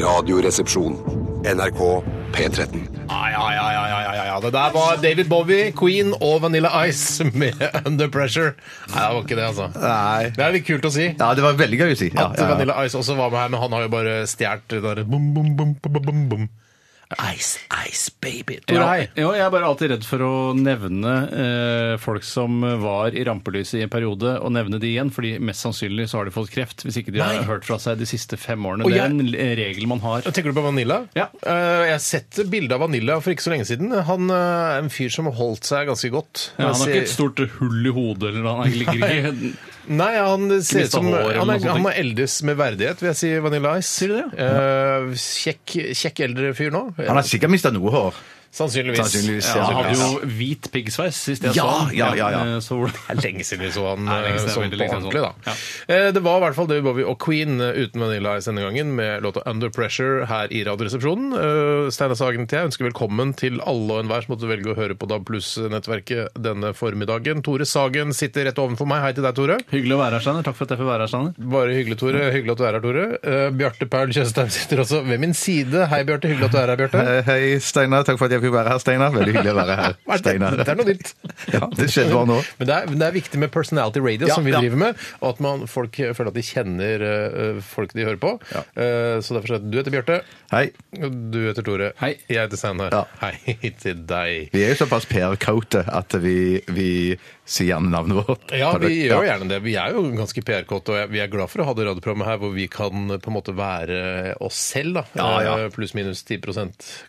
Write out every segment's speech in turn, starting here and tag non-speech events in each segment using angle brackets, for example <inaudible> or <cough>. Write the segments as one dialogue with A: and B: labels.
A: Radioresepsjon. NRK P13.
B: Ja, ja, ja, ja, ja, ja, ja. Det der var David Bowie, Queen og Vanilla Ice med <laughs> Under Pressure. Nei, det var ikke det, altså.
C: Nei.
B: Det er litt kult å si.
C: Ja, det var veldig gøy å si. Ja,
B: At
C: ja, ja.
B: Vanilla Ice også var med her, men han har jo bare stjålet det derre bom, bom, bom, bom, bom, bom. Ice, ice baby. Tore
D: Ja,
B: Hei.
D: jo, jeg er bare alltid redd for å nevne eh, folk som var i rampelyset i en periode, og nevne de igjen, fordi mest sannsynlig så har de fått kreft, hvis ikke de
B: Nei.
D: har hørt fra seg de siste fem årene.
B: Og
D: Det er
B: jeg-
D: en l- regel man har.
B: Tenker du på Vanilla?
D: Ja.
B: Eh, jeg har sett bilde av Vanilla for ikke så lenge siden. Han eh, er en fyr som har holdt seg ganske godt.
D: Ja, han har ikke et stort hull i hodet, eller han ligger ikke
B: Nei, han ser ut
D: mistet
B: som
D: hår eller
B: han,
D: noe
B: er,
D: sånt.
B: han er eldes med verdighet, vil jeg si, Vanilla Ice.
D: Sier du det,
B: Eh, kjekk, kjekk eldre fyr nå.
C: Han har sikkert mista noe hår.
B: Sannsynligvis.
C: Sannsynligvis,
D: ja,
C: ja.
D: Han hadde jo hvit piggsveis sist jeg
C: Ja,
D: så han.
C: ja, ja, ja.
D: Eh, Så
B: Det er lenge siden vi så han
D: Det er lenge
B: eh,
D: siden,
B: sånn
D: veldig
B: på
D: lenge siden
B: ordentlig, da.
D: sånn.
B: Eh, Det var i hvert fall David Bowie og Queen eh, uten Vanilla Ice denne gangen, med låta 'Under Pressure' her i Radioresepsjonen. Eh, Steinar Sagen til jeg ønsker velkommen til alle og enhver som måtte velge å høre på DAB Pluss-nettverket denne formiddagen. Tore Sagen sitter rett ovenfor meg. Hei til deg, Tore.
D: hyggelig å være her, Steiner. Takk for at jeg fikk være her, Steiner.
B: Bare hyggelig, Tore. Hyggelig at du er her, Tore. Eh, Bjarte Paul Tjøstheim sitter også ved min side. Hei, Bjarte. Hyggelig at du er her, Bjarte.
C: Eh, Hei, Steinar. Takk for at jeg fikk være her, Steinar. Veldig hyggelig å være her.
B: <laughs> Hva er det?
C: Steinar.
B: Dette er noe nytt.
C: <laughs> Ja, det skjedde bare nå.
B: Men det er, men det er viktig med personality radio,
C: Ja,
B: som vi
C: ja.
B: driver med, og at man, folk føler at de kjenner eh, folk de hører på.
C: Ja.
B: Eh, så derfor sier jeg at du heter Bjarte,
C: Hei.
B: og du heter Tore.
D: Hei.
B: Jeg heter Steinar.
C: Ja.
B: Hei <laughs> til deg.
C: Vi er jo såpass Per Kaute at vi, vi sier gjerne navnet vårt.
B: Ja, vi gjør jo gjerne det. Vi er jo ganske PR-kåte, og jeg- vi er glad for å ha det radioprogrammet her hvor vi kan eh, på en måte være oss selv, da.
C: Ja, ja. Mm.
B: Eh, Pluss-minus 10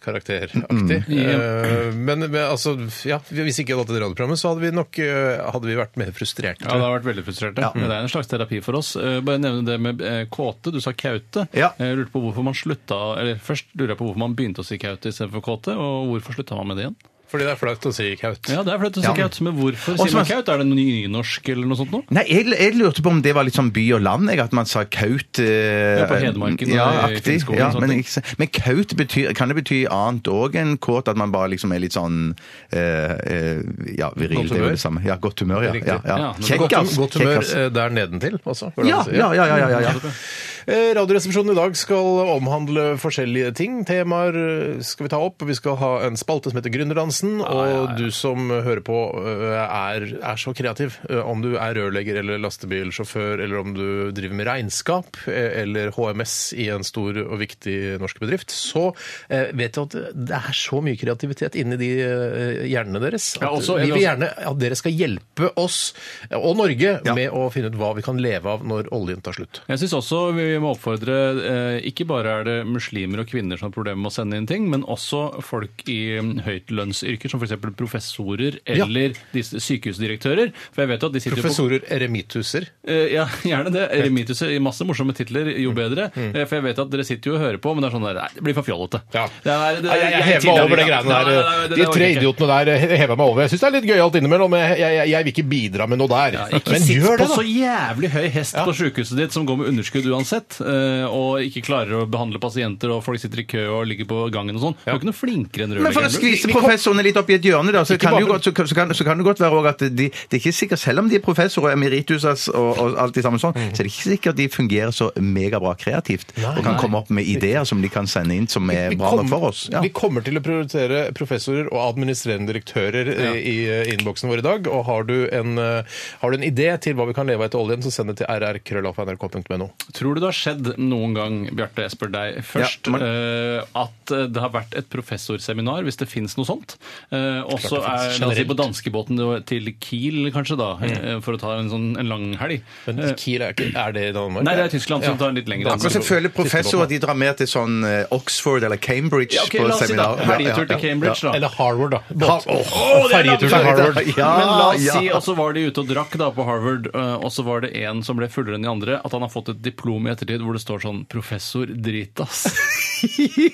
B: karakteraktig. Eh, Men men altså, ja, hvis ikke vi hadde hatt det radioprogrammet, så hadde vi nok eh, hadde vi vært mer frustrerte.
D: Ja, det har vært veldig frustrert. Ja. Det er en slags terapi for oss. Eh, Bare nevne det med eh, kåte. Du sa kaute.
C: Ja.
D: Jeg lurte på hvorfor man slutta, eller Først lurer jeg på hvorfor man begynte å si kaute istedenfor kåte, og hvorfor slutta man med det igjen?
B: Fordi det er flaut å si kaut.
D: Ja, det er flaut å si
C: Ja.
D: kaut, men hvorfor
C: Og
D: sier
C: som
D: man
C: er-
D: kaut? Er det nynorsk eller noe sånt noe?
C: Nei, jeg, jeg lurte på om det var litt sånn by og land, jeg, at man sa kaut. Eh,
D: Ja, på Hedmarken og
C: Ja,
D: i
C: aktig.
D: Finnskogen
C: Ja,
D: og sånne
C: men,
D: ting.
C: ikke så- men kaut betyr, kan det bety annet òg enn kåt? At man bare liksom er litt sånn eh, eh, Ja, viril.
B: Godt
C: Det er jo
B: humør.
C: det samme. Ja, godt humør. Ja,
B: Riktig.
C: ja,
D: Ja,
C: ja.
D: men
C: Kjekk,
B: Godt,
C: ass.
B: godt
C: Kjekk,
B: humør
C: ass.
B: eh, der nedentil også. hvordan
C: Ja,
B: man sier.
C: ja, ja. ja, ja, ja.
B: Eh, Radioresepsjonen i dag skal omhandle forskjellige ting. Temaer eh, skal vi ta opp. Vi skal ha en spalte som heter Gründerdansen.
D: Ah,
B: Og du som hører på eh, er, er så kreativ. Eh, Om du er rørlegger eller lastebilsjåfør, eller om du driver med regnskap eh, eller HMS i en stor og viktig norsk bedrift, så eh, vet du at det er så mye kreativitet inni de eh, hjernene deres. At
D: Ja, også-
B: vi
D: vi
B: vil
D: også-
B: gjerne at dere skal hjelpe oss eh, og Norge
C: Ja.
B: med å finne ut hva vi kan leve av når oljen tar slutt.
D: Jeg syns også vi må oppfordre eh, Ikke bare er det muslimer og kvinner som har problemer med å sende inn ting, men også folk i mm, høytlønnsyrker, som f.eks. professorer
B: Ja.
D: eller disse sykehusdirektører. For jeg vet jo at de sitter jo på
B: Professorer eremituser.
D: Eh, ja, <laughs> gjerne det. Remituser i masse morsomme titler,
B: Mm.
D: jo bedre. Eh, For jeg vet at dere sitter jo og hører på, men det er sånn der Nei, det blir for fjollete.
B: Ja.
D: Det er- det er-
B: Nei, jeg, jeg hever
D: tilhører
B: meg over de
D: ikke-
B: greiene
D: Nei, nei, nei,
B: der.
D: det- det
B: De
D: orker
B: tre
D: jeg ikke.
B: idiotene der he- hever meg over. Jeg syns det er litt gøyalt innimellom, men jeg, jeg, jeg vil ikke bidra med noe der.
D: Ja, ikke
B: men
D: sitt
B: gjør
D: på
B: det,
D: så
B: da!
D: jævlig høy hest på sykehuset ditt som går med underskudd uansett, eh, og ikke klarer å behandle pasienter, og folk sitter i kø og ligger på gangen og sånn. Du er ikke noe flinkere enn
C: Men for å
D: rørleggeren.
C: skvise professorene litt opp i et hjørne, da, så kan, det jo
B: bare-
C: godt, så, kan- så, kan, så kan det godt være også at de, det er ikke sikkert, selv om de er professorer, emeritus og, og alt det samme sånn, så er det ikke sikkert de fungerer så megabra kreativt og kan komme opp med ideer som de kan sende inn som er
B: Vi
C: bra nok
B: kommer,
C: for oss. Ja.
B: vi kommer til å prioritere professorer og administrerende direktører eh, i eh, innboksen vår i dag. Og har du, en, eh, har du en idé til hva vi kan leve av etter oljen, så send det til rrkrøllalfa.nrk.no.
D: Tror du det har skjedd noen gang, Bjarte, jeg spør deg først,
C: Ja, men-
D: eh, at det har vært et professorseminar, hvis det finnes noe sånt? Eh, og så
B: finnes,
D: er la oss si,
B: generelt. Mm.
D: på danskebåten til Kiel, kanskje, da, eh, for å ta en, sånn, en lang helg.
B: Men
D: Eh,
B: Kiel er, ikke, er det i Danmark?
D: Nei, det er Tyskland som
B: Ja.
D: tar en litt lengre
C: Akkurat som jeg føler professorer de drar mer til sånn eh, Oxford eller Cambridge
D: Ja, ok,
C: på
D: la oss si da,
C: seminar.
D: helgetur til Cambridge, da.
B: Eller Harvard, da. Båt.
C: Å, det er langt!
B: Ferjetur til Harvard.
D: <laughs>
C: Ja,
D: Men la oss
C: ja.
D: si, og så var de ute og drakk da på Harvard, eh, og så var det en som ble fullere enn de andre, at han har fått et diplom i ettertid hvor det står sånn 'Professor Dritas'.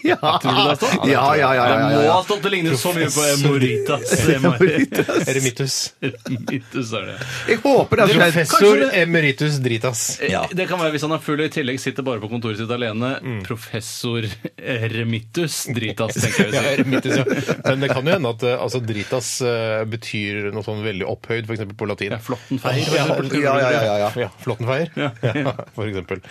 C: ja. Ja, ja, ja, ja, ja,
D: Det må
C: ja.
D: ha stått det ligner så mye på Emoritas. <laughs>
B: Eremitus.
D: Emeritus er det.
C: Jeg håper det har skjedd.
B: Professor emeritus dritas.
C: Ja.
D: Det kan være hvis han er full og i tillegg sitter bare på kontoret sitt alene.
B: Mm.
D: Professor Eremitus Dritas, tenker
B: Ja,
D: jeg vi sier.
B: eremitus, ja. <laughs> Men det kan jo hende at eh, altså, dritas eh, betyr noe sånn veldig opphøyd, f.eks. på latin.
D: Ja, Flåttenfeier, for
B: Ja,
D: eksempel.
C: Ja, ja, ja, ja, ja.
B: Ja, Flåttenfeier, <laughs> ja, for eksempel.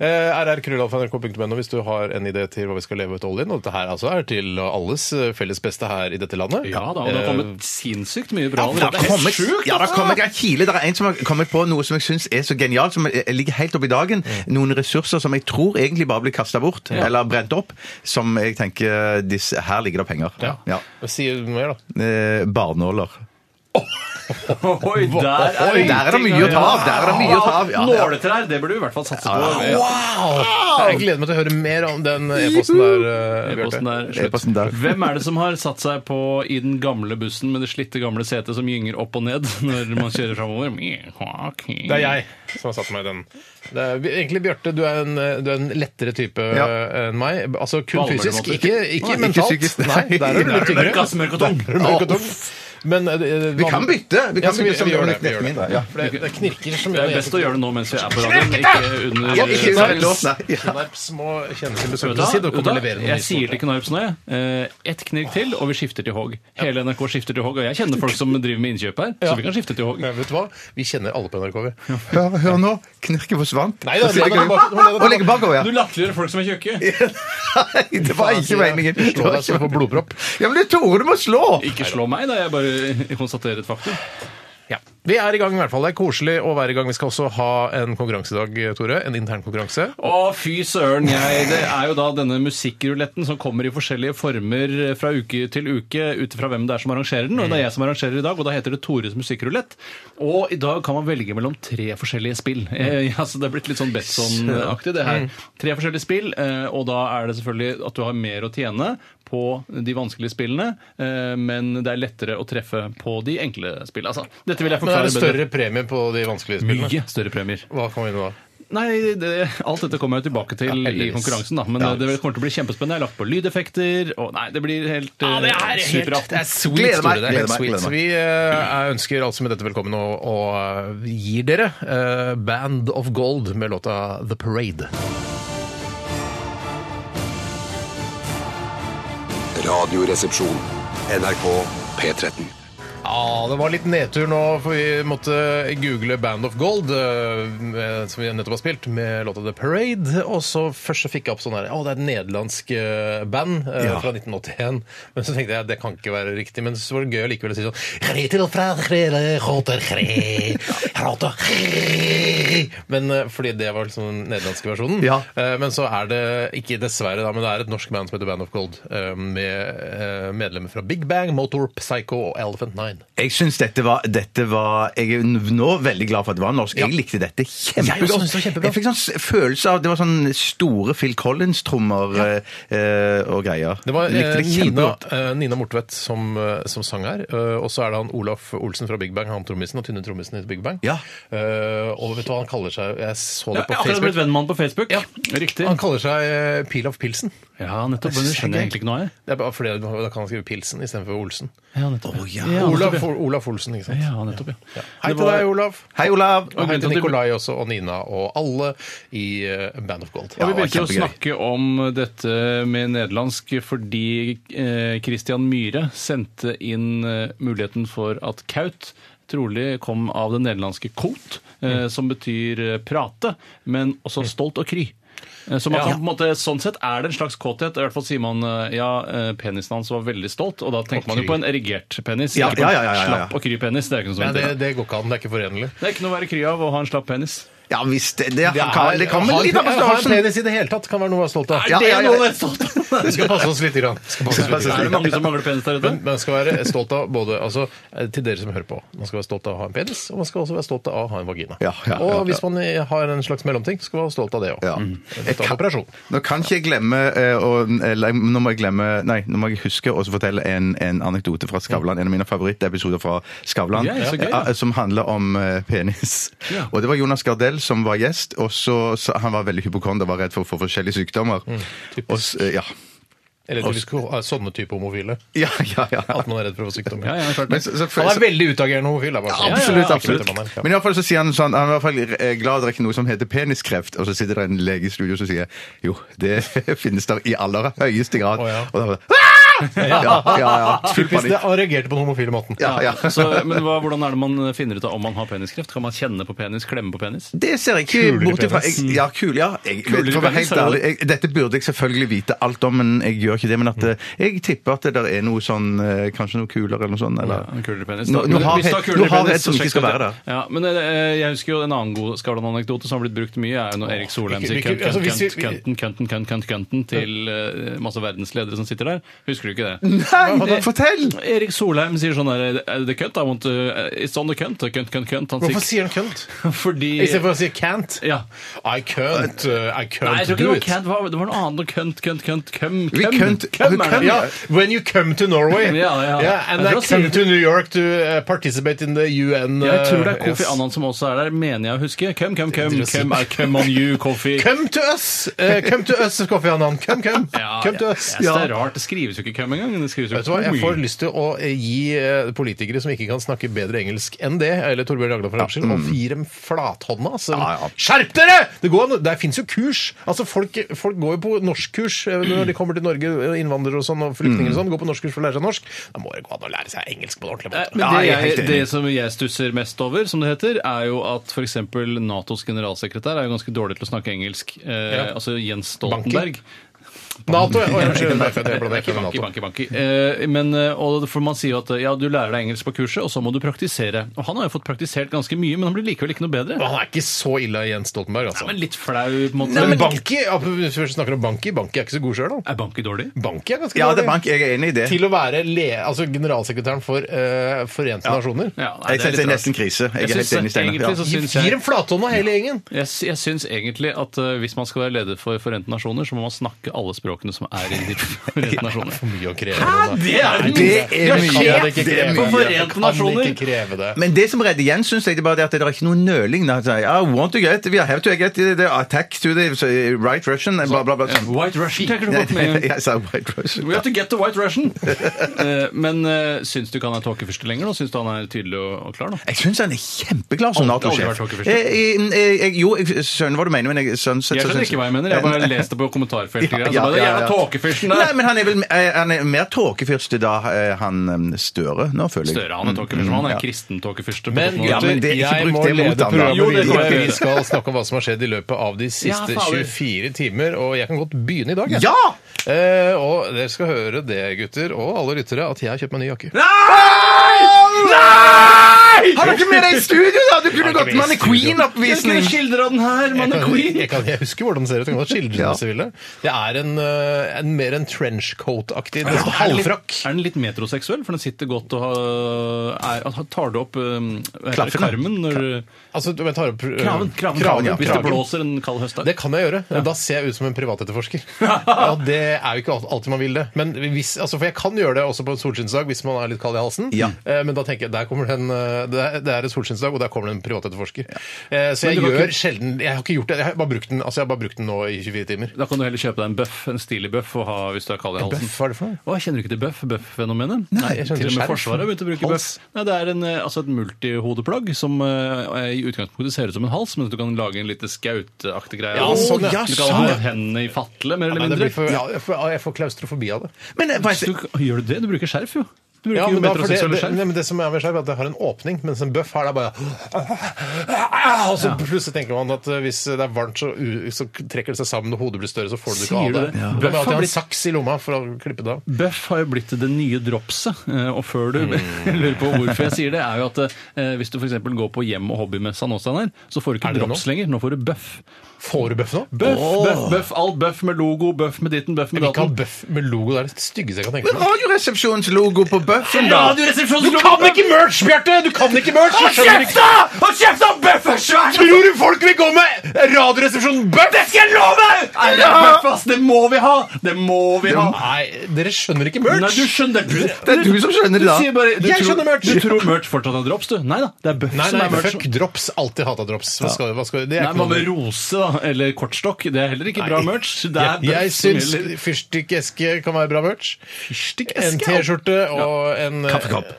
B: Eh, rrkrøllalfa.nrk.no hvis du har en idé til hva vi skal leve ut oljen. Og dette her altså er til alles eh, felles beste her i dette landet.
D: Ja da, og det har kommet sinnssykt mye bra
C: Det har
D: allerede.
C: kommet,
B: altså!
C: ja, det har kommet en kile. Det er en som har kommet på noe som jeg syns er så genialt, som eh, ligger helt oppe i dagen.
B: Mm.
C: Noen ressurser som jeg tror egentlig bare blir kasta bort, eller brent opp, som jeg tenker disse, Her ligger det penger.
B: Ja.
C: Ja.
B: Si mer, da.
C: Eh, Barnåler.
D: <laughs> Oi, der er,
C: Oi, der er det mye å ta av, der er det mye å ta av, ja.
D: Nåletrær, det burde vi i hvert fall satse på.
B: Jeg gleder meg til å høre mer om den e-posten der. eh, Bjarte.
D: E-posten er
C: E-posten der.
D: sånn slutt. Hvem er det som har satt seg på i den gamle bussen med det slitte gamle setet som gynger opp og ned <laughs> når man kjører framover?
B: Det er jeg som har satt meg i den. Det er, egentlig, Bjarte, du er en, du er en lettere type
C: Ja.
B: eh, enn meg. Altså kun
D: På alle
B: fysisk,
D: mulige måter.
B: ikke, ikke
C: Nei,
B: mentalt.
C: ikke psykisk, nei.
B: nei. der er du litt
C: Der er
B: tyngre.
D: Mørk, ass, mørk og tung.
B: Der er du mørk og tung. Men, eh,
C: Vi kan bytte! Vi
B: Ja,
C: kan
B: så vi, vi,
C: bytte som
B: gjør det.
C: litt
B: Vi gjør
C: mindre,
B: det.
C: ja.
B: For det, det knirker så mye.
D: Det er best å gjøre det nå mens vi er på radioen, ikke under
C: Ja, ikke
D: Så-
C: under en låt, nei. Ja.
B: Knarps må kjenne sin
D: Vet du hva?
B: besøkelsestid og komme og
D: Vet du hva?
B: levere noe
D: Jeg
B: nytt.
D: sier til Knarps nå, jeg. Eh, Ett knirk til, og vi skifter til Håg. Hele NRK skifter til Håg, og jeg kjenner folk som driver med innkjøp her, så vi kan skifte til Håg.
B: Nei, vet du hva? Vi kjenner alle på NRK. vi.
C: Hør, hør nå. Knirket forsvant.
B: Nei da,
C: Så jeg
B: legg den
C: kan-
B: tilbake, legg den
C: Å, legge bakover, ja.
D: Du latterliggjør folk som er tjukke.
C: Nei, <laughs> det var ikke meningen. Det
B: Slå
C: var
B: deg så
C: ikke
B: du får blodpropp.
C: Ja, men du, Tore, du må slå!
D: Ikke slå meg, da. Jeg bare konstaterer et faktum.
B: Vi er i gang i hvert fall. Det er koselig å være i gang. Vi skal også ha en konkurranse i dag, Tore. En intern konkurranse.
D: Å, fy søren. Jeg, det er jo da denne musikkruletten som kommer i forskjellige former fra uke til uke ut ifra hvem det er som arrangerer den. Og det er jeg som arrangerer i dag, og da heter det Tores musikkrulett. Og i dag kan man velge mellom tre forskjellige spill.
B: Mm.
D: Eh, altså, det er blitt litt sånn Betson-aktig, det her. Tre forskjellige spill, eh, og da er det selvfølgelig at du har mer å tjene på de vanskelige spillene, eh, men det er lettere å treffe på de enkle spillene. Altså, dette vil jeg
B: Men er
D: forklare
B: det
D: bedre.
B: større premie på de vanskelige spillene?
D: Mye større premier.
B: Hva kan vi nå da?
D: Nei, det, alt dette kommer jeg jo tilbake til i
B: heldigvis.
D: konkurransen, da. Men det, det kommer til å bli kjempespennende. Jeg har lagt på lydeffekter, og nei, det blir helt
B: Ja, det er
D: eh,
B: helt-
D: superaften.
B: Sweet,
C: Gleder meg,
B: Tore, det er
C: gleder
B: helt
C: meg,
B: sweet.
C: gleder meg.
B: Vi eh, ønsker altså med dette velkommen og, og eh, gir dere eh, Band of Gold med låta The Parade.
A: Radioresepsjon. NRK P13.
B: Ja, det var litt nedtur nå, for vi måtte google Band of Gold, eh, med- som vi nettopp har spilt, med låta The Parade. Og så først så fikk jeg opp sånn her Å, det er et nederlandsk eh, band eh,
C: Ja.
B: fra 1981. Men så tenkte jeg det kan ikke være riktig. Men så var det gøy likevel å si sånn «Gretel fra Grele, Groter
C: <laughs>
B: Gre, Groter Gre». Men eh, fordi det var liksom den nederlandske versjonen.
C: Ja.
B: Eh, Men så er det ikke dessverre, da, men det er et norsk band som heter Band of Gold, eh, med eh, medlemmer fra Big Bang, Motor, Psycho og Elephant Nine.
C: Jeg syns dette var, dette var Jeg er nå veldig glad for at det var norsk. Jeg likte dette
B: Jeg også
C: kjempegodt.
B: synes det var kjempebra.
C: fikk sånn s- følelse av Det var sånn store Phil Collins-trommer eh, og greier.
B: Det var
C: Jeg likte
B: eh,
C: det
B: Nina,
C: kjempegodt.
B: eh, Nina Mortvedt som, eh, som sang her. eh, og så er det han Olaf Olsen fra Big Bang, han trommisen og tynne trommisen i Big Bang.
C: Ja.
B: Eh, og vet du hva han kaller seg? Jeg så
D: Ja,
B: det
D: jeg
B: på
D: har akkurat blitt
B: Facebook.
D: venn med han på Facebook.
B: Ja.
D: Riktig.
B: Han kaller seg eh, Pilaf Pilsen.
D: Ja, nettopp. Men det skjønner jeg egentlig ikke noe av. jeg.
B: Det er bare fordi Da kan han skrive Pilsen istedenfor Olsen.
D: Ja, nettopp.
C: Å, ja.
D: Ja,
B: Olaf,
D: nettopp, ja.
B: Olaf Olsen, ikke sant.
D: Ja, nettopp, ja.
B: Hei
D: Det
B: til
D: var-
B: deg, Olaf.
C: Hei, Olav!
B: Og hei
D: grunnen til
B: til
D: at du-
B: Nikolai også, og Nina og alle i eh, Band of Gold.
D: Og vi
C: Ja,
D: begynte jo å
C: kjempegøy.
D: snakke om dette med nederlandsk fordi eh, Christian Myhre sendte inn eh, muligheten for at kaut trolig kom av det nederlandske kot, eh,
C: Mm.
D: som betyr eh, prate, men også stolt og kry. Eh, Så man kan, på en måte, sånn sett er det en slags kåthet. I hvert fall sier man eh, ja, eh, penisen hans var veldig stolt, og da tenker man jo
B: kry.
D: på en erigert penis.
C: Ja,
D: ikke på
C: ja,
D: en
C: ja, ja, ja, ja.
D: Slapp og kry penis. Det er ikke noe
B: Nei,
D: sånt.
B: det,
D: Det,
B: det går ikke an. Det er ikke forenlig.
D: det er ikke noe å være kry av å ha en slapp penis.
C: Ja visst. Det, det, kan- det kommer
B: ha en
C: litt av
B: pe- ha en
C: forståelsen.
B: penis i det hele tatt kan være noe å være stolt av.
C: Ja, ja, ja.
B: <laughs> Vi skal passe oss litt. Grann. Vi Skal passe oss litt
D: Er det
B: grann.
D: mange som mangler penis der ute?
B: Men man skal være stolt av både altså, eh, Til dere som hører på. Man skal være stolt av å ha en penis, og man skal også være stolt av å ha en vagina.
C: Ja, ja, ja, ja.
B: Og hvis man eh, har en slags mellomting, skal man være stolt av det òg.
C: Ja. Jeg kan-
B: operasjon.
C: Nå kan ikke jeg glemme eh, og, eller, Nå må jeg glemme Nei, nå må jeg huske å fortelle en, en anekdote fra Skavlan. En av mine favorittepisoder fra Skavlan.
D: Ja, ja, så gøy, ja.
C: eh, Som handler om eh, penis. Og det var Jonas Gardell Bell som var gjest, og så sa- han var veldig hypokonder, var redd for å få forskjellige sykdommer.
D: Mm,
C: og, s- eh, ja. <laughs>
B: Eller typisk ho- sånne type homofile.
C: ja, ja, ja.
B: At man er redd for å få sykdommer.
D: Ja, ja, klart
C: Men
D: det.
C: så, så,
B: Han er veldig utagerende homofil. da, bare sånn.
C: Absolutt.
B: Ja, ja, ikke
C: absolutt.
B: vet hvem han er.
C: Men i alle fall så sier han sånn Han er i hvert fall eh, glad det er ikke noe som heter peniskreft. Og så sitter det en lege i studio som sier jo, det <laughs> finnes der i aller høyeste grad.
B: Å, ja.
C: Og da var det «Ah!» Ja, ja, ja. Full
B: Typisk det,
C: panikk.
B: han reagerte på den homofile måten.
C: Ja, ja.
D: <laughs> Så, men hva, hvordan er det man finner ut av om man har peniskreft? Kan man kjenne på penis? Klemme på penis?
C: Det ser jeg ikke
B: Kulere
C: bort ifra.
B: penis.
C: Jeg- Ja, kul, ja. Jeg,
D: Kulere
C: for å være
D: penis,
C: helt
D: er
C: ærlig,
D: det-
C: jeg, dette burde jeg selvfølgelig vite alt om, men jeg gjør ikke det. Men at
B: Mm.
C: eh, jeg tipper at det der er noe sånn eh, Kanskje noe kulere eller noe sånt. Eller.
D: En kulere penis.
C: Nå-
D: Da-
C: nå har
D: Hvis du
C: jeg-
D: kulere
C: nå har jeg
D: penis,
C: et som
D: så
C: ikke
D: sjekk
C: skal
D: det
C: være
D: ut. Ja, men eh, jeg husker jo en annen god Skavlan-anekdote som har blitt brukt mye, er jo når Erik Solheim
B: ikke-
D: sier
B: ikke-
D: kønt,
B: altså,
D: kønt,
B: hvis vi-
D: kønt, kønten, kønten, kønt, kønt, kønten til eh, masse verdensledere som sitter der. Husker du ikke det?
C: Nei,
D: det-
C: fortell!
D: Erik Solheim sier sånn der "Er det kønt? I want to- It's on the kønt. Kønt, kønt, kønt. Han
B: Hvorfor
D: sier
B: sier han kønt?
D: <laughs> fordi
B: I stedet for å si can't.
D: Ja.
B: I can't, uh, I can't
D: Nei, jeg tror ikke det
B: do
D: var
B: it.
D: kønt. hva- Det var noe annet. Kønt, kønt, kønt. Køm,
C: Vi
D: køm.
C: kønt-
D: køm,
C: vi
D: er det.
C: køm,
D: Ja.
B: Ja, when you come to Norway
D: <laughs> Ja, ja.
B: Yeah, And I
D: Jeg tror han sier
B: come
D: det.
B: to New York to uh, participate in the UN uh,
D: Jeg tror det er Kofi
B: yes.
D: Annan som også er der, mener jeg å huske. Køm, køm, køm.
B: Interessant.
D: Køm, I come on
B: <laughs>
D: you, Kofi.
B: Come to us! Uh, come to us, Kofi Annan. Come, come.
D: <laughs> Ja,
B: come to
D: ja.
B: us.
D: Jeg synes Det er rart. Det skrives jo ikke køm engang. Det skrives jo
B: Vet du hva, Jeg
D: Oi.
B: får lyst til å eh, gi eh, politikere som ikke kan snakke bedre engelsk enn det, eller Torbjørn Jagland for Rapskyld, og gi dem flathånda. Så,
C: Ja, ja.
B: Skjerp dere! Det, går an- der fins jo kurs. Altså, folk, folk går jo på norskkurs eh, når de kommer til Norge, eh, innvandrere og sånn, og flyktninger og sånn. Går på norskkurs for å lære seg norsk. Da må det gå an å lære seg engelsk på en ordentlig
D: Eh,
B: måte.
D: Men
C: Ja, jeg er
D: det, jeg,
C: helt enig.
D: det som jeg stusser mest over, som det heter, er jo at f.eks. Natos generalsekretær er jo ganske dårlig til å snakke engelsk. Eh,
B: Ja.
D: Altså Jens Stoltenberg.
B: Nato ja. Å, jeg skjønner, jeg skjønner,
D: Det
B: jeg
D: er
B: blander
D: ikke
B: ikke med
D: banki,
B: NATO.
D: banki, banki. Eh, Men, eh, og for man sier jo at eh, ja, du lærer deg engelsk på kurset, og så må du praktisere. Og han har jo fått praktisert ganske mye, men han blir likevel ikke noe bedre.
B: Han er ikke så ille, Jens Stoltenberg, altså.
D: Men litt flau, på en måte.
B: Men,
D: Men Banki-
B: Banki, ja, hvis vi snakker om Banki, Banki er ikke så god sjøl, da.
D: Er Banki dårlig?
B: Banki er ganske
C: Ja,
B: dårlig.
C: det er bank. Jeg er enig i det.
B: til å være le, altså generalsekretæren for eh, Forente Nasjoner.
D: Ja, nei,
C: Jeg
D: det
C: synes det er
D: er litt
C: nesten
D: rart.
C: krise. Jeg
D: Jeg
C: er
D: synes
C: helt enig, Steinar.
D: egentlig
C: Ja.
D: så
B: Gi
D: synes
B: gi
D: jeg
B: dem flathånda, hele gjengen!
D: Jeg, sy- jeg syns egentlig at eh, hvis man skal være leder for Forente nasjoner, så må man snakke alle språkene som er i de <laughs> Forente nasjoner.
B: For mye å kreve. Hæ?
D: Det er
C: Det er
B: Kan
C: mye.
B: jeg det ikke
C: Det er
B: kreve?
D: mye. For Forente
B: Kan jeg
D: Nasjoner?
B: ikke kreve det.
C: Men det som redder igjen, syns jeg, det er bare det at det er ikke noe nøling. Da. Så, I want to "Ah, get, we have to get the attack to the so, uh, right Russian, bla, bla, bla. Sånn.
D: White Russian tenker du
C: Nei,
D: godt
C: <laughs>
D: med.
C: Jeg sa right Russian.
D: We have to get the white
C: <laughs>
D: Russian! Eh, Men uh, syns du ikke han er tåkefyrste lenger nå? Syns du han er tydelig og, og klar nå?
C: Jeg syns han er kjempeglad som
D: Aldri- aldri
C: Nato-sjef.
D: vært hockeyfyrste.
C: Eh, jeg- jeg- Jo, jeg skjønner hva du mener, men jeg sånn sett
D: Jeg
C: så
D: skjønner
C: syns-
D: ikke hva jeg mener. Jeg bare leste det på kommentarfeltet.
C: Ja,
D: Ja,
C: ja,
D: bare,
C: ja,
D: Jævla
C: ja.
D: tåkefyrsten
C: Nei,
D: der!
C: men han er vel eh, han er mer tåkefyrste da eh, han eh, Støre, nå føler jeg.
D: Støre han er tåkefyrste, men han
C: Ja.
D: er kristen tåkefyrste. på
B: Men
D: toppen av-
C: Ja,
B: gutter,
C: men det- ikke
B: jeg
C: bruk
B: må
C: det mot
B: lede
C: ham, da.
B: programmet
D: Jo, det kan
B: videre.
D: jeg gjøre.
B: Vi skal snakke om hva som har skjedd i løpet av de siste
D: Ja, fader.
B: 24 timer, og jeg kan godt begynne i dag. jeg.
C: Ja!
B: Eh, og dere skal høre det, gutter, og alle lyttere, at jeg har kjøpt meg ny jakke.
C: Nei! Han er ikke med deg i studio, da! Du kunne
B: er ikke
C: gått
B: med i
C: med en
B: studio.
D: Jeg
C: Queen-oppvisning.
D: skulle skildra den her,
B: Jeg
D: man er
B: kan-
D: queen!
B: Jeg, kan, jeg husker hvordan den ser ut. Jeg kan godt skildre den
C: Ja.
B: hvis jeg vil det. Det er en, eh, en mer en trenchcoat-aktig det er sånn
D: Er den litt-
B: halvfrakk.
D: Er den litt metroseksuell? For den sitter godt og har- er, at- Tar du opp um, hva heter det,
C: Klaffen, ja.
D: karmen når
B: Altså, du, jeg tar opp, eh,
D: Kraven, kraven,
B: kraven, ja,
D: Hvis det
B: kraven.
D: blåser en kald høstdag.
B: Det kan jeg gjøre. Da ser jeg ut som en privatetterforsker. Ja, det er jo ikke alt- alltid man vil det. Men hvis, altså, for jeg kan gjøre det også på en solskinnsdag hvis man er litt kald i halsen.
C: Ja.
B: Eh, Men da tenker jeg der kommer det en, eh, det er- det er en solskinnsdag, og der kommer det en privatetterforsker. Eh, Så jeg
D: du var
B: gjør sjelden Jeg har ikke gjort det. Jeg har bare brukt den, altså, jeg har bare brukt den nå i 24 timer.
D: Da kan du heller kjøpe deg en bøff, en stilig bøff, og ha hvis du er kald i halsen.
B: Bøff, hva er det for noe?
D: Å, jeg kjenner du ikke til bøff, bøff-fenomenet? Nei,
B: jeg kjenner
D: Til og
B: til
D: med
B: skjerf.
D: Forsvaret har begynt å bruke bøff.
B: Hals.
D: Nei, Det er en, eh, altså et multihodeplagg som eh, i utgangspunktet ser ut som en hals, men at du kan lage en lite skauteaktig greie.
B: Ja,
D: av det.
B: sånn, ja.
D: Du
B: Sånn,
D: kan ha
B: ja.
D: hendene i fatle, mer
B: Nei,
D: eller
B: det
D: mindre.
B: blir for, ja, jeg får- jeg får klaustrofobi av det.
C: Men, eh, faktisk-
D: Du, gjør du det? Du bruker skjerf, jo. Du bruker
B: Ja,
D: jo
B: men da, for det,
D: metroseksuelle
B: det,
D: skjerf.
B: nei, men det som er med skjerf, er at det har en åpning, mens en bøff har det bare Og så plutselig tenker man at eh, hvis det er varmt, så, u- så trekker det seg sammen, og hodet blir større, så får du det ikke
D: Sier
B: av
D: du
B: det.
D: det?
B: Ja.
D: Ja.
B: Da må jeg
D: Bøff har
B: alltid ha en
D: blitt-
B: saks i lomma for å klippe det av.
D: Bøff har jo blitt det nye dropset, eh, og før du <laughs> lurer på hvorfor jeg sier det, er jo at eh, hvis du f.eks. går på hjem- og hobbymessa nå, Steinar, så får du
B: Er
D: ikke
B: det det
D: drops
B: nå?
D: lenger. Nå får du bøff.
B: Får du bøff nå?
D: Bøff, bøff, bøff. Alt bøff med logo, bøff med ditten, bøff
B: Jeg
D: med
B: vil ikke
D: datten.
B: ha bøff med logo, det er det styggeste jeg kan tenke
C: Men
B: meg.
C: Radioresepsjonens logo på bøffel, da?
D: Radioresepsjonen
B: Du kan ikke merch, Bjarte! Du kan ikke merch! jeg skjønner ikke.
D: Hold kjeft, da! Bøff er svært!
B: Tror du folk vil gå med Radioresepsjonen bøff?
D: Det skal jeg love! Nei, det er bøff, ass. Det må vi ha! Det må vi ha!
B: Nei, dere skjønner ikke merch.
D: Nei, du skjønner du,
C: Det er du som skjønner det, da.
D: sier bare, du
B: Jeg
D: tror,
B: skjønner merch.
D: Du tror merch fortsatt er drops, du? Nei da. Det er bøff
B: Nei,
D: som
B: nei,
D: er merch.
B: fuck drops. Alltid hata drops. Hva skal, hva skal, det er
D: Nei,
B: ikke
D: Hva
B: noe-
D: med rose da, eller kortstokk? Det er heller ikke bra
B: Nei.
D: merch. Det er bøff
B: Jeg
D: som
B: syns
D: gjelder.
B: fyrstikkeske kan være bra merch. En
D: fyrstikkeske.
B: T-skjorte og en eh,
C: Kaffekopp.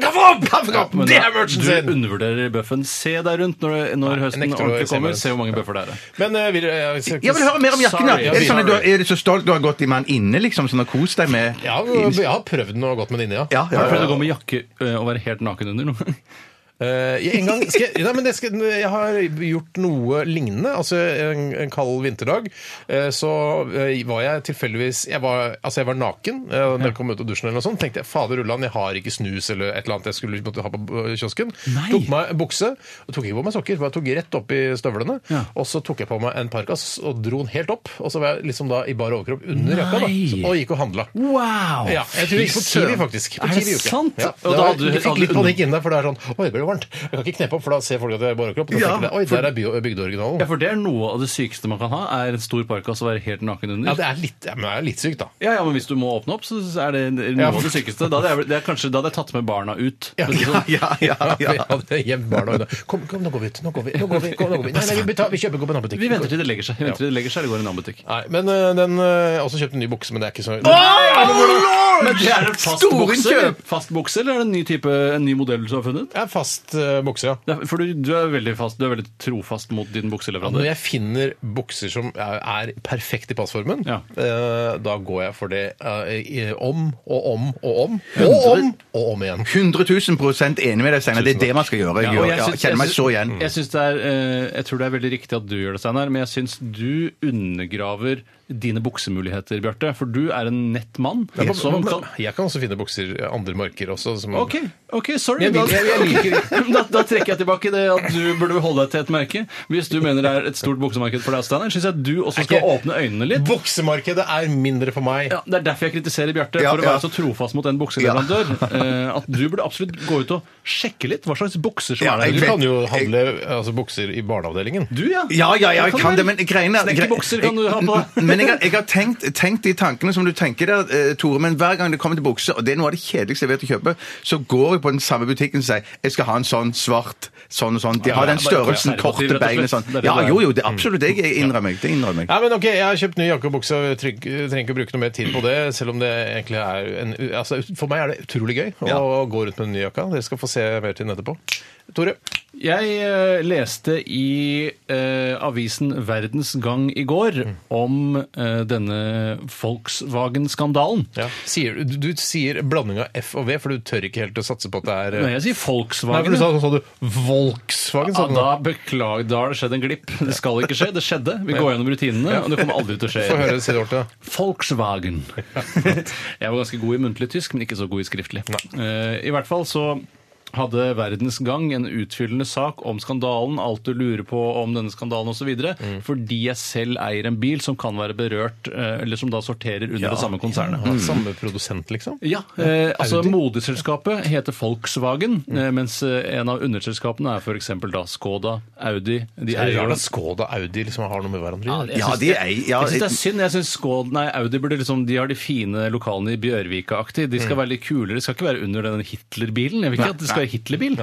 B: Kaffekopp! Kaffekopp!
D: Men
B: Det
D: da-
B: er merchen
D: Du
B: sin!
D: undervurderer bøffen. Se deg rundt når, når høsten
B: nekter å
D: ordentlig
B: se meg
D: kommer.
B: rundt.
D: Se hvor mange bøffer det er.
B: Men eh, vil, jeg, jeg,
C: Jeg vil høre mer om jakken. da.
D: Sorry,
C: Er, det sånn at du,
B: sorry.
C: er du så stolt du har gått i med den inne, liksom? Sånn og kost deg med
B: Ja, jeg har prøvd den og gått med den inne, ja.
C: Ja, ja,
D: Har du prøvd å
C: ja.
D: gå med jakke ø, og være helt naken under
B: <laughs>
D: noe?
B: Eh, jeg- en gang skal jeg, nei, men det skal, jeg har gjort noe lignende. Altså En, en kald vinterdag eh, så eh, var jeg tilfeldigvis jeg var, Altså jeg var naken eh, da jeg kom ut av dusjen, eller noe sånt. tenkte jeg fader ulland, jeg har ikke snus eller et eller annet jeg skulle måtte ha på eh, kiosken.
D: Nei.
B: Tok på meg bukse, og tok ikke på meg sokker, bare tok rett opp i støvlene.
D: Ja.
B: Og så tok jeg på meg en parkas og dro den helt opp. Og så var jeg liksom da i bar overkropp under jakka da,
D: Nei.
B: og gikk og handla.
D: Wow!
B: Ja, jeg tror jeg gikk på
D: Fy
B: Kiwi,
D: søren.
B: faktisk. På
D: er
B: Kiwi i
D: det
B: uka.
D: sant?
B: Ja,
D: Og da hadde du
B: jeg fikk litt
D: hadde-
B: panikk inne der, for det er sånn Oi, det blir varmt. Jeg kan ikke kneppe opp, for da ser folk at jeg er overkropp. og da
C: Ja,
B: tenker de, Oi, der er by-
D: Ja,
B: bygdeoriginalen.
D: for det er noe av det sykeste man kan ha, er en stor parkas og være helt naken
B: Ja,
D: under.
B: det er litt, ja, men det er litt sykt, da.
D: Ja, ja, men hvis du må åpne opp, så er det noe
B: Ja.
D: av det sykeste. Da hadde jeg, det er kanskje, da hadde jeg tatt med barna ut.
B: <laughs> Ja,
D: Men det er sånn-
C: <laughs> Ja, ja, ja.
B: Ja, det er jevnt barn og ungdom. Kom, kom, nå går vi ut. Nå går vi. Nå går vi, kom, nå går vi. Nei, nei, vi, betaler, vi kjøper, går på en
D: Vi venter
B: annen butikk.
D: til det legger seg. Vi venter til det legger seg, eller går i en annen butikk.
B: Nei, men øh, den øh, Jeg har også kjøpt en ny bukse, men det er ikke så
D: Men det er en fast
C: Store
D: bukse,
C: innkjøp!
D: fast bukse, eller er det en ny type, en ny modell du har funnet?
B: Det er fast øh, bukse, ja.
D: Det er- For du, du, er veldig fast, du er veldig trofast mot din
B: Når
D: bukseleverandør.
B: jeg finner bukser som er er perfekt i passformen,
D: Ja.
B: eh, da går jeg for det eh, i- om og om og om. Og om og om igjen.
C: 100 000 enig med deg, Steinar. Det er det man skal gjøre. Jeg,
D: og
C: gjør, ja,
D: syns-
C: kjenner meg
D: syns-
C: så igjen.
D: Jeg, syns det er, eh, jeg tror det er veldig riktig at du gjør det, Steinar, men jeg syns du undergraver dine buksemuligheter, Bjarte. For du er en nett mann. som kan-
B: Jeg kan også finne bukser eh, andre marker også. Som,
D: Ok, ok, sorry.
B: Jeg vil- jeg- jeg liker
D: <laughs> da, da trekker jeg tilbake det at du burde holde deg til et merke. Hvis du mener det er et stort buksemarked for deg, Steinar, syns jeg du også skal
B: ikke-
D: åpne øynene litt.
B: Buksemarkedet er mindre for meg.
D: Ja, det er derfor jeg kritiserer Bjarte
C: Ja,
D: for å være
C: ja.
D: så trofast mot en bukseleverandør.
B: <laughs>
D: eh, at du burde absolutt gå ut og sjekke litt hva slags bukser som
C: Ja,
B: Du
D: er der.
C: jeg-
B: kan jo handle altså, bukser i barneavdelingen.
D: Du, ja.
C: Ja, ja, ja, jeg kan det, men greiene er-
D: Snekkerbukser kan du ha på deg.
C: <laughs> Men jeg, har- jeg har tenkt, tenkt de tankene som du tenker der, eh, Tore, men hver gang det kommer til bukser, og det er noe av det kjedeligste jeg vet å kjøpe, så går jeg på den samme butikken og sier jeg skal ha en sånn svart, sånn og sånn. De har
D: Ja,
C: den
D: det er bare
C: størrelsen, korte
D: konservativ, rett og
C: bein og
D: slett. Det er
C: sånn.
D: det Mm.
C: Ja,
D: det er.
C: jo, jo, det er absolutt jeg. Jeg innrømmer meg. Det innrømmer jeg.
B: Nei, men ok, Jeg har kjøpt ny jakke og bukse. og Trenger ikke- trenger ikke å bruke noe mer tid på det. selv om det egentlig er en, altså, For meg er det utrolig gøy å gå rundt med den nye jakka. Dere skal få se mer til den etterpå. Tore?
D: Jeg eh, leste i eh, avisen Verdens Gang i går
B: Mm.
D: om eh, denne Volkswagen-skandalen.
B: Sier, du, du sier blanding av F og V, for du tør ikke helt å satse på at det er
D: Når
B: eh,
D: jeg sier
B: Nei, for
D: Volkswagen
B: du sa, så sa du Volkswagen.
D: Ja,
B: Sa du
D: da
B: nå.
D: beklager, da har det skjedd en glipp. Det skal ikke skje. Det skjedde. Vi går gjennom rutinene, og det kommer aldri til å skje.
B: Få
D: igjen.
B: høre det siste
C: <laughs>
B: ordet.
D: Volkswagen. <laughs> Jeg var ganske god i muntlig tysk, men ikke så god i skriftlig. Eh, I hvert fall så hadde Verdens Gang en utfyllende sak om skandalen, alt du lurer på om denne skandalen osv.,
B: Mm.
D: fordi jeg selv eier en bil som kan være berørt, eh, eller som da sorterer under det samme konsernet.
C: Mm.
B: Ja, samme produsent, liksom?
D: Ja, eh, altså
B: Audi?
D: Moderselskapet heter Volkswagen,
B: Mm.
D: eh, mens eh, en av underselskapene er f.eks. da Skoda, Audi de
B: Det er
D: eier
B: rart
D: jo-
B: at Skoda og Audi liksom har noe med hverandre å gjøre.
C: Ja,
D: synes
C: de
D: det-
C: eier- ja,
D: jeg syns det
C: et-
D: er synd. Jeg synes Skål, nei, Audi burde liksom, de har de fine lokalene i Bjørvika-aktig. De
C: Mm.
D: skal være litt kulere. De skal ikke være under den Hitler-bilen. Jeg vil ikke at det skal være Hitler-bil.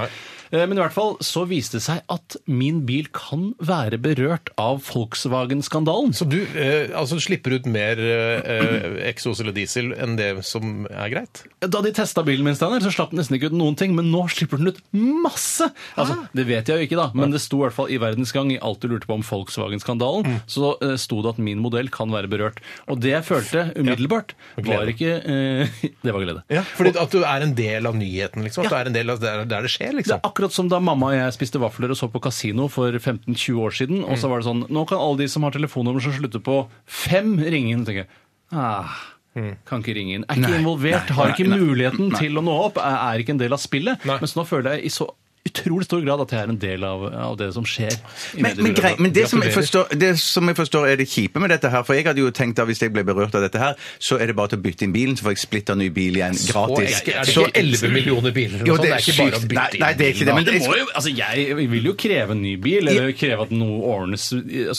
D: Eh, Men i hvert fall så viste det seg at min bil kan være berørt av Volkswagen-skandalen.
B: Så du eh, altså, slipper ut mer eh, eh, eksos eller diesel enn det som er greit?
D: Da de testa bilen min, Steiner, så slapp den nesten ikke ut noen ting, men nå slipper den ut masse! Altså, Det vet jeg jo ikke, da, men det sto i hvert fall i Verdens Gang i alt du lurte på om Volkswagen-skandalen, så eh, sto det at min modell kan være berørt. Og det jeg følte umiddelbart,
B: glede.
D: var ikke eh, <laughs> Det var glede.
B: Fordi at du er en del av nyheten, liksom? At
D: Ja.
B: du er en del av der, der det skjer,
D: Det er
B: liksom?
D: akkurat som da mamma og jeg spiste vafler og så på kasino for 15-20 år siden. Og så var det sånn Nå kan alle de som har telefonnummer som slutter på fem, ringe inn. Og tenker jeg, ah,
C: Mm.
D: kan ikke ringe inn. Er ikke involvert, har ikke muligheten til å nå opp, er, er ikke en del av spillet.
B: Nei.
D: Mens nå føler jeg i så utrolig stor grad at jeg er en del av, av det som skjer. i
C: Men, men,
D: mediebildet.
C: grei, men det, som jeg
D: Gratulerer.
C: forstår, det som jeg forstår er det kjipe med dette her, for jeg hadde jo tenkt at hvis jeg ble berørt av dette her, så er det bare til å bytte inn bilen, så får jeg splitta ny bil igjen gratis.
B: Er det ikke 11 millioner biler? eller noe
C: Jo,
B: sånt?
C: det er
B: ikke bare å
C: sykt.
B: bytte
C: Nei,
B: inn
C: nei, det er ikke
B: bilen,
C: det, men
B: da.
D: Det må jo, altså jeg vil jo kreve en ny bil, eller kreve at noe ordnes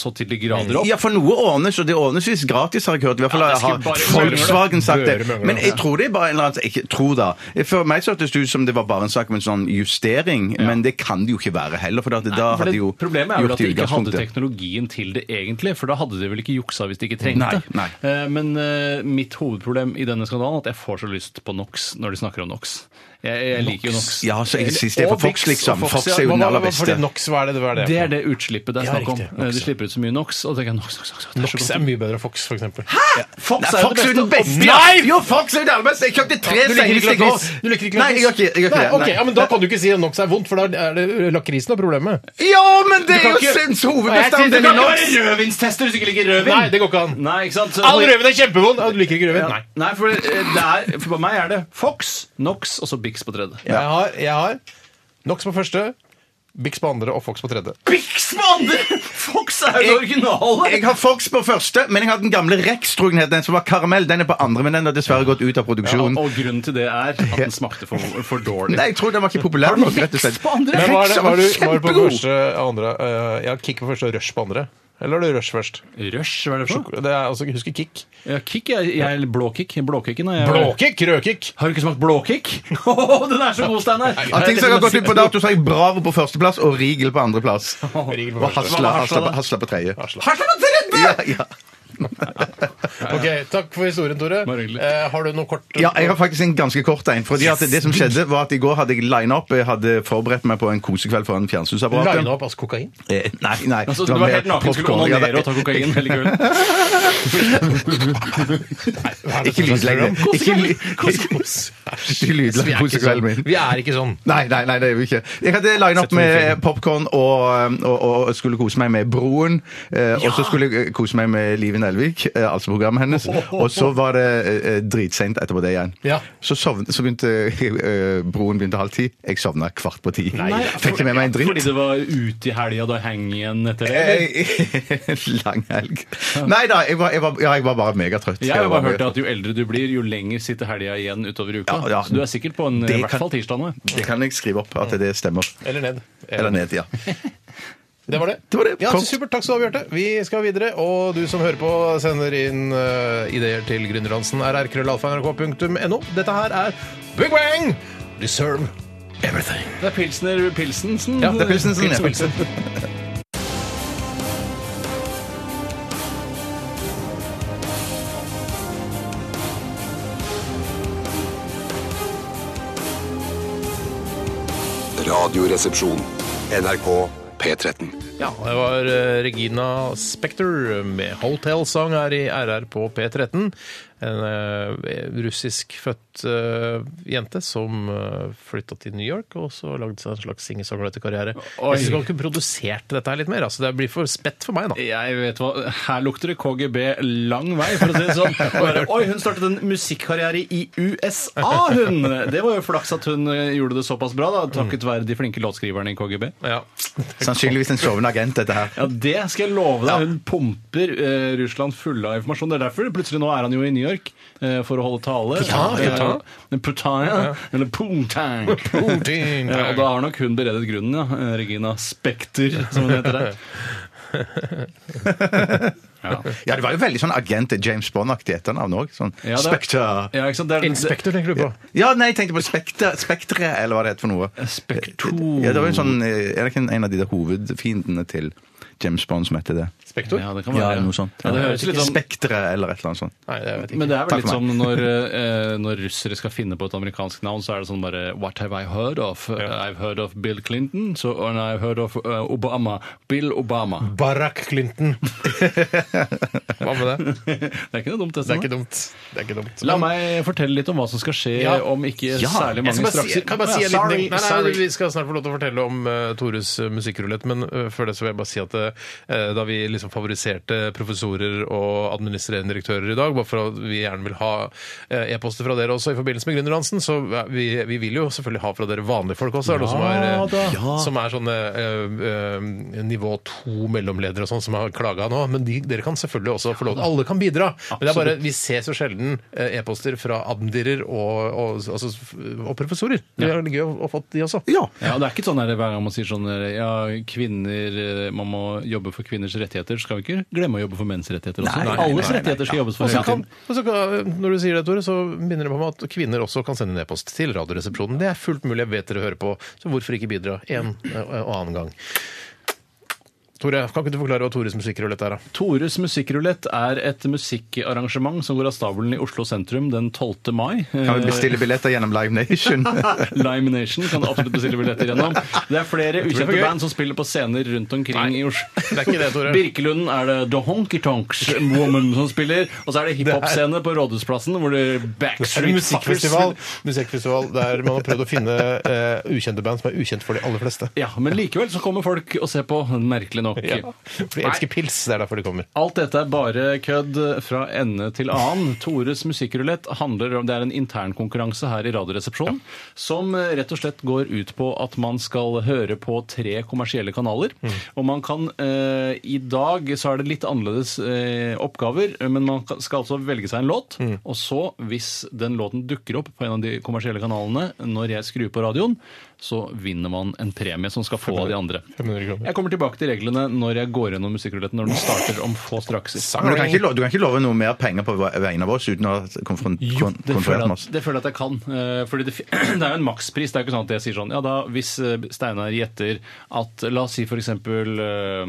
D: så til de grader opp.
C: Ja, for noe ordnes, og det ordnes visst gratis, har jeg hørt. I hvert fall
D: Ja, det skal
C: har
D: bare
C: Volkswagen sagt det.
B: Børe møngler,
C: Men jeg tror det er bare en eller annen Ikke tro, da. For meg så hørtes det ut som det var bare en sak om en sånn justering, men det kan det jo ikke være heller, for da, da
D: For
C: hadde
D: det,
C: jo
D: problemet er vel at
C: det
D: de
C: i
D: ikke hadde
C: utgangspunktet.
D: teknologien til det egentlig, for da hadde de vel ikke juksa hvis de ikke trengte det.
C: Nei,
D: Eh, Men eh, mitt hovedproblem i denne skandalen er at jeg får så lyst på NOx når de snakker om NOx. Jeg, jeg liker jo NOx.
C: Ja, så jeg synes det er
D: Og
C: på Fox,
D: Vix
C: liksom.
D: og Fox,
C: Fox
D: ja.
C: er jo
B: Hva-
C: den
B: hva-
C: aller
B: hva- Fordi
C: beste.
B: NOx, hva er det hva er det?
D: Det er det utslippet det er
B: Ja,
D: snakk om.
B: riktig. Nox,
D: Eh, De slipper ut så mye NOx, og da tenker jeg NOx, NOx, NOx. det er så
B: Nox
D: godt.
B: er mye bedre enn Fox, for eksempel.
C: Nei, Fox
D: Fox er jo
C: er jo den beste!
D: Nei!
C: Jo, Fox er jo den aller beste! Jeg kjøpte tre
B: Du liker ikke
C: senest i går.
B: lakris? Du liker ikke
C: Nei, jeg gjør ikke, jeg gjør ikke
B: Nei,
C: det.
B: ok, ja, men Da kan du ikke si at NOx er vondt, for da er det lakrisen av problemet.
C: Ja, men det
B: Du
C: er
B: kan
C: jo
B: ikke- Jeg synes
C: sinns
B: det
C: hovedbestanddel
B: kan ikke
C: i NOx!
D: være rødvinstester hvis du ikke liker rødvin!
B: Nei, det går ikke an.
D: Nei, ikke sant? Så-
B: All rødvin er kjempevond! Ja, Du liker ikke rødvin?
D: Nei. Nei, for, det det er, for meg er det Fox, Nox og så Bix på tredje.
B: Jeg har, jeg har Nox på første, Bix på andre og Fox på tredje.
D: Bix på andre! Fox er jo det originale!
C: Jeg har Fox på første, men jeg har den gamle Rex, tror jeg den het. Den som var karamell. Den er på andre, men den har dessverre gått ut av produksjonen.
D: og grunnen til det er at den smakte for, for dårlig.
C: Nei, jeg tror den var ikke populær nok, rett og slett.
D: På andre?
B: Men hva er det,
C: Rex
B: hva er du, hva er du på
C: kjempegod!
B: første og andre? Eh, jeg har kick på første og rush på andre. Eller har du rush først?
D: Rush, hva er det for noe?
B: Det er, altså, husker kick.
D: Ja, kick, jeg, jeg, blåkick. Blåkicken er jeg.
B: Blåkick, rødkick.
D: Har du ikke smakt <laughs> blåkick? Åh, den er sånn så god, Steinar!
C: Av ting som har gått ut på dato, så har jeg Bravo på førsteplass og Rigel på
D: <laughs>
C: andreplass.
B: Rigel på
C: Og
B: første.
C: Hasla,
D: Hva var Hasla
C: Hasla,
D: da?
C: på- Hasla på tredje.
D: Hasla på tredje!
C: Ja, ja.
B: Ok, Takk for historien, Tore.
D: Bare hyggelig.
B: Eh, har du noe kort?
C: ja, jeg har faktisk en ganske kort en. Fordi at det som skjedde, var at i går hadde jeg line-up. Jeg hadde forberedt meg på en kosekveld foran fjernsynsapparatet.
B: Line opp, altså kokain?
C: Eh, Nei, nei.
D: Altså, du var helt naken, skulle onanere og ta kokain. Veldig gøy.
C: Ikke
B: Sånn
C: lydlegge. Ikke ly- Ikke lydlegge kosekvelden min.
B: Vi er ikke sånn.
C: Nei, nei, nei, det er jo ikke. Jeg hadde line opp med popkorn og, og, og skulle kose meg med Broen. Eh, Og så skulle jeg kose meg med Liven Elvik, eh, altså programmet hennes. Og så var det eh, dritsent etterpå det igjen.
B: Ja.
C: Så, sovn, så begynte eh, Broen begynte halv ti. Jeg sovna kvart på ti.
D: Nei,
C: Fikk jeg med meg en
D: Fordi
C: dritt.
D: det var ute i helga, da hang igjen etter det? eller?
C: <laughs> Eh, Lang helg. Nei da, jeg var, jeg var, ja, jeg var bare megatrøtt.
D: Jeg har jo
C: var
D: bare hørt
C: mega-
D: at jo eldre du blir, jo lenger sitter helga igjen utover uka.
C: Ja, ja.
D: Så du er sikkert på en,
C: Det
D: i hvert
C: kan-
D: fall tirsdag nå.
C: Det kan jeg skrive opp, at det stemmer.
B: Eller ned.
C: Eller ned, ja.
B: Det var det.
C: Det var det.
B: Ja,
C: Kort.
B: supert. Takk skal du ha, Bjarte. Vi skal videre. Og du som hører på, sender inn eh, ideer til gründerdansen rrkrøllalfa.nrk.no. Dette her er Big Bang! Deserve everything.
D: Det er Pilsner Pilsensen.
C: det er Pilsensen, ja.
D: Pilsen.
A: Radioresepsjon. NRK P13.
B: Ja, det var eh, Regina Spektor med Hotel Song her i RR på P13. En eh, russiskfødt eh, jente som uh, flytta til New York og så lagde seg en slags singer-songwriter-karriere.
D: Oi.
B: Jeg syns ikke hun produserte dette her litt mer. altså Det blir for spett for meg, da.
D: Jeg vet hva, Her lukter det KGB lang vei, for å si det <laughs> sånn. Og bare, Oi, hun startet en musikkarriere i USA, hun! Det var jo flaks at hun eh, gjorde det såpass bra, da, takket være de flinke låtskriverne i KGB. <laughs>
B: Ja.
C: Sannsynligvis en sovende agent, dette her.
D: Ja, Det skal jeg love deg. Hun pumper eh, Russland fulle av informasjon. Det er derfor plutselig nå er han jo i New York eh, for å holde tale.
B: Putin.
D: Eh, Putin, ja. Eller Pumtang.
B: Putin.
D: Ja, og da har nok hun beredet grunnen, ja. Eh, Regina Spekter, som hun heter <laughs> der. Ja.
C: Ja, det var jo veldig sånn agent James Bond-aktig etternavn òg. Sånn
D: Ja, det-
C: Spectre.
D: Ja, ikke sant? Det er-
B: Inspektor tenker du på?
C: Ja, nei, jeg tenkte på Spektre, Spektre eller hva det heter for noe.
D: Spektor.
C: Ja, det var jo sånn, eh, Er det ikke en av de der hovedfiendene til James Bond som heter det?
B: Spektor?
D: Ja, det kan
C: Ja,
D: være.
C: eller noe sånt.
D: Ja, det høres litt sånn
C: Spektre eller et eller annet sånt.
B: Nei, det vet jeg ikke.
D: men det er vel
C: Takk
D: litt
C: for
D: som
C: <laughs>
D: når, eh, når russere skal finne på et amerikansk navn, så er det sånn bare What have I heard of? Eh, I've heard of Bill Clinton, so, and I've heard
C: <laughs>
D: of eh, Obama. Bill Obama.
B: Barack Clinton. <laughs> Hva med det?
D: <laughs> det er ikke noe dumt,
B: Det er
D: Espen.
B: ikke dumt. Det er ikke dumt.
D: La meg fortelle litt om hva som skal skje
B: Ja.
D: om ikke
C: Ja,
D: særlig
B: Jeg skal
D: mange
B: bare
D: straks
B: si, kan jeg bare si en liten
D: Sorry,
B: ting. Nei, nei,
D: sorry.
B: vi skal snart få lov til å fortelle om eh, Tores uh, musikkrulett, men eh, før det så vil jeg bare si at eh, da vi liksom favoriserte professorer og administrerende direktører i dag, bare for at vi gjerne vil ha eh, e-poster fra dere også i forbindelse med Gründerdansen, så eh, vi, vi vil jo selvfølgelig ha fra dere vanlige folk også. er det noe som, er, eh, som er sånne eh, eh, nivå to mellomledere og sånn som har klaga nå, men de, dere kan selvfølgelig også få lov til Alle kan bidra, men det er bare, vi ser så sjelden eh, e-poster fra admdirer og, og, altså, og professorer. Det er gøy å å få de også.
C: Ja.
D: Ja, det er ikke sånn der, hver gang man sier sånn der, ja, kvinner, eh, man må jobbe for kvinners rettigheter, så skal vi ikke glemme å jobbe for menns rettigheter også.
C: Nei, nei, nei,
D: Alles
C: nei, nei,
D: rettigheter skal jobbes
B: Og
D: for
B: så
D: hele
B: kan,
D: tiden.
B: og så kan, når du sier det, Tore, så minner det meg om at kvinner også kan sende en e-post til Radioresepsjonen. Det er fullt mulig. Jeg vet dere hører på, så hvorfor ikke bidra en eh, og annen gang? Tore, kan ikke du forklare hva Tores musikkrulett er, da?
D: Tores musikkrulett er et musikkarrangement som går av stabelen i Oslo sentrum den 12. mai. Eh,
C: Kan vi bestille billetter gjennom Live
D: <laughs>
C: Nation?
D: Lime Nation kan absolutt bestille billetter gjennom. Det er flere
B: blir for
D: ukjente
B: gøy.
D: band som spiller på scener rundt omkring i <laughs> Oslo.
B: Det er ikke det, Tore.
D: Birkelunden er det The Honky Tonks Woman som spiller, og så er det hiphop-scene på Rådhusplassen hvor det er
B: Er det
D: Backstreet Fuckers
B: musikkfestival, musikkfestival der man har prøvd å finne eh, ukjente band som er ukjent for de aller fleste.
D: Ja, men likevel så kommer folk og ser på, merkelig nok.
B: For de elsker pils. Det er derfor de kommer.
D: Alt dette er bare kødd fra ende til annen. Tores musikkrulett handler om Det er en internkonkurranse her i Radioresepsjonen som eh, rett og slett går ut på at man skal høre på tre kommersielle kanaler. Og man kan eh, I dag så er det litt annerledes eh, oppgaver, men man kan- skal altså velge seg en låt. Og så, hvis den låten dukker opp på en av de kommersielle kanalene når jeg skrur på radioen, så vinner man en premie som skal få av de andre.
B: 500 kroner.
D: Jeg kommer tilbake til reglene når jeg går gjennom musikkruletten når den starter om få strakser.
C: Men du kan, ikke love, du kan ikke love noe mer penger på vegne av oss uten å ha konfron- kon-
D: Det føler,
C: konferert
D: jeg
C: med
D: at,
C: oss?
D: det føler jeg at jeg kan. eh, Fordi det, fi- <clears throat> det er jo en makspris. Det er jo ikke sånn at jeg sier sånn Ja, da hvis eh, Steinar gjetter at La oss si for eksempel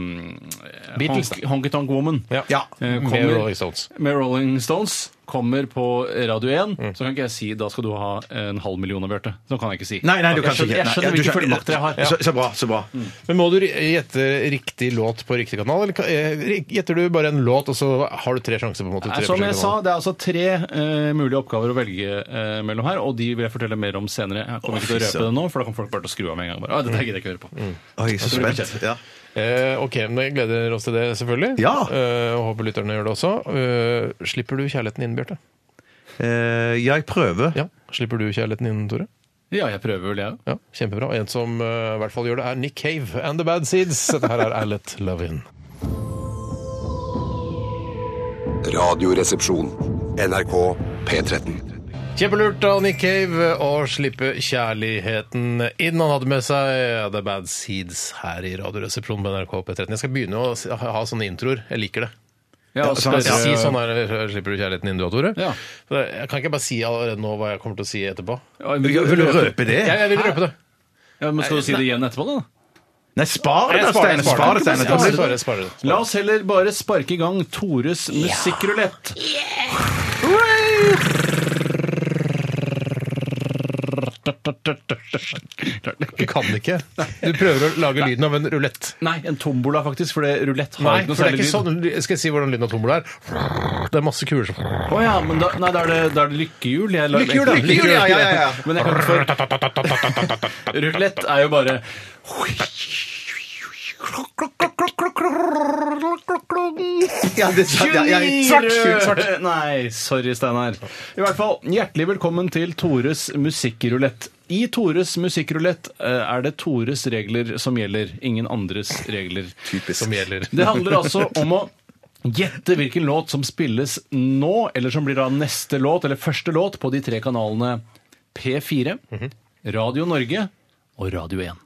D: eh,
B: Beatles,
D: Honk- Honky Tonk Woman.
B: Ja. Ja.
D: eh,
B: Med Rolling Stones.
D: Med Rolling Stones kommer på Radio 1,
C: Mm.
D: så kan ikke jeg si da skal du ha en halv million av Bjarte. Så kan jeg ikke si.
C: Nei, nei, du
D: jeg
C: kan
D: skjønner,
C: ikke.
D: jeg
C: Nei, du
D: skjønner hvilke
C: skjønner-
D: fullmakter jeg har. Mm.
C: Så, så bra, så bra.
B: Men må du gjette riktig låt på riktig kanal, eller kan- eh, gjetter du bare en låt, og så har du tre sjanser? på en måte?
D: Nei,
B: Tre
D: Eh, Som
B: forskjellige
D: jeg sa,
B: kanaler.
D: det er altså tre eh, mulige oppgaver å velge eh, mellom her, og de vil jeg fortelle mer om senere. Jeg kommer ikke til å
C: fy
D: røpe det nå, for da kommer folk bare til å skru av med en gang. Bare, «Å, dette gidder jeg ikke høre på.
C: Oi, så
D: tror det blir
C: spent. Ja.
B: Eh, ok, men vi gleder oss til det, selvfølgelig.
C: Ja.
B: Eh, og håper lytterne gjør det også. Eh, slipper du kjærligheten inn, Bjarte?
C: Eh, ja, jeg prøver.
B: Ja. Slipper du kjærligheten inn, Tore?
D: Ja, jeg prøver vel, jeg òg.
B: Ja, Kjempebra. Og en som eh, i hvert fall gjør det, er Nick Cave and The Bad Seeds. Dette her er I Let Love In.
A: Radioresepsjon. NRK P13.
B: Kjempelurt av Nick Cave å slippe kjærligheten inn. Han hadde med seg The Bad Seeds her i Radioresepsjonen på NRK P13. Jeg skal begynne å s- ha sånne introer. Jeg liker det.
D: Ja,
B: Skal jeg si
D: spørre-
B: sånn her, Slipper du kjærligheten inn, du og Tore?
D: Ja.
B: Så Jeg kan ikke bare si allerede nå hva jeg kommer til å si etterpå.
D: Ja,
C: Vil du-
D: men-
C: Vil du røpe
B: Jeg,
C: det?
B: jeg vil røpe det.
D: Ja, men Skal du si det igjen etterpå, da?
C: Nei, spar det,
B: Jeg
C: da, Steine. Spar
B: sparer, sparer,
C: det,
D: sånn.
C: Steine.
B: sparer, sparer, sparer.
D: La oss heller bare sparke i gang Tores musikkrulett.
B: Du kan ikke. Du prøver å lage lyden av en rulett.
D: Nei, en tombola, faktisk, for det rulett har
B: Nei,
D: ikke noe
B: for det er
D: særlig
B: ikke
D: lyd.
B: sånn. Skal jeg si hvordan lyden av tombola er? Det er masse kuler som
D: Å ja, men da, nei, da er det, da er det lykkehjul. Jeg, la-
B: Lykkehjul, da.
C: Lykkehjul, ja, ja, ja, ja.
D: Men jeg kan ikke få Rulett er jo bare
C: Ja, det sa- ja, ja, ja. Svart, gul, svart.
D: Nei, sorry, Steinar. I hvert fall, hjertelig velkommen til Tores musikkrulett. I Tores musikkrulett eh, er det Tores regler som gjelder, ingen andres regler.
B: som gjelder.
D: Det handler altså om å gjette hvilken låt som spilles nå, eller som blir da neste låt, eller første låt, på de tre kanalene P4,
B: Mhm.
D: Radio Norge og Radio 1.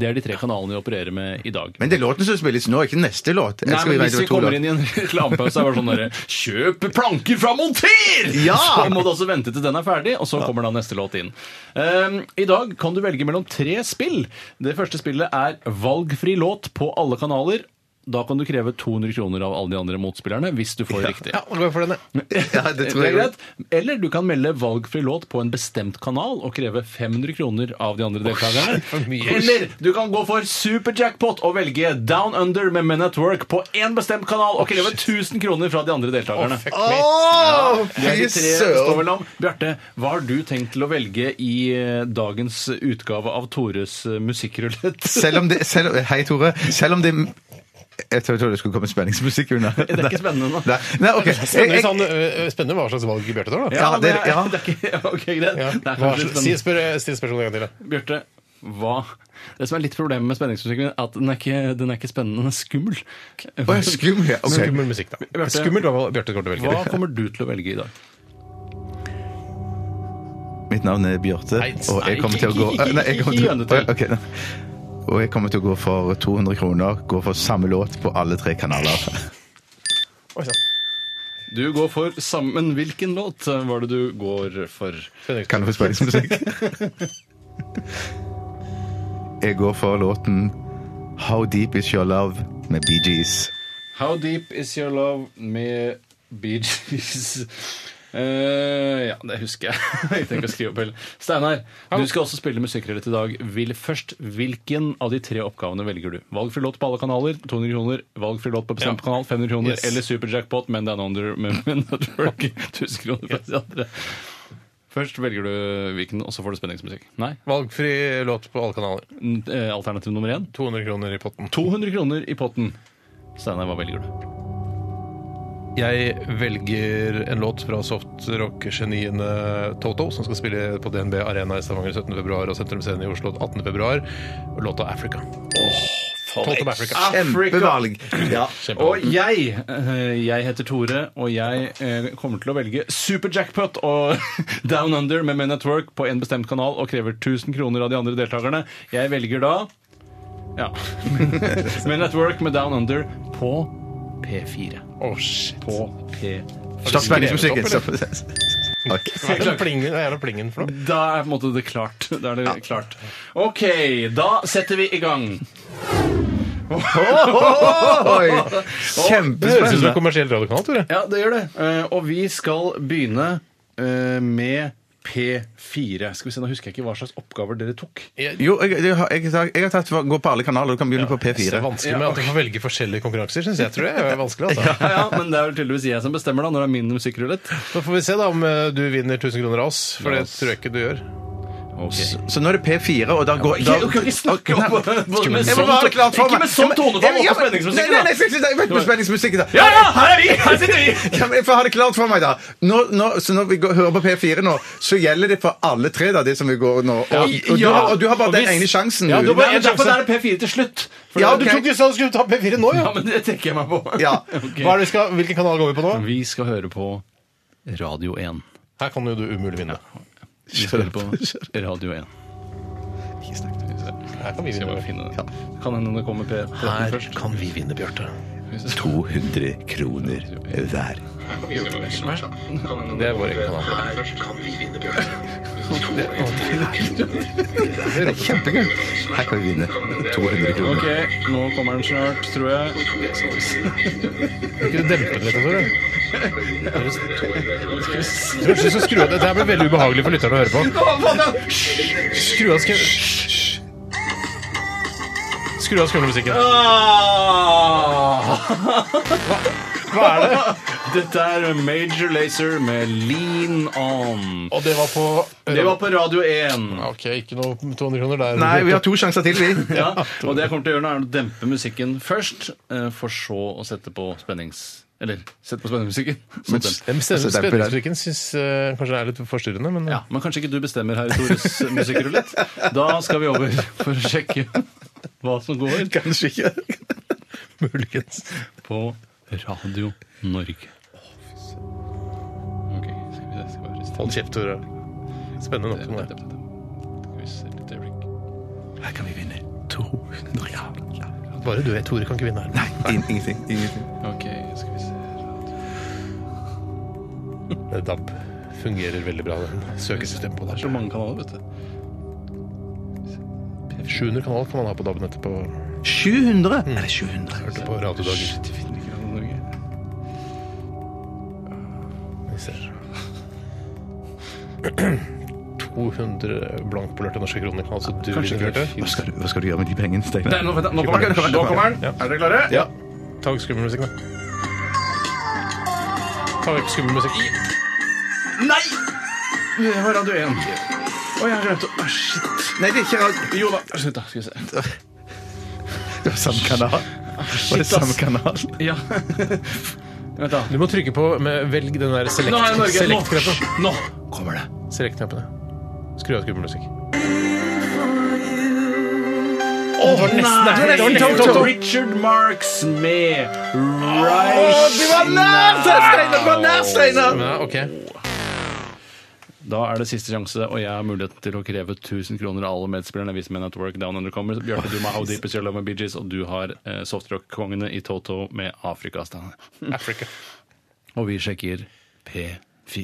D: Det er de tre kanalene vi opererer med i dag.
C: Men det er låten som spilles nå, ikke neste låt. Jeg
D: Nei,
C: skal
D: men
C: vente
D: Hvis vi
C: på to
D: kommer
C: låter.
D: inn i en <laughs> reklamepause og er det sånn derre Kjøp planker fra monter!
C: Ja!
D: <laughs> Så må du også vente til den er ferdig, og så kommer da neste låt inn. Ehm, I dag kan du velge mellom tre spill. Det første spillet er valgfri låt på alle kanaler. Da kan du kreve 200 kroner av alle de andre motspillerne hvis du får riktig.
B: Ja, nå går jeg for denne.
C: Ja, det tror
D: Det er
C: jeg jo.
D: greit. Eller du kan melde valgfri låt på en bestemt kanal og kreve 500 kroner av de andre deltakerne.
B: for mye.
D: Eller du kan gå for superjackpot og velge Down Under med Men at Work på én bestemt kanal og kreve 1000 kroner fra de andre deltakerne.
B: Fuck
C: Å,
B: me.
D: Det
C: fy
D: er de tre det står
C: søren!
D: vel om. Bjarte, hva har du tenkt til å velge i eh, dagens utgave av Tores eh, musikkrulett?
C: Selv om det selv, Hei, Tore. Selv om det Jeg tror jeg trodde det skulle komme spenningsmusikk unna.
D: Det er ikke spennende nå. sånn-
C: Nei, nei ok.
B: Spennende,
C: Jeg-
B: hvis han, øh, øh, spennende hva slags valg Bjarte tar, da.
C: Ja, det-
D: men
C: ja.
D: <laughs> det er ikke, ok, greit.
B: Ja.
D: Det er
B: Hva,
D: kanskje sånn-
B: si,
D: spennende.
B: spør, eh, still spørsmålet en gang til. da.
D: Bjarte, hva Det som er litt problemet med spenningsmusikken, er at den er ikke, den er ikke spennende, den er skummel.
C: Å, jeg er skummel, ja. Ok.
B: Skummel musikk, da.
D: Bjarte-
B: Skummelt hva Bjarte kommer til å velge. <laughs>
D: Hva kommer du til å velge i dag?
C: Mitt navn er Bjarte,
B: Nei,
C: og jeg kommer til å gå
D: ikke- ikke-
C: Nei, jeg kommer til,
D: ikke gjør det til.
C: Ok, nei. Og jeg kommer til å gå for 200 kroner, gå for samme låt på alle tre kanaler.
B: Oi, sann.
D: Du går for sammen hvilken låt var det du går for?
B: Spennende.
C: Kan du få spenningsmusikk? <laughs> Jeg går for låten How Deep Is Your Love med Bee Gees.
D: How Deep Is Your Love med Bee Gees. <laughs> Eh, ja, det husker jeg. <laughs> jeg tenker å skrive opp hele. Steinar, du skal også spille musikkrelett i dag. Vil først, Hvilken av de tre oppgavene velger du? Valgfri låt på alle kanaler, 200 kroner. Valgfri låt på bestemt
B: Ja.
D: kanal, 500 kroner.
B: Yes.
D: Eller superjackpot, <laughs> men down under med med network. 1000 kroner fra de andre. Først velger du hvilken, og så får du spenningsmusikk. Nei.
B: Valgfri låt på alle kanaler.
D: n- eh, Alternativ nummer én.
B: 200 kroner i potten.
D: 200 kroner i potten. Steinar, hva velger du?
B: Jeg velger en låt fra softrock-geniene Toto, som skal spille på DNB Arena i Stavanger 17.2. og Sentrum Scene i Oslo 18.2. Låta 'Africa'. Toto med Africa.
C: Kjempevalg! Ja.
D: Og jeg, eh, jeg heter Tore, og jeg eh, kommer til å velge Super Jackpot og <laughs> Down Under med Men at Work på en bestemt kanal og krever 1000 kroner av de andre deltakerne. Jeg velger da ja. <laughs> Men at Work med Down Under på P4.
B: Å, shit.
D: På P4.
C: Stopp spenningsmusikken.
B: Skrevet
C: Stopp. Ok.
B: Hva er den plingen, hva er den plingen for noe?
D: Da er på en måte det klart. Da er det klart. OK, da setter vi i gang.
C: Oi!
B: Det høres ut som en
C: Kjempespennende.
B: kommersiell radiokanal, Tore.
D: Ja, det gjør det. Eh, og vi skal begynne eh, med P4. Skal vi se, Nå husker jeg ikke hva slags oppgaver dere tok.
C: Jo, jeg, jeg, har- jeg, har- jeg har tatt Gå på alle kanaler. Du kan begynne på
B: Det er
C: P4.
B: vanskelig med at du får velge forskjellige konkurranser, syns jeg. Tror jeg er vanskelig, altså.
D: Ja, ja, Men det er vel tydeligvis jeg som bestemmer da, når det er min musikkrulett.
B: Så får vi se da om eh, du vinner 1000 kroner av oss, for det tror jeg ikke du gjør.
D: Okay.
C: Så nå er det P4, og da går
D: men jeg- du kan ikke snakke om-
C: Nei,
D: med
C: skummel.
D: sånn
C: Jeg må bare ha det klart for
D: ikke
C: meg.
D: med sånn
C: Ja, men- ja,
D: tonefall
C: men-
D: opp på
C: ja, men-
D: spenningsmusikken,
C: Nei, nei, nei, nei, nei, på spenningsmusikken, da.
D: Ja, ja! Her er vi! Her sitter vi!
C: <laughs> Ja, men jeg får ha det klart for meg, da. Nå, nå, så når vi går, hører på P4 nå, så gjelder det for alle tre, da, det som vi går nå. Og, og, du,
D: Ja.
C: har, og du har bare
D: Og
C: den
D: hvis-
C: ene sjansen.
D: Ja,
C: du.
D: du bare,
B: Nei, men
D: derfor
B: sjansen-
D: er det P4 til slutt. For
C: Ja,
D: det-
B: Du
C: Ok.
B: tok jo sa du skulle ta P4 nå, jo!
D: ja, men det trekker jeg meg på.
C: Ja.
D: <laughs> Ok.
B: Hva er det vi skal, hvilken kanal går vi på nå?
D: Vi skal høre på Radio 1.
B: Her kan jo du umulig vinne.
D: Vi skal høre på Radio 1.
B: Her kan vi
D: Skal jeg
B: vinne.
D: bare finne det. Kan hende det kommer P13 først.
B: kan vi vinne, Bjarte.
C: 200 kroner hver.
B: Det er vår egen kanal.
C: Det er kjempegøy. Her kan vi vinne 200 kroner.
D: Ok, nå kommer den snart, tror jeg.
B: Kan ikke du dempe den litt, altså, Tore? Du har ikke lyst til å skru av Dette her blir veldig ubehagelig for lytterne å høre på. Skru av skru... Skru av
D: Ah!
B: skumlemusikken. Hva er det?
D: Dette er Major Lazer med Lean On.
B: Og det var på
D: Det var på Radio 1.
B: Ok, ikke noe 200 kroner der.
C: Nei, vi har to sjanser til, vi.
D: Ja, og det jeg kommer til å gjøre nå, er å dempe musikken først, eh, for så å sette på spennings... Eller sette på spenningsmusikken. Så
C: Men-
D: demp.
B: Den
C: Så demper den.
B: spenningsmusikken syns eh, kanskje det er litt forstyrrende, men <laughs>
D: Ja, Men kanskje ikke du bestemmer her i Tores musikkrulett. Da skal vi over for å sjekke hva som går
C: Kanskje ikke.
B: <laughs> muligens.
D: på Radio Norge. Ok, skal vi se, skal vi bare stemme.
B: Hold kjeft, Tore. Spennende nok som det er.
C: Her kan vi vinne 200 kroner.
B: Bare du vet Tore kan ikke vinne her.
C: Nei, in- ingenting. ingenting.
D: Ok, skal vi se
B: DAB fungerer veldig bra, den søkesystemet på
D: Det er
B: der.
D: så mange kanaler, vet du.
B: 700 kanal kan man ha på DAB-nettet på
C: 700? Eller 700?
B: Hørte på radiodagen.
D: Shit, vi finner ikke noe Norge.
B: Vi ser. <clears throat> 200 blankpolerte norske kroner. Altså du,
D: Kanskje
B: Rune Bjarte.
C: Hva skal, du, hva skal du gjøre med de pengene, Steinar?
D: Der, nå, vent da, nå kommer den! Nå kommer den. Er dere klare?
B: Ja. Ta vekk skummelmusikken, da. Ta vekk skummelmusikken.
D: Nei! Det var Radio 1. Å, jeg har glemt å ah, Shit.
C: Nei, det er ikke rart.
D: Jo da. Slutt, da. Skal vi se.
C: Det var samme kanal. Var det
D: Shit,
C: samme
D: ass.
C: kanal?
D: Ja. <laughs> Vent, da.
B: Du må trykke på med, Velg den der select-
D: Nå er det Norge. Nå.
B: select-knappen.
D: Nå.
C: Kommer det.
B: Select-knappene. Skru av skummelmusikk.
D: Åh,
B: nesten- det var nesten-
D: Toto,
B: Toto.
D: Richard Marks med Reich.
C: var nær, Steinar! Du var nær, Steinar!
B: Men, ja, ok.
D: Da er det siste sjanse, og jeg har mulighet til å kreve 1000 kroner av alle medspillerne hvis Men at Work Down Under kommer. Bjarte, du med How Deep Is Your Love med Bee Gees, og du har eh, softrock-kongene i Toto med Afrikastane.
B: Africa.
D: Og vi sjekker P4.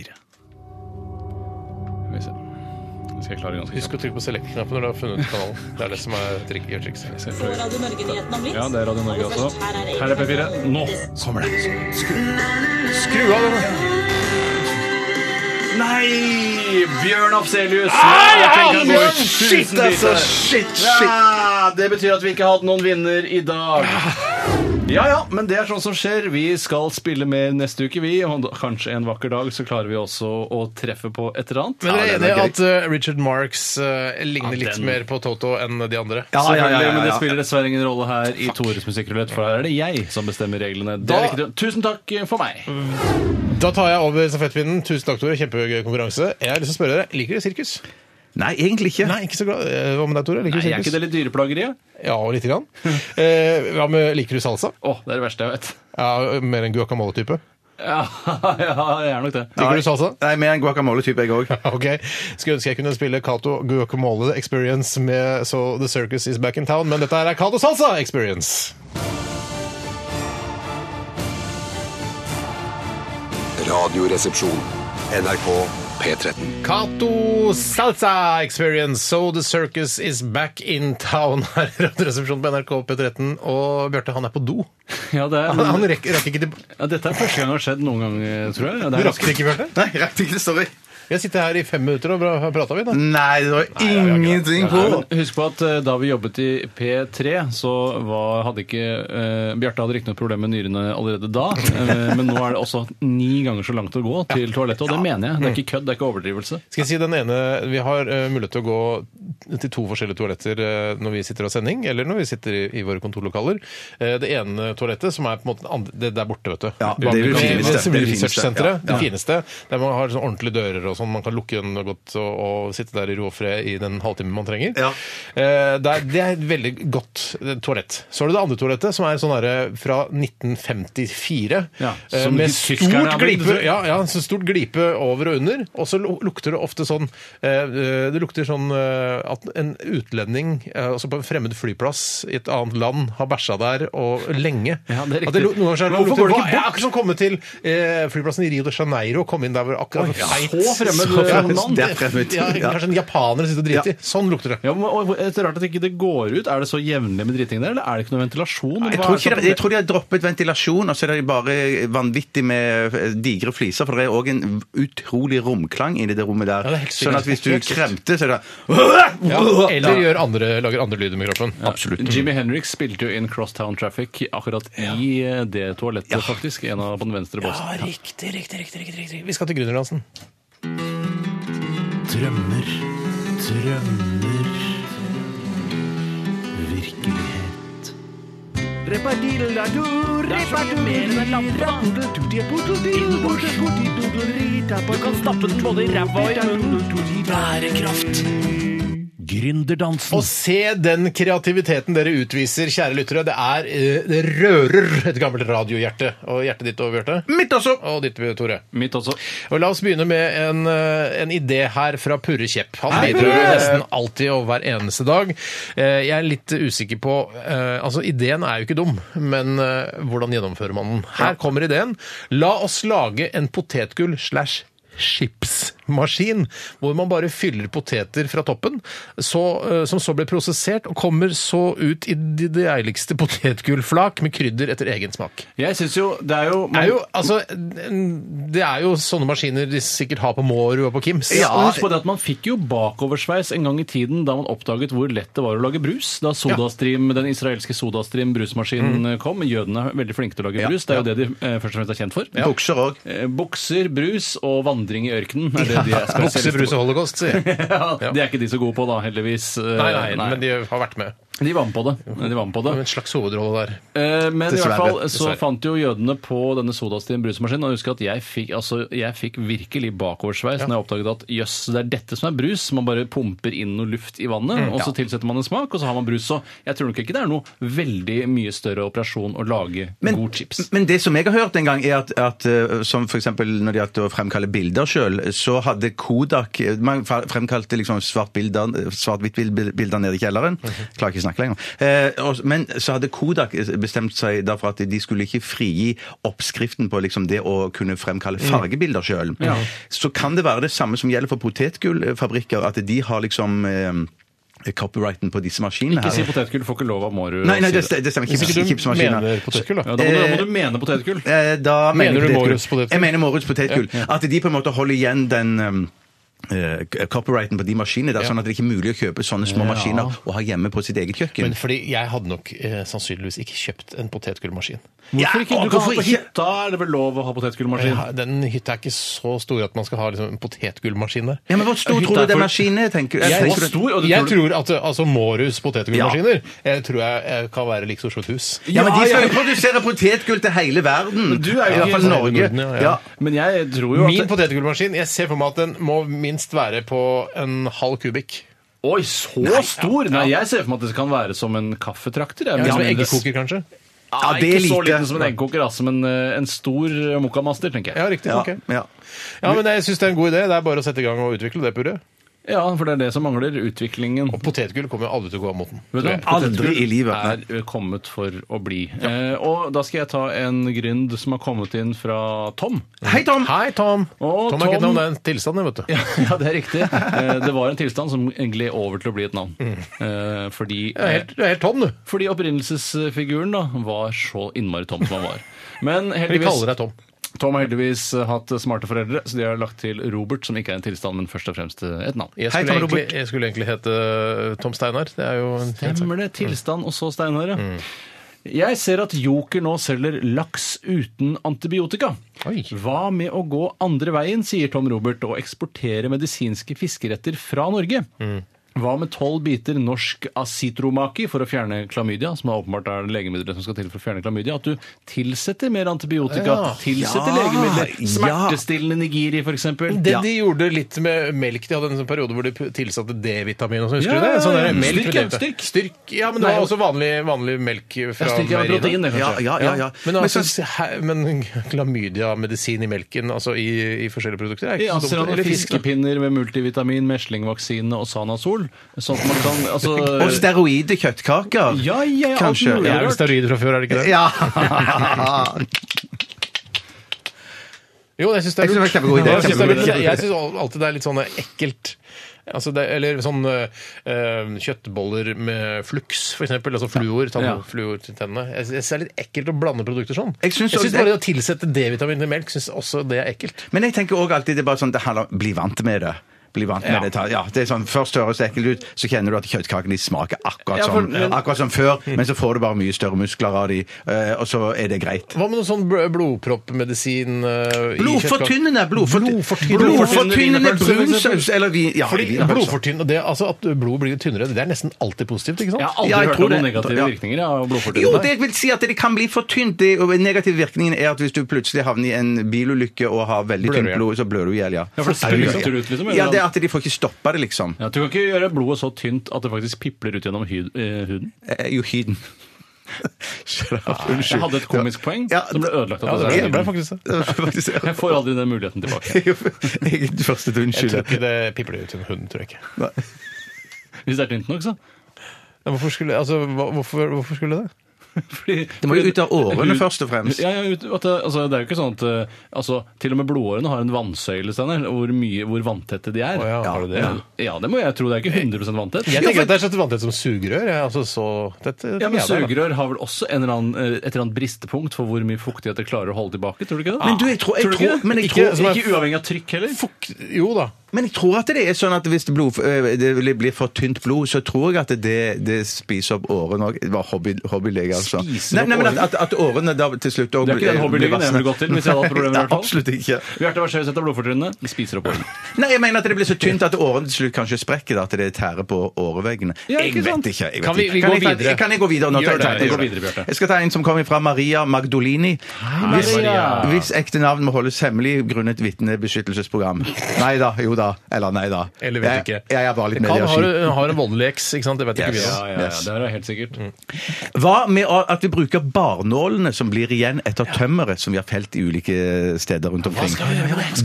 D: Skal vi se. Det skal jeg klare ganske
B: Husk
D: kjapt.
B: å trykke på select-knappen når du har funnet kanalen. Det er det som er trik- gjør trikset.
D: Skal jeg
E: Så
D: prøve.
E: Radio Norge-nyhetene om litt.
D: Ja, det er Radio Norge
E: Aller
D: også.
E: først, her
D: Her er P4. Nå!
C: Kommer det.
B: Skru av den!
D: Nei! Bjørn Afselius!
C: Shit, altså! Shit, shit!
D: Ja, det betyr at vi ikke har hatt noen vinner i dag. Ja ja, men det er sånn som skjer. Vi skal spille mer neste uke, vi. Og kanskje en vakker dag så klarer vi også å treffe på et eller annet.
B: Men dere
C: Ja,
B: er
C: den er
B: enige at eh, Richard Marks eh, ligner
D: Ja,
B: litt
D: den-
B: mer på Toto enn de andre?
C: Ja, ja, ja, ja,
D: Selvfølgelig, Men det
C: ja.
D: spiller dessverre ingen rolle her i Tores musikkrulett, for her er det jeg som bestemmer reglene. Det
B: Da-
D: er ikke det. Tusen takk for meg.
B: Da tar jeg over stafettpinnen. Tusen takk, Tore. Kjempegøy konkurranse. Jeg har lyst til å spørre dere, Liker dere sirkus?
C: Nei, egentlig ikke.
B: Nei, ikke så glad. Eh, Hva med deg, Tore? Liker
D: Nei,
B: du
D: er ikke
B: sirkus?
D: det litt dyreplageriet?
B: Ja, lite grann. Eh, Hva med liker du salsa?
D: Å, det er det verste jeg vet. <laughs>
B: Ja, Mer enn guacamole-type.
D: Ja, ja, jeg er nok det.
B: Liker du salsa? <laughs>
C: Nei, mer en guacamole-type, jeg òg.
B: Ok, Skulle ønske jeg kunne spille Cato Guacamole Experience med So The Circus Is Back in Town, men dette her er Cato Salsa Experience.
A: Radioresepsjon. NRK P13.
B: Cato Salsa Experience, So The Circus Is Back in Town <laughs> her i Radioresepsjonen på NRK P13. Og Bjarte, han er på do.
D: Ja, det
B: Han, han
D: er,
B: rekker, rekker ikke til
D: ja, dette er første gang det har skjedd noen gang, eh, tror jeg. Ja,
B: Du
D: Det er
B: rakk det ikke, Bjarte?
C: Nei, rett ikke. Sorry.
B: Vi har sittet her i fem minutter og prata, vi. da.
C: Nei, det var ingenting på.
D: Ja, men Husk på at eh, da vi jobbet i P3, så var, hadde ikke eh, Bjarte hadde ikke noe problem med nyrene allerede da, eh, men nå er det også ni ganger så langt å gå til toalettet, og det mener jeg. Det er ikke kødd, det er ikke overdrivelse.
B: Skal jeg si den ene, Vi har eh, mulighet til å gå til to forskjellige toaletter eh, når vi sitter og har sending, eller når vi sitter i, i våre kontorlokaler. Eh, det ene toalettet, som er på en måte den andre, det der borte, vet du.
C: Ja, det er det
B: Bak-
C: fineste.
B: det som
C: Det er det
B: Researchsenteret.
C: fineste, ja.
B: Det fineste. Der man har sånn ordentlige dører og sånn. Man kan lukke den godt og, og sitte der i ro og fred i den halvtimen man trenger.
C: Ja.
B: Eh, det, er, det er et veldig godt eh, toalett. Så har du det andre toalettet, som er sånn derre fra 1954.
D: Ja,
B: eh,
D: som de
B: med
D: tyskerne har
B: stort
D: bygd,
B: glipe
D: tror jeg.
B: ja, ja, så stort glipe over og under. Og så lu- lukter det ofte sånn eh, eh, Det lukter sånn eh, at en utlending, eh, altså på en fremmed flyplass i et annet land, har bæsja der og lenge.
D: Ja, det er
B: At det, lu-
D: riktig.
B: noen ganger så er det,
D: Men
B: lukter-
D: hvorfor går det
B: Hva-
D: ikke
B: ja,
D: bort?
B: Akkurat som å komme til eh, flyplassen i Rio de Janeiro og komme inn der hvor akkurat
D: ja,
B: feit-
D: så fremmed mann.
C: Det er fremmed,
B: Ja,
C: ja.
B: kanskje en japaner sitter og driter i. Sånn lukter det.
D: Ja, men, og, og- det er rart at ikke det går ut. Er det så jevnlig med driting der, eller er det ikke noe ventilasjon?
C: Jeg
D: Hva
C: tror,
D: er det
C: ikke,
D: som-
C: det- jeg tror de har droppet ventilasjon, og så er det bare vanvittig med eh, digre fliser, for det er òg en utrolig romklang inni det rommet der.
B: det er helt sykt.
C: sånn at hvis du
B: Helt sykt.
C: kremte, så er det
B: Ja, eller gjør andre, lager andre lyder med kroppen.
C: Absolutt.
D: Jimmy Henrik spilte jo inn Crosstown Traffic akkurat i eh, det toalettet, faktisk. En av på den venstre båsen.
B: Ja, Ah, riktig, riktig, riktig, riktig, riktig. Vi skal til Gründerdansen.
F: Drømmer, drømmer Virkelighet Du kan stappe den både i ræva og i munnen Bærekraft Gründerdansen
B: Og se den kreativiteten dere utviser, kjære lyttere. Det er eh, Det rører et gammelt radiohjerte. Og hjertet ditt over hjertet.
C: Mitt også!
B: Og ditt, Tore.
D: Mitt også.
B: Og La oss begynne med en, eh, en idé her fra Purre Kjepp. Han
D: Hei,
B: bidrar jo
D: Purre!
B: nesten alltid og hver eneste dag. Eh, Jeg er litt usikker på eh, Altså, ideen er jo ikke dum, men eh, hvordan gjennomfører man den? Her kommer ideen. La oss lage en potetgull slash chips. potetmaskin, hvor man bare fyller poteter fra toppen, så, eh, som så blir prosessert og kommer så ut i de deiligste potetgullflak med krydder etter egen smak.
D: Jeg syns jo Det er jo,
B: Det er jo, altså, det er jo sånne maskiner de sikkert har på Mårud og på Kims.
D: Ja, og husk på det at Man fikk jo bakoversveis en gang i tiden da man oppdaget hvor lett det var å lage brus. Da Sodastream, den israelske Sodastream brusmaskinen kom. Jødene er veldig flinke til å lage brus. Det er jo det de eh, først og fremst er kjent for.
C: Bukser òg.
D: Eh, Bukser, brus og vandring i ørkenen er det de er
B: Bukse,
D: spesialister
B: brus og holocaust, sier
D: <laughs>
B: jeg.
D: Ja, det er ikke de så gode på, da, heldigvis. Eh,
B: Nei, nei, men de har vært med.
D: de var med på det. De var med på det.
B: Det var En slags hovedrolle der.
D: Eh, Men i
C: Dessverre.
D: hvert fall så
B: Dessverre.
D: fant jo jødene på denne sodastien brusmaskinen. Og jeg husker at jeg fikk, altså, jeg fikk virkelig bakoversveis når jeg oppdaget at jøss, det er dette som er brus. Man bare pumper inn noe luft i vannet,
C: Mm,
D: og så tilsetter man en smak, og så har man brus. Så jeg tror nok ikke det er noe veldig mye større operasjon å lage god chips.
C: men Mm. det som jeg har hørt en gang, er at, at eh, som f.eks. når de hadde å fremkalle bilder sjøl, så hadde Kodak eh, Man fa- fremkalte liksom svart-hvitt-bilder svart bilder nede i kjelleren.
B: Mhm.
C: Klarer ikke å snakke lenger. Eh, og, men så hadde Kodak eh, bestemt seg da for at de skulle ikke frigi oppskriften på liksom det å kunne fremkalle
B: Mm.
C: fargebilder sjøl. Så kan det være det samme som gjelder for potetgullfabrikker, at de har liksom eh, copyrighten på disse maskinene
D: Ikke si
C: her.
D: potetgull, får ikke lov av Mårud. å
C: Nei, nei,
D: si
C: det,
D: det.
C: det stemmer.
B: Hvis
C: Chips,
B: ikke du
C: chipsmaskiner.
B: mener potetgull,
D: Ja,
B: da.
D: da, må du, da må du mene potetgull.
C: Eh, Da
B: Mener
C: jeg
B: du
C: potetgull.
B: Måruds potetgull?
C: Jeg mener Måruds potetgull. At de på en måte holder igjen den um, eh, copyrighten på de maskinene. Det er sånn at det ikke er mulig å kjøpe sånne små maskiner og ha hjemme på sitt eget kjøkken.
B: Men fordi jeg hadde nok eh, sannsynligvis ikke kjøpt en potetgullmaskin.
D: Hvorfor ikke?
C: Ja,
D: Du kan
C: hvorfor
D: ha på
C: ikke?
D: hytta, er det vel lov å ha potetgullmaskin?
B: Ja, Den hytta er ikke så stor at man skal ha liksom, en potetgullmaskin der.
C: Ja, men Hvor stor
D: Hytta
C: tror du
D: er
C: den
D: for-
C: maskinen er? tenker
D: Jeg
C: tenker
D: er
C: du-
D: stor, og du
B: Jeg
D: tror
B: tror at altså, Mårus potetgullmaskiner jeg tror jeg, eh, kan være like stor som et hus.
C: Ja, men De
D: Ja,
C: skal jo
D: ja.
C: produsere potetgull til hele verden!
D: du er jo
C: I hvert
D: ikke-
C: fall Norge.
B: Norden, ja, ja.
C: Ja.
D: Men jeg tror jo
B: Min
D: at
B: potetgullmaskin jeg ser for meg at den må minst være på en halv kubikk.
D: Oi, så stor! Nei, jeg ser for meg at det kan være som en kaffetrakter.
B: Ja,
D: jeg. Men
B: som en
D: mindre-
B: eggekoker, kanskje?
D: Ja,
C: det er
D: ikke så
C: lite.
D: liten som en eggkoker, altså, men eh, en stor eh, mokkamaster, tenker
B: Ja,
D: jeg.
B: riktig.
C: Ja,
B: ok.
C: ja.
B: Ja, men jeg syns det er en god idé. Det er bare å sette i gang og utvikle det, Purre.
D: Ja, for det er det som mangler. Utviklingen.
B: Og potetgull kommer jo aldri til å gå av moten.
D: Vet du hva?
C: Aldri i livet.
D: er eh, kommet for å bli. Eh, og da skal jeg ta en grynd som har kommet inn fra Tom.
C: Hei, Tom!
B: Hei, Tom!
D: Å,
B: Tom er ikke et navn,
D: Tom.
B: det er en tilstand, det, vet du.
D: Ja, det er riktig. Eh, det var en tilstand som gled over til å bli et navn. Eh, fordi
B: Du er helt, du er helt tom, du.
D: Fordi opprinnelsesfiguren da var så innmari tom som han var. Men
B: Vi
D: heldigvis,
B: kaller deg Tom.
D: Tom har heldigvis eh, hatt smarte foreldre, så de har lagt til Robert, som ikke er en tilstand, men først og fremst eh, et navn.
B: Jeg
C: Hei,
B: skulle,
C: Tom
B: egentlig,
C: Robert.
B: jeg skulle egentlig hete eh, Tom Steinar. Det er jo en fin sak.
D: Stemmer det. Tilstand og så Steinar, ja.
C: Mm.
D: Jeg ser at Joker nå selger laks uten antibiotika.
B: Oi.
D: Hva med å gå andre veien, sier Tom Robert, og eksportere medisinske fiskeretter fra Norge?
C: Mm.
D: Hva med tolv biter norsk asitromaki for å fjerne klamydia? Som er åpenbart er det legemiddelet som skal til for å fjerne klamydia. At du tilsetter mer antibiotika,
B: Ja.
D: tilsetter
C: Ja.
D: legemidler.
C: Ja.
D: Smertestillende nigiri, f.eks.
B: Det de gjorde litt med melk De hadde en sånn periode hvor de p- tilsatte D-vitamin og sånn. Husker
D: Ja,
B: du det? Sånn
D: ja,
B: der
D: ja.
B: melk med
D: Styrk, ja,
B: D-vitamin.
D: styrk.
B: Styrk, Ja, men det
D: Nei,
B: var
D: og-
B: også vanlig, vanlig melk fra
D: Jeg styrker med
B: meieriene.
D: protein, det,
C: Ja,
D: kanskje.
C: ja, ja, ja.
B: Men, altså,
C: Men så-
B: he- men <laughs> klamydia-medisin i melken, altså i, i forskjellige produkter, er
D: Ja,
B: ikke så
D: altså,
B: dumt. Eller fisk. da.
D: fiskepinner med multivitamin, meslingvaksine og Sanasol. Sånn at man kan altså,
C: <laughs> Og steroide kjøttkaker.
D: Ja, ja, alt
C: Kanskje.
D: mulig
B: Det er
D: rart.
B: vel steroider fra før, er det ikke det?
C: Ja!
D: <laughs>
C: <laughs>
B: Jo, jeg syns det er
C: Jeg synes det var
B: lurt.
C: kjempegod idé.
B: Jeg synes det er lurt.
D: Kjempegod idé.
B: Jeg syns al- alltid det er litt sånn ekkelt. Altså det, eller sånn eh, kjøttboller med flux, for eksempel. Altså fluor, tann,
D: Ja.
B: fluor til tennene. Jeg, jeg synes det er litt ekkelt å blande produkter sånn.
C: Jeg synes også-
B: bare det å tilsette D-vitamin til melk, syns også det er ekkelt.
C: Men jeg tenker også alltid det er bare sånn, det handler om bli vant med det. Bli vant med det. Ta- Ja, det er sånn, Først høres det ekkelt ut, så kjenner du at kjøttkakene de smaker akkurat,
D: Ja, for-
C: som, akkurat som før, men så får du bare mye større muskler av de, eh, og så er det greit.
B: Hva med noe sånn bl- blodproppmedisin eh, i kjøttkake?
C: Blodfortynnende! blodfort-
B: Blodfortynnende.
C: Blodfortynnende
D: Wienerpølse, for
C: brunsaus! Eller vin... Ja,
B: Fordi
C: wienerpølse.
B: blodfortynn, og det, altså At blod blir tynnere, det er nesten alltid positivt, ikke sant?
D: Jeg har aldri
C: Ja, jeg
D: hørt
C: tror
D: om noen
C: det.
D: negative
C: Ja.
D: virkninger av
C: Jo,
D: blodfortynnende.
C: det jeg vil si at det kan bli for tynt. Det, og negative virkningen er at hvis du plutselig havner i en bilulykke og har veldig
B: Blør du
C: tynt
B: ihjel.
C: blod, så blør du i hjel, ja.
D: Ja, for det spiller liksom ut, liksom, eller?
C: Ja, det er at de får ikke stoppa det, liksom.
D: Ja, du kan ikke gjøre blodet så tynt at det faktisk pipler ut gjennom hud, eh, huden.
C: Eh, Jo,
D: <laughs>
C: hyden.
D: Ah, Jeg hadde et komisk poeng
C: Ja,
D: som ble ødelagt
B: Ja,
D: av
B: det, ble, det ble
D: det.
B: faktisk det.
D: Jeg får aldri den
C: <laughs>
D: muligheten tilbake.
C: Egen første
B: Jeg
C: unnskyld.
B: tror ikke det pipler ut i en hund, tror jeg ikke.
D: Hvis det er tynt nok, så.
B: Ja, Hvorfor skulle, altså, hva- hvorfor, hvorfor skulle det?
D: Fordi-
C: Det må jo
D: fordi-
C: ut av årene først og fremst.
D: Ja, ja, ut, at det, altså, det er jo ikke sånn at eh, altså, Til og med blodårene har en vannsøyle, Steinar. Hvor, mye- hvor vanntette de er.
B: Å ja, har de det?
D: Ja. ja, det må jeg tro. Det er ikke 100 vanntett.
B: Jeg
D: Jo,
B: tenker
D: for-
B: at det er så vanntett som sugerør. Jeg, altså, så, dette,
D: ja, men
B: tenker jeg det er, da.
D: Sugerør har vel også en eller annen, eh, et eller annet bristepunkt for hvor mye fuktighet det klarer å holde tilbake? tror du ikke det?
C: Men du, jeg tror- jeg
D: du ikke
C: tror-
D: det?
C: men jeg
D: ikke,
C: tror-
D: ikke uavhengig av trykk heller?
B: Jo da.
C: Men jeg tror at det er sånn at hvis det, blod, øh, det blir for tynt blod, så tror jeg at det, det spiser opp årene òg. Det var hobby, hobbylege, altså.
D: Spiser
C: Nei,
D: opp
C: nei, men at,
D: årene?
C: at, at årene da til slutt òg
D: Det er ikke den hobbylegen jeg ville gått til hvis jeg hadde hatt
C: <laughs>
D: problemer. i hvert fall.
C: Absolutt ikke.
D: Bjarte, hva skjer hvis et av blodfortynnene De spiser opp årene?
C: Nei, jeg mener at det blir så tynt at årene til slutt kanskje sprekker. da, At det tærer på åreveggene.
D: Ja,
C: jeg
D: ikke
C: vet
D: sant?
C: ikke. Jeg vet
B: Kan vi-
C: ikke.
B: vi
C: kan
B: går
C: jeg ta-
B: videre?
C: Kan jeg gå videre? Nå,
D: Gjør
C: tar jeg-
D: det,
C: tar jeg-
D: gjør det. Gå videre, Bjarte.
C: Jeg skal ta en som kommer fra Maria Magdolini. Hvis,
D: Maria.
C: hvis ekte navn må holdes hemmelig grunnet vitnebeskyttelsesprogram. Nei da, jo da. Eller nei da.
B: Eller vet ikke.
C: Jeg, jeg er bare litt
B: Han har,
C: mediasky.
B: har en voldelig eks, ikke sant? Det vet ikke vi
C: Yes.
B: da.
D: <laughs> Ja, ja, ja,
C: Yes.
D: det er helt sikkert.
B: Mm.
C: Hva med at vi bruker barnålene som blir igjen etter tømmeret som vi har felt i ulike steder rundt omkring?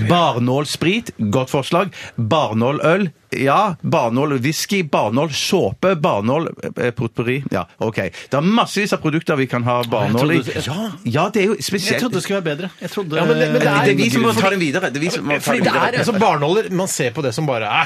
C: Barnålsprit, godt forslag. Barnåløl, ja. Barnålwhisky, barnålsåpe, barnål eh, potpourri. Ja, OK. Det er massevis av produkter vi kan ha barnål i.
D: Jeg trodde-
C: Ja, Ja, det er jo
D: Jeg
C: spesielt
D: trodde det skulle være bedre. Jeg trodde...
B: Ja, men det- men det
C: Det er vi som må ta den videre. Det er vi som må ta
B: Fordi
C: den
B: det er
C: videre.
B: altså barnåler, Man ser på det som bare eh,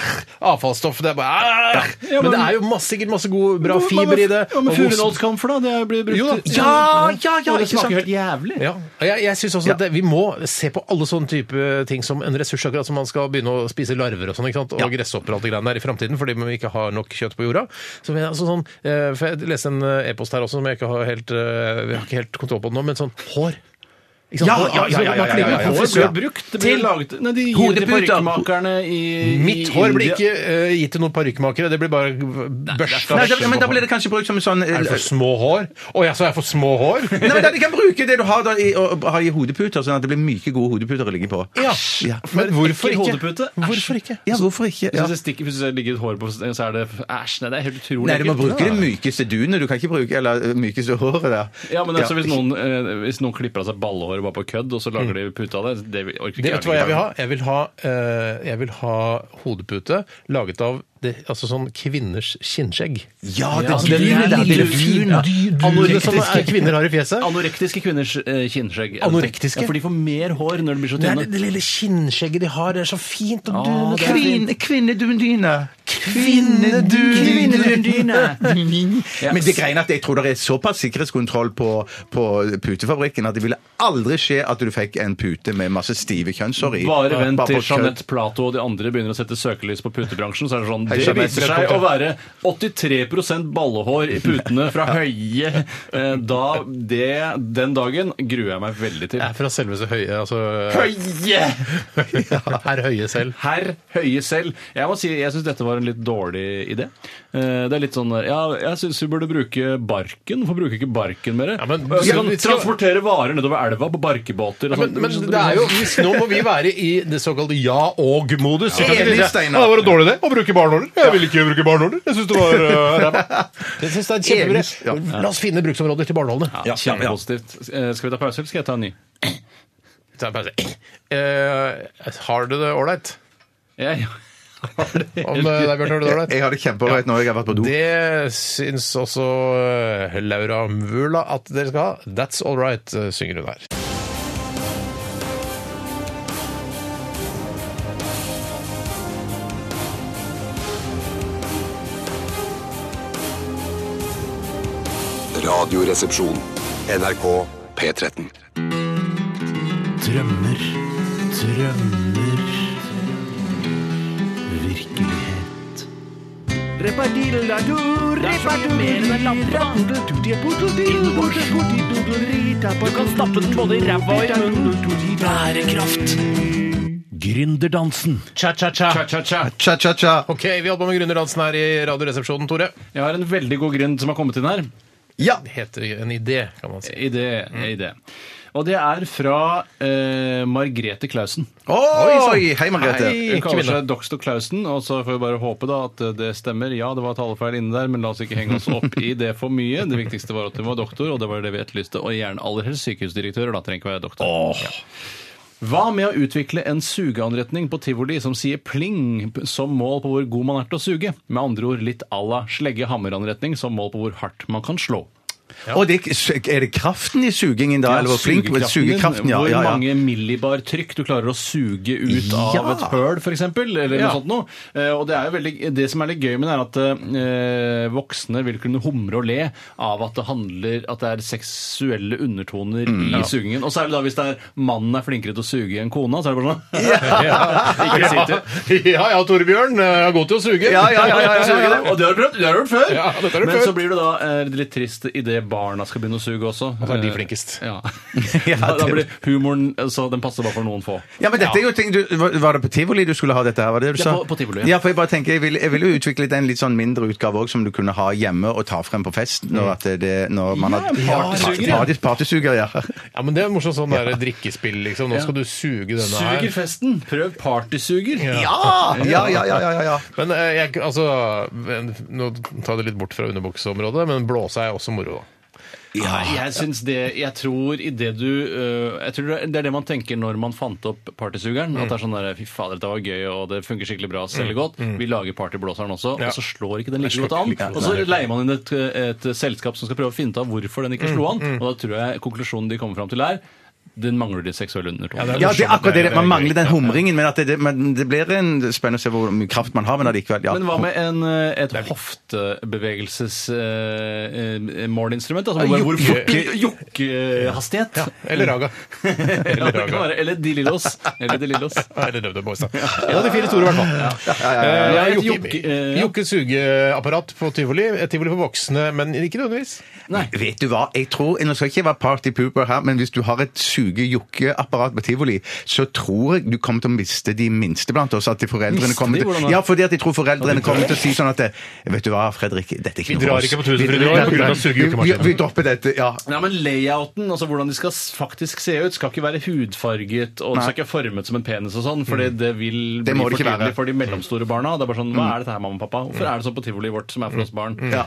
B: avfallsstoff. Det er bare, eh,
D: Ja,
B: men,
D: men-
B: det er jo masse, sikkert masse god, bra fiber i det.
D: Ja, men
B: og god-
D: Furunålskamfer, da? Det er jo blitt brukt
B: Jo da.
D: til-
C: Ja, ja, ja,
D: Og Det
C: ikke sant.
D: smaker helt jævlig.
B: Ja, og jeg, jeg synes også at det, Vi må se på alle sånne type ting som en ressurs, akkurat som man skal begynne å spise larver og sånn, ikke sant? og gresshopper og alt det greiene der i framtiden fordi man ikke har nok kjøtt på jorda. Så vi, altså sånn, eh, for Jeg leste en eh, e-post her også som jeg ikke har helt, eh, vi har ikke helt kontroll på det nå, men sånn hår. Ikke sant?
C: Ja, ja, ja, ja, ja, ja, ja, ja, ja.
B: Hår blir
D: Hår blir
C: Ja.
D: jo brukt. Det
B: Til-
D: blir laget Nei, de gir det til
C: Hodeputer.
D: parykkmakerne i i
B: Mitt hår blir
D: India.
B: ikke eh, gitt til noen parykkmakere. Det blir bare børsta.
C: Nei, da- men da blir det kanskje brukt som en sånn
B: Er det for små hår? Å ja, så er jeg for små hår?
C: Nei, men da, De kan bruke det du har da i, og, og, ha i hodeputer, sånn at det blir myke, gode hodeputer å ligge på.
B: Ja.
C: Ja.
B: Men hvorfor
D: Ekkel
B: ikke?
D: hodepute. Æsj.
B: Hvorfor ikke?
C: Ja, hvorfor ikke? Ja.
D: Hvis det stikker, hvis det ligger et hår på, så er det Æsj, nei, det er helt utrolig.
C: Nei, du må
D: ekkelt.
C: bruke det mykeste dunet. Du kan ikke bruke eller eh, mykeste håret der.
D: Ja, men altså, hvis, noen, eh, hvis noen klipper av seg ballehåret bare på kødd, og så lager de pute av det Det vil- orker ikke
B: Det vet du hva jeg vil ha? Jeg vil ha, eh, jeg vil ha hodepute laget av det, altså sånn kvinners kinnskjegg.
C: Ja, det
D: Ja, altså,
C: er
D: det
C: dunet
D: er
C: der. Det
D: lille
C: er dunet.
B: Anorene som Sånn er- kvinner har i fjeset.
D: Anorektiske kvinners eh, kinnskjegg.
B: Anorektiske?
D: Ja, for de får mer hår når de blir så
B: Det er
D: tynne.
B: det, det lille kinnskjegget de har. Det er så fint og
D: Ah,
B: dunet.
D: det er fint.
C: Kvin- Kvinnedudyne.
D: <laughs> Ja.
C: Men det greiene at jeg tror det er såpass sikkerhetskontroll på, på putefabrikken at det ville aldri skje at du fikk en pute med masse stive kjønnshår i.
D: Bare vent
C: på
D: til
C: kødd.
D: Jeanette Plato og de andre begynner å sette søkelys på putebransjen. så er Det sånn,
C: Hei,
D: det
C: Jeanette,
D: viser seg å være 83 ballehår i putene fra høye. Eh, Da, det, den dagen gruer jeg meg veldig til.
B: Det er fra selveste høye, altså <laughs>
D: Høye!
B: Herr Høie selv.
D: Herr Høie selv. Jeg må si, jeg syns dette var en litt dårlig idé. Eh, Det er litt sånn der, Ja, jeg syns vi burde bruke barken. Hvorfor bruker vi ikke barken mer?
B: Ja, men-
D: Eh, vi kan
B: vi skal-
D: transportere varer nedover elva på barkebåter. og
B: Men,
D: sånn.
B: men det er jo, hvis- nå må vi være i det såkalte ja og-modus.
C: Ja. Enig, Steinar.
B: Ja, det var en dårlig idé å bruke barnåler. Jeg vil ikke bruke barnåler. Jeg syns det var uh, ræva. Jeg synes det er
C: Enig,
B: kjempebra. La oss finne bruksområder til barnålene.
D: Ja, Kjempepositivt. Eh, Skal vi ta pause, eller skal jeg ta en ny?
B: Ta en pause. Eh, har du det ålreit?
D: Jeg
B: Om eh, deg, Bjørn, har du det ålreit?
C: Jeg har det kjempeålreit nå. Jeg har vært på do.
B: Det syns også eh, Laura Mvula at dere skal ha. That's all right, eh, synger hun her.
A: Radioresepsjon. NRK P13.
F: Drømmer, drømmer Virkelighet Du kan stappe den både i ræva og i munnen Bærekraft Gründerdansen
B: Cha-cha-cha.
C: Cha-cha-cha.
B: Ok, vi holder på med Gründerdansen her i Radioresepsjonen, Tore.
D: jeg har en veldig god grunn som har kommet inn her.
C: Ja.
B: Det heter en idé, kan man si.
D: I det, i
B: Mm.
D: det. Og det er fra eh, Margrethe Clausen.
C: Oi!
D: sånn.
C: Hei, Margrethe.
B: Hei.
D: Hun kaller
B: kvinne.
D: seg Doxtor Clausen, og så får vi bare håpe da at det stemmer. Ja, det var talefeil inne der, men la oss ikke henge oss opp i det for mye. Det viktigste var at hun var doktor, og det var det vi etterlyste. Og gjerne aller helst sykehusdirektører, da trenger ikke være doktor. Ja. Hva med å utvikle en sugeanretning på tivoli som sier pling p- som mål på hvor god man er til å suge? Med andre ord litt à la slegge hammeranretning som mål på hvor hardt man kan slå.
C: Og det, er det kraften i sugingen da? eller hvor flink
D: sugekraften
C: sugekraften,
D: din,
C: ja, ja,
D: Hvor
C: ja.
D: mange millibar trykk du klarer å suge ut av
C: Ja.
D: et høl, f.eks., eller
C: Ja.
D: noe sånt noe. Eh, Og det, er jo veldig, det som er litt gøy med det, er at eh, voksne vil kunne humre og le av at det handler at det er seksuelle undertoner
C: Mm,
D: i sugingen. Og særlig da hvis det er mannen er flinkere til å suge enn kona, så er det bare sånn <laughs> Ikke si til.
B: Ja ja, Torbjørn. eh, Jeg er god til å suge.
D: Ja, ja, ja, ja, ja, ja, ja. Og det har du prøvd, det har du gjort før.
B: Ja, dette har du
D: Men
B: prøvd.
D: så blir det da eh, litt trist idet barna skal begynne å suge også. Og
B: så er de flinkest. <laughs>
D: Ja. <laughs>
C: Ja,
D: da, da
C: det-
D: blir humoren eh, så den passer bare for noen få.
C: Ja, men dette er jo ting du, var- Var det på tivoli du skulle ha dette her? Var det det du
D: Ja,
C: sa?
D: på- på tivoli, ja.
C: Ja. for jeg bare tenker, jeg ville jeg vil jo utviklet en litt sånn mindre utgave òg, som du kunne ha hjemme og ta frem på fest når, at det, når man
D: Mm. Ja,
C: har
D: en partysuger, ja.
C: Party- Partysuger, ja.
B: <laughs> Ja, men Det er morsomt sånn der drikkespill. liksom. Nå skal du suge denne
D: Suger
B: her.
D: festen. Prøv partysuger. Ah!
C: Ja, <laughs> ja, ja, ja, ja, ja.
B: Men eh, jeg, altså, men, Nå tar jeg det litt bort fra underbukseområdet, men blåse er også moro. da.
D: Nei, Jeg syns det Jeg tror i det du øh, Jeg tror det er det man tenker når man fant opp partysugeren. At det er sånn der Fy fader, dette var gøy, og det funker skikkelig bra, selger godt. Vi lager partyblåseren også,
B: Ja.
D: og så slår ikke den like
B: slår
D: godt an.
B: ikke like godt,
D: Og så leier man inn et, et selskap som skal prøve å finne ut av hvorfor den ikke slo an. Og da tror jeg konklusjonen de kommer fram til, er den mangler de seksuelle undertonene.
C: Ja, det er akkurat det. Man mangler den humringen, men, at det, det, men det blir en spennende å se hvor mye kraft man har, men allikevel, ja.
D: Men hva med en, eh, et hoftebevegelsesmålinstrument? Altså, hvor- hvor
B: jokke-
D: fort- jokkehastighet?
B: Eller
D: <laughs>
B: raga.
D: Ja, det kan
B: raga.
D: være. Eller de lillos. Eller de <laughs> lillos.
B: Eller Røvde Boys, da. En av de fire store, i hvert fall. Eh,
D: Ja, et
B: jokke-
D: jokke- eh, ja.
B: Jokke sugeapparat på tivoli. Et tivoli for voksne, men ikke nødvendigvis.
C: Vet du hva, jeg tror, Nå skal jeg ikke være party pooper her, men hvis du har et suge-jokke-apparat på tivoli, så tror jeg du kommer til å miste de minste blant oss. at de foreldrene
D: Miste
C: kommer
D: de?
C: til...
D: Hvordan da?
C: Ja, fordi at jeg tror foreldrene kommer til å si sånn at Vet du hva, Fredrik, dette er ikke
B: Vi
C: noe
B: drar
C: for oss.
B: ikke på Tusenfryd i
C: Vi-
B: år på grunn av
C: vi,
B: sugejokkemaskinen.
C: vi, vi dropper dette, ja.
D: Nei, men Layouten, altså hvordan de skal s- faktisk se ut, skal ikke være hudfarget og det skal ikke være formet som en penis og sånn, for det vil
C: Mm. Det
D: bli
C: må
D: for
C: det ikke
D: tydelig
C: være. Mm.
D: for de mellomstore barna. Det er bare sånn, Hva er dette her, mamma og pappa? Hvorfor er det sånn på tivoliet vårt som er for oss barn? Eh,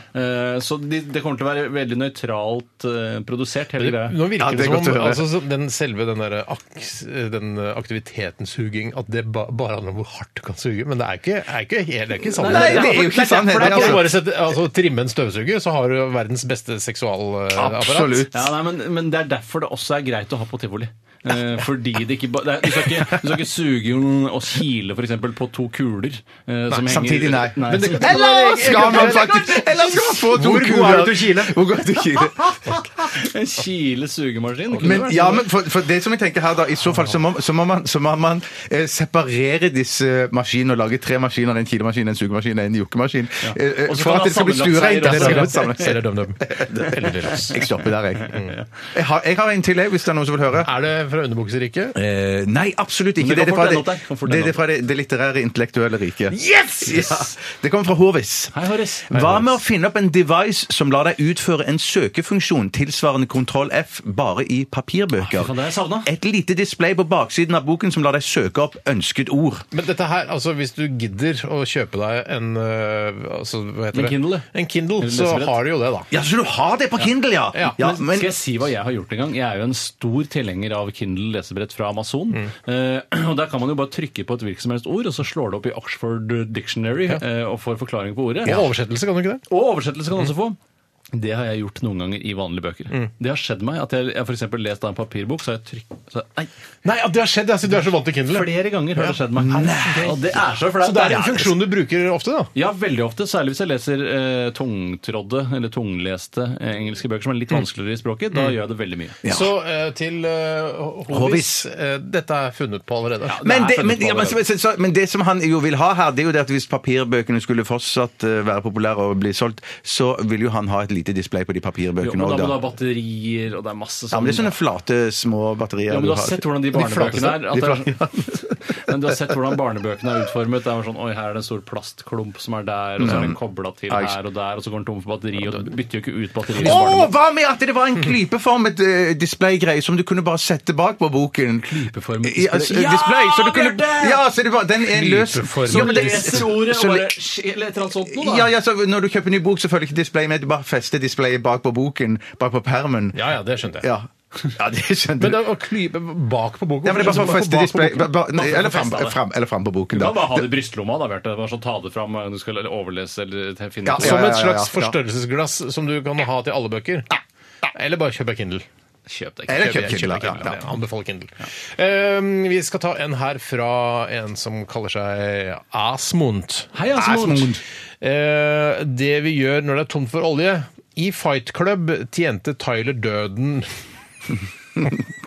D: så de, det kommer til å være veldig nøytralt eh, produsert, hele greia.
B: Nå virker
C: Ja, det
B: det,
C: er godt
B: som om
C: å høre.
B: altså, så den selve den, der aks, den aktiviteten suging At det ba, bare handler om hvor hardt du kan suge. Men det er ikke, er ikke, helt- det er ikke sant.
C: Nei, det er jo ikke sant.
B: For
C: heller,
B: da kan du
C: altså.
B: bare sette, altså, trimme en støvsuger, så har du verdens beste seksualapparat.
C: Absolutt.
D: Ja, nei, men, men det er derfor det også er greit å ha på tivoli. Eh, fordi det ikke ba- det er, Du skal ikke, du skal ikke suge noen og kile for eksempel på to kuler. eh, som
C: samtidig, nei.
D: Men det,
C: Eller skal man faktisk Eller skal man få to
B: Hvor god er du til å kile?
C: Hvor god er du til å kile?
D: En kile-sugemaskin? det sånn? kunne
C: Men,
D: vært
C: ja,
D: noe.
C: men for, for det som jeg tenker her da, i så fall så må, så må man, så må man eh, separere disse maskinene og lage tre maskiner, en kilemaskin, en sugemaskin, en jokkemaskin, eh, eh,
D: Og så
C: for
D: kan
C: at
D: det
C: det skal bli
D: sammenlagt seg i
C: stuereint. Det skal
D: resten.
C: bli sammenlagt seg.
B: Eller døm
C: <laughs>
B: døm. Eller deres.
C: Jeg stopper der, jeg. Jeg har, jeg har en til, jeg, hvis det er noen som vil høre.
B: Er det fra underbukseriket?
C: Eh, nei, absolutt ikke.
D: Men
C: Det
D: det
C: er
D: kan
C: fra
D: fort
C: det,
D: ende opp der. Kan fort
C: det,
D: ende
C: det, er fra det, det litterære, intellektuelle riket. Yes! Ja, det kommer fra Håvis.
D: Hei, Horace.
C: Hva med å finne opp en device som lar deg utføre en søkefunksjon tilsvarende Ctrl F bare i papirbøker?
D: Ah, fy faen, det har jeg savnet.
C: Et lite display på baksiden av boken som lar deg søke opp ønsket ord.
B: Men dette her, altså hvis du gidder å kjøpe deg en øh, altså, hva heter
D: En
B: det?
D: Kindle.
B: En Kindle,
D: Eller
B: så
D: lesebrett.
B: har du jo det, da.
C: Ja, så du har det på Kindle, ja!
B: Ja,
D: men, Skal jeg si hva jeg har gjort en gang? Jeg er jo en stor tilhenger av Kindle lesebrett fra Amazon.
B: Mm.
D: Eh, og Der kan man jo bare trykke på et hvilket som helst ord, og så slår det opp i Oxford Dictionary eh, og får forklaring på ordet.
B: Og oversettelse, kan du ikke det?
D: Og oversettelse kan du også få. Det har jeg gjort noen ganger i vanlige bøker.
B: Mm.
D: Det har skjedd meg at jeg, jeg f.eks. lest av en papirbok, så har jeg trykk... så- Nei,
B: Nei, at det har skjedd! Altså, du er så vant til Kindle.
D: flere ganger har det skjedd meg. Og det er så flaut.
B: så det er en
D: Ja,
B: funksjon du bruker ofte, da?
D: Ja, veldig ofte. Særlig hvis jeg leser eh, tungtrådde eller tungleste eh, engelske bøker som er litt
C: Mm.
D: vanskeligere i språket. Da gjør jeg det veldig mye.
B: Så eh, til øh, Håvis.
C: Håvis.
B: Eh, dette er funnet på allerede.
D: Ja,
C: Men
D: er
C: det,
D: funnet
C: men,
D: på
C: ja, men,
D: allerede.
C: så, så, men det som han jo vil ha her, det er jo det at hvis papirbøkene skulle fortsatt eh, være populære og bli solgt, så vil jo han ha et lite display på de
D: Jo,
C: papirbøkene
D: men da
C: òg,
D: må du ha
C: da.
D: batterier, og det er masse
C: Ja,
D: sånn
C: men det er sånne flate, små batterier.
D: Ja, men du har
C: har.
D: sett hvordan de barnebøkene er.
C: De
D: At det
C: flate,
D: er <laughs> men du har sett hvordan barnebøkene er utformet. Det er sånn, Oi, her er det en stor plastklump som er der, og så er den kobla til
C: Ja, ikke
D: her og der, og så går den tom for batteri, og du bytter jo ikke ut batteriet.
C: Å, hva med at det var en klypeformet eh, displaygreie som du kunne bare sette bak på boken?
D: Klypeformet
C: Ja, s-
D: display?
C: display så du
D: Ja,
C: kunne,
D: Bjarte!
C: ja, så det var, den er løs.
B: Klypeformet
C: Ja,
D: Som
C: men det-
D: leser ordet
C: så-
D: og bare «Sh», Eller et eller annet sånt noe, da.
C: ja, ja, så Når du kjøper ny bok, så følger ikke display med. Du bare fester displayet bak på boken, bak på permen.
B: Ja ja, det skjønte jeg.
C: Ja, ja det skjønte
B: Men
C: du.
B: det er å klype bak på boka
C: Ja, men det er bare for å
B: Bak på
C: feste display
B: boka.
C: ba- ba- nei, Eller fram,
D: feste det.
C: fram, eller fram på boken,
D: Du
C: da.
D: kan bare ha det i brystlomma. da, Bjarte. Bare sånn, Ta det fram når du skal overlese eller finne
C: Ja,
D: ut.
B: Som
C: ja,
B: et
C: ja, ja,
B: slags
C: ja.
B: forstørrelsesglass som du kan ha til alle bøker. Eller bare kjøp deg Kindle.
D: Kjøp deg
C: Eller
D: ikke.
C: kjøp
B: Jeg
C: Kindle,
B: kjøper
C: ja,
B: Kindle.
C: ja.
B: Jeg anbefaler Kindle. Ehm, vi skal ta en her fra en som kaller seg Asmund.
D: Hei, Asmund.
B: Eh, det vi gjør når det er tomt for olje I Fight Club tjente Tyler
D: <laughs>
B: døden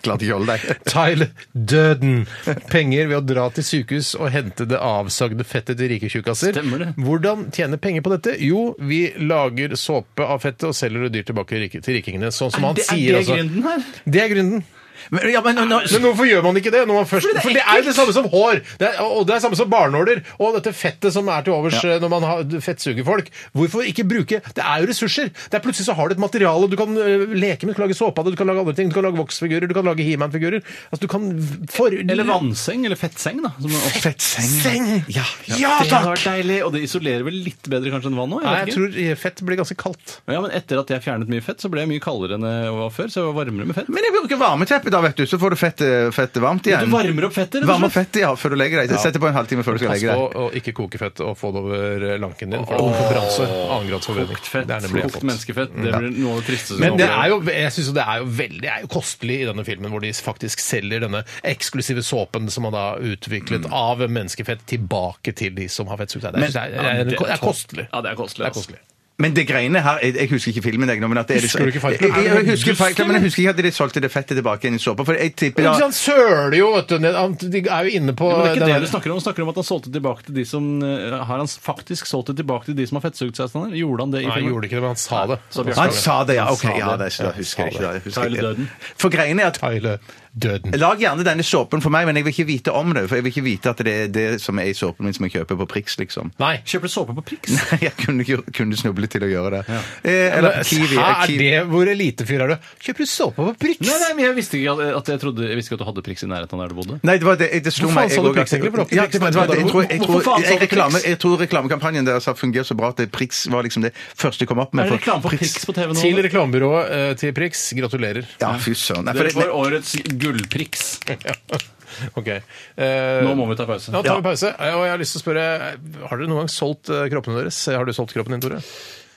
C: Klarte ikke å holde deg.
B: <laughs> Tyler døden penger ved å dra til sykehus og hente det avsagde fettet til rike tjukkaser.
D: Stemmer det.
B: Hvordan tjene penger på dette? Jo, vi lager såpe av fettet og selger det dyrt tilbake til rike- til rikingene. Sånn som han
D: det- er
B: sier,
D: det grunnen her?
B: Det er grunnen.
C: Men, ja, men, nå-
B: Men hvorfor gjør man ikke det? Når man først, for, det er jo det samme som hår, det er, og det er samme som barnåler, og dette fettet som er til overs eh, når man har fettsuger folk. Hvorfor ikke bruke Det er jo ressurser! Det er Plutselig så har du et materiale. Du kan eh, leke med, du kan lage såpe av det, du kan lage andre ting. Du kan lage voksfigurer, du kan lage He-Man-figurer. Altså, du kan for...
D: Eller vannseng, eller fettseng, da. Som ofte
C: Fettseng.
B: Ja,
D: Ja, det hadde vært deilig, og det isolerer vel litt bedre kanskje enn vann òg?
B: Nei, jeg tror eh, fett blir ganske kaldt.
D: Ja, men etter at jeg fjernet mye fett, så ble jeg mye kaldere enn jeg var før. Så jeg var varmere med fett.
C: Men jeg bruker varmeteppe, da, vet du. Så får du fett, fett varmt igjen.
D: Du varmer opp fettet, rett og
C: Varme opp
D: slett.
C: fettet, ja, før du legger deg. Sett det på en halvtime før du skal
B: Pass
C: legge
B: på
C: deg.
B: Altså, å ikke koke fett og få det over eh, lanken din, for det er konkurranse. Annengradsforbrenning.
D: Kokt fett,
B: Det er nemlig helt
D: kokt menneskefett. Det blir noe av det tristeste
B: Men
D: som
B: det
D: opplever.
B: er jo, jeg synes jo det er jo veldig det er jo kostelig i denne filmen, hvor de faktisk selger denne eksklusive såpen som man da har utviklet
D: Mm.
B: av menneskefett tilbake til de som har fettsugd deg. Det er- det er- det er- det er kostelig.
D: Ja, det er kostelig.
B: Det er
D: altså.
B: kostelig.
C: Men det greiene her Jeg, jeg husker ikke filmen, jeg. nå, Men at det er,
B: Husker du ikke Fight Club?
C: Jeg, jeg, jeg husker Fight Club, men jeg husker ikke at de solgte det fettet tilbake igjen i såpa. For jeg tipper
B: Men
C: da
B: Han søler jo, vet du. Han- De er jo inne på
D: Men det er ikke det
B: den-
D: du snakker om. Du snakker om at han solgte tilbake til de som eh, Har han faktisk solgt det tilbake til de som har fettsugd seg? Steinar? Gjorde han det i
B: Nei, han
D: filmen?
B: gjorde ikke det, men han sa det.
D: Så Bjørn-
C: Han sa det, ja. Ok,
B: sa
C: ja,
B: det.
C: det, da husker jeg ikke det. Jeg husker
D: Tyler
C: ikke.
D: Durden.
C: For greiene er at
B: Tyler Døden.
C: Lag gjerne denne såpen for meg, men jeg vil ikke vite om det. For jeg vil ikke vite at det er det som er i såpen min som jeg kjøper på Prix, liksom. <laughs>
B: Nei.
D: Kjøper du såpe på Prix?
C: Nei, jeg kunne, gjør- kunne snuble til å gjøre det. Eh, eller
B: Men
C: Kiwi.
B: Her er
C: Kiwi.
B: det hvor elitefyr er du? Kjøper du såpe på Prix?
D: Nei, nei, men jeg visste ikke at, at jeg trodde, jeg visste ikke at du hadde Prix i nærheten av der du bodde.
C: Nei, det var det, jeg- det slo
B: Hvor
C: meg
B: faen sa
C: jeg
B: du
C: også-
B: Prix egentlig? For det var ikke
C: Ja,
B: Prix
C: det var- det var- jeg tror- jeg tror-
D: Hvorfor faen sa du
C: jeg- reklame-
D: Prix?
C: Jeg tror reklamekampanjen deres har fungert så bra at det Prix var liksom det første jeg kom opp med.
D: Er
C: for
D: det reklame for Prix på TV nå?
B: Til reklamebyrået eh, til Prix, gratulerer.
C: Ja, fy søren. Nei, for
D: Dere
C: det-
D: får årets gullpriks.
B: Ok. Eh,
D: Nå må vi ta pause.
B: Nå tar vi pause. Eh, Og jeg har lyst til å spørre, har dere noen gang solgt eh, kroppene deres? Har du solgt kroppen din, Tore?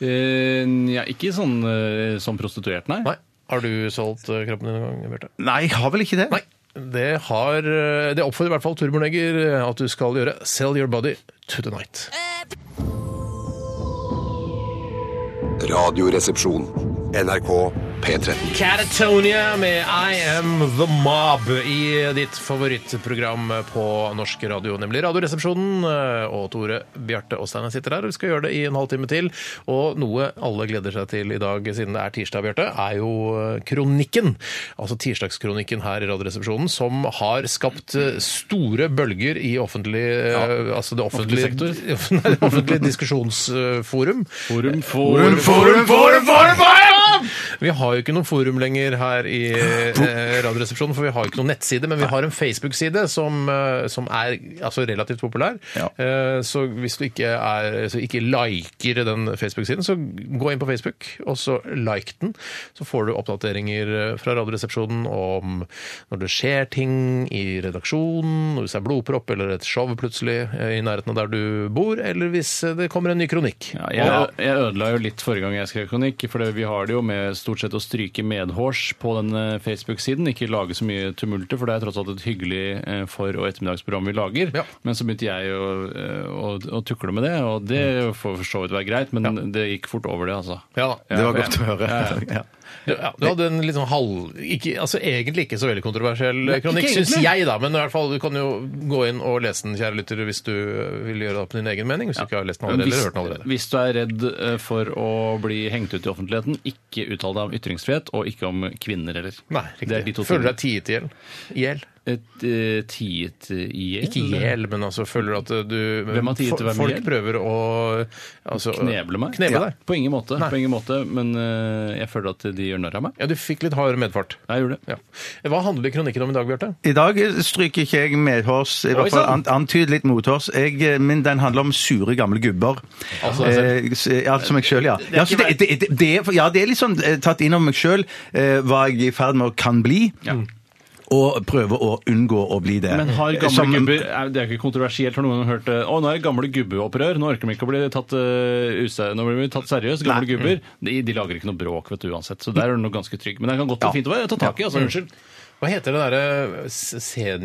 D: Eh, ja, ikke sånn eh, som prostituert, nei.
B: Nei. Har du solgt eh, kroppen din noen gang, Bjarte?
C: Nei, jeg har vel ikke det?
B: Nei. Det, har, eh, det oppfordrer i hvert fall Turbonegger eh, at du skal gjøre. Sell your body to the night.
A: Radioresepsjon. NRK P13.
B: Catatonia med I Am The Mob i ditt favorittprogram på norsk radio, nemlig Radioresepsjonen. Eh, Og Tore, Bjarte og Steinar sitter her, og vi skal gjøre det i en halvtime til. Og noe alle gleder seg til i dag, siden det er tirsdag, Bjarte, er jo eh, kronikken. Altså tirsdagskronikken her i Radioresepsjonen, som har skapt eh, store bølger i offentlig eh, Altså det offentlige <laughs>
D: Offentlig
B: Nei, det offentlige diskusjonsforum.
D: Forum
C: Forum, forum, forum, forum, forum!
B: Vi har jo ikke noe forum lenger her i eh, Radioresepsjonen, for vi har jo ikke noen nettside, men vi har en Facebook-side som, eh, som er altså, relativt populær.
C: Ja.
B: Eh, så hvis du ikke, er, så ikke liker den Facebook-siden, så gå inn på Facebook, og så like den. Så får du oppdateringer eh, fra Radioresepsjonen om når det skjer ting i redaksjonen, hvis det er blodpropp eller et show plutselig eh, i nærheten av der du bor, eller hvis eh, det kommer en ny kronikk.
D: Ja, jeg, jeg ødela jo litt forrige gang jeg skrev kronikk, for det- vi har det jo med stort sett å stryke medhårs på den eh, Facebook-siden. Ikke lage så mye tumulter, for det er tross alt et hyggelig eh, for- og ettermiddagsprogram vi lager.
B: Ja.
D: Men så begynte jeg å, eh, å, å tukle med det, og
C: Mm.
D: det får for så vidt være greit, men det gikk fort over det, altså.
B: Ja da.
C: Det var godt å høre. Ja.
B: Du, ja, du hadde en litt sånn halv ikke, altså Egentlig ikke så veldig kontroversiell
D: Nei,
B: kronikk,
D: ikke
B: syns
D: egentlig.
B: jeg, da. Men i hvert fall, du kan jo gå inn og lese den, kjære lytter, hvis du vil gjøre deg opp din egen mening. Hvis du ikke har lest den allerede, eller hørt den allerede.
D: hvis du er redd eh, for å bli hengt ut i offentligheten, ikke uttal deg om ytringsfrihet, og ikke om kvinner heller.
B: Nei,
D: Det er de to
B: riktig. Føler deg tiet i hjel. I hjel.
D: Et eh, tiet i hjel.
B: Ikke i hjel, men altså føler du at du
D: Hvem har tid til å være med
B: Folk
D: i hjel?
B: prøver å altså,
D: Kneble meg?
B: Kneble
D: Ja.
B: deg.
D: På ingen måte, på ingen måte men eh, jeg føler at de gjør narr av meg.
B: Ja, du fikk litt hard medfart.
D: Jeg gjorde det.
B: Ja. Hva handler kronikken om i dag, Bjarte?
C: I dag stryker ikke jeg medhårs, i hvert fall
D: sann.
C: an- antyd litt mothårs. Jeg, eh, Min den handler om sure, gamle gubber.
B: Altså deg selv.
C: eh, s- ja, som meg sjøl, ja. Ja, så det, det, eh, det, det, er- ja. Det er litt sånn eh, tatt inn over meg sjøl hva jeg er i ferd med å kan bli. og prøver å unngå å bli det.
D: Men har gamle
C: Som-
D: gubber er- Det er jo ikke kontroversielt, har noen hørt det? Å, nå er det gamle gubbeopprør. Nå orker vi ikke å bli tatt, eh, use- nå blir vi tatt seriøst. Gamle gubber de, de lager ikke noe bråk vet du, uansett. Så der er du nok ganske trygg. Men det kan godt og fint å være ta tak i. altså, Unnskyld.
B: Hva heter det derre s-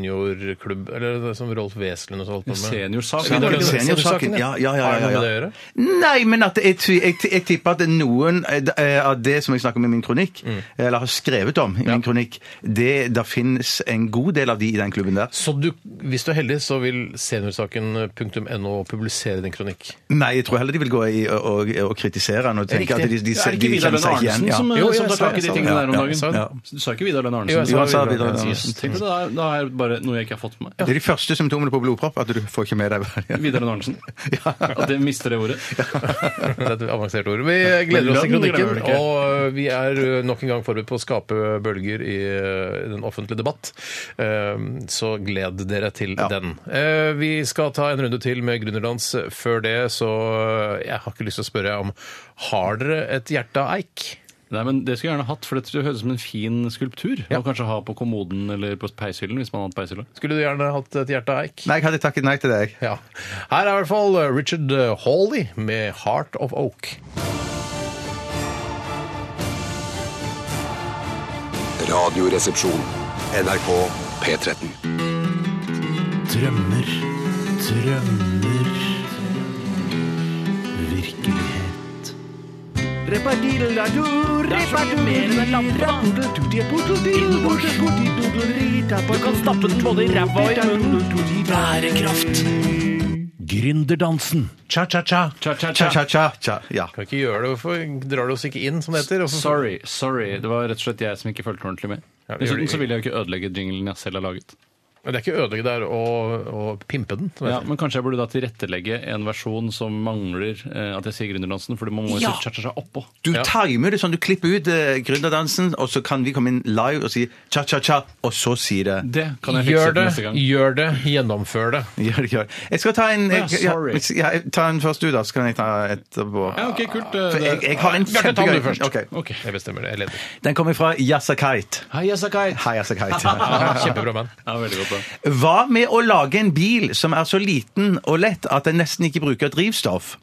B: seniorklubb Eller det som Rolf Wesenlund og så holdt på med?
D: Seniorsak.
B: Ja, det er ikke-
C: Seniorsaken, ja. ja, ja,
B: Har det noe
C: ja,
B: med
C: ja,
B: det å gjøre?
C: Nei, men at jeg, ty- jeg, jeg tipper at noen eh, av det som jeg snakker om i min kronikk, eh, eller har skrevet om i min kronikk, det der finnes en god del av de i den klubben der.
B: Så du, hvis du er heldig, så vil seniorsaken.no publisere din kronikk.
C: Nei, jeg tror heller de vil gå i og, og, og kritisere han og
B: Riktig.
C: tenke at de, de, de,
D: Er det ikke
C: de kjenner
D: Vidar Lønne
C: seg ikke
D: Arnesen
C: igjen. Ja.
D: som,
B: Jo, jeg
D: som
B: sa-
D: tar tak i de
B: jeg sa-
D: tingene
B: ja,
D: der om
B: ja,
D: dagen?
B: jeg sa det.
D: Så Du sa ikke Vidar Lønne
B: Jo, jeg
D: Arnesen?
B: sa
C: Jo, han sa
B: Vidar
C: Vidar
B: Lønne
C: Lønne
B: Arnesen.
D: Tenk deg, Da er- da er det bare noe jeg ikke har fått med meg.
C: Det er de første symptomene på blodpropp, at du får ikke med deg hva-
D: <laughs> Vidar
B: <laughs>
D: Lønne Arnesen. At jeg mister det ordet.
B: Det er et avansert ord. Vi gleder oss til
D: lønn glemmer
B: kronikken,
D: du ikke.
B: og vi er ø, nok en gang forberedt på å skape bølger i ø, den offentlige debatt. Ehm, Så gled dere til den. Eh, Vi skal ta en runde til med Gründerdans. Før det så ø, Jeg har ikke lyst til å spørre om Har dere et hjerte av eik?
D: Nei, men Det skulle jeg gjerne hatt, for det høres ut som en fin skulptur. Og kanskje ha på kommoden eller på peishyllen. hvis man har hatt peishylle.
B: Skulle du gjerne hatt et hjerte av eik?
C: Nei, jeg hadde takket nei til deg.
B: Ja. Her er i hvert fall Richard Hawley med 'Heart of Oak'.
A: Radioresepsjon. NRK P13.
F: Drømmer, drømmer Virkelighet Du kan stappe den både i ræva og i munnen Bærekraft Gründerdansen
B: Cha-cha-cha.
C: Tja, tja, tja, tja. Ja.
B: Kan ikke gjøre det. Hvorfor drar du oss ikke inn, som det heter? Hvorfor-
D: Sorry, sorry. Det var rett og slett jeg som ikke fulgte ordentlig med.
B: Ja, vi gjør
D: Dessuten
B: det.
D: så vil jeg jo ikke ødelegge jinglen jeg selv har laget.
B: Men det er ikke ødelegge der å, å pimpe den. som det
D: Ja,
B: heter.
D: Men kanskje jeg burde da tilrettelegge en versjon som mangler eh, at jeg sier Gründerdansen, for man må jo
C: Ja.
D: si cha-cha-cha oppå.
C: Du
B: Ja.
C: timer det sånn, du klipper ut eh, gründerdansen, og så kan vi komme inn live og si tja, tja, tja, og så si det.
D: Det kan jeg fikse
B: Gjør
D: til
B: det,
D: neste gang.
B: gjør det, gjennomfør
C: <laughs>
B: det.
C: Gjør det, gjør det. Jeg skal ta en jeg,
D: Ja, Ah, sorry.
C: ja, ja, jeg- ta en først du, da, så kan jeg ta etterpå.
D: Ja, ok, kult. eh,
C: For jeg,
D: Det-
C: jeg har en
B: Bjarte, ta den du
C: kjempegøy
B: først.
C: Ok.
D: Ok.
B: Jeg bestemmer det. Jeg leder.
C: Den kommer fra Yasakite.
D: Hei, jeg sa Kai.
C: Hei, Yasakite.
B: Ja, kjempebra band.
D: Ja, veldig godt da.
C: <laughs> Hva med å lage en bil som er så liten og lett at den nesten ikke bruker drivstoff?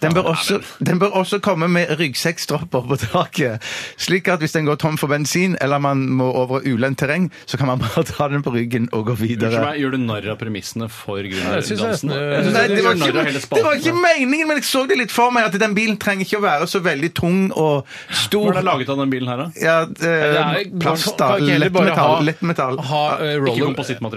C: Den
D: Ah,
C: bør også, den bør også komme med ryggsekkstropper på taket, slik at hvis den går tom for bensin, eller man må over ulendt terreng, så kan man bare ta den på ryggen og gå
D: Unnskyld
C: videre.
D: meg, gjør du narr av premissene for
B: jeg synes jeg
D: Gründerdansen?
B: nesten-
D: Jeg synes
C: Nei,
D: du
C: det, var
D: gjør narr
C: ikke,
D: av hele
C: det var
D: spalten.
C: ikke meningen, men jeg så det litt for meg at den bilen trenger ikke å være så veldig tung og
D: Hvor
C: stor.
D: er det laget av den bilen her, da?
C: Ja, eh, plast, da.
B: Kan ikke heller bare
C: Lettmetall.
B: ha-
C: lettmetall.
B: Ha eh,
D: Ikke
B: roller...
D: komposittmaterialer?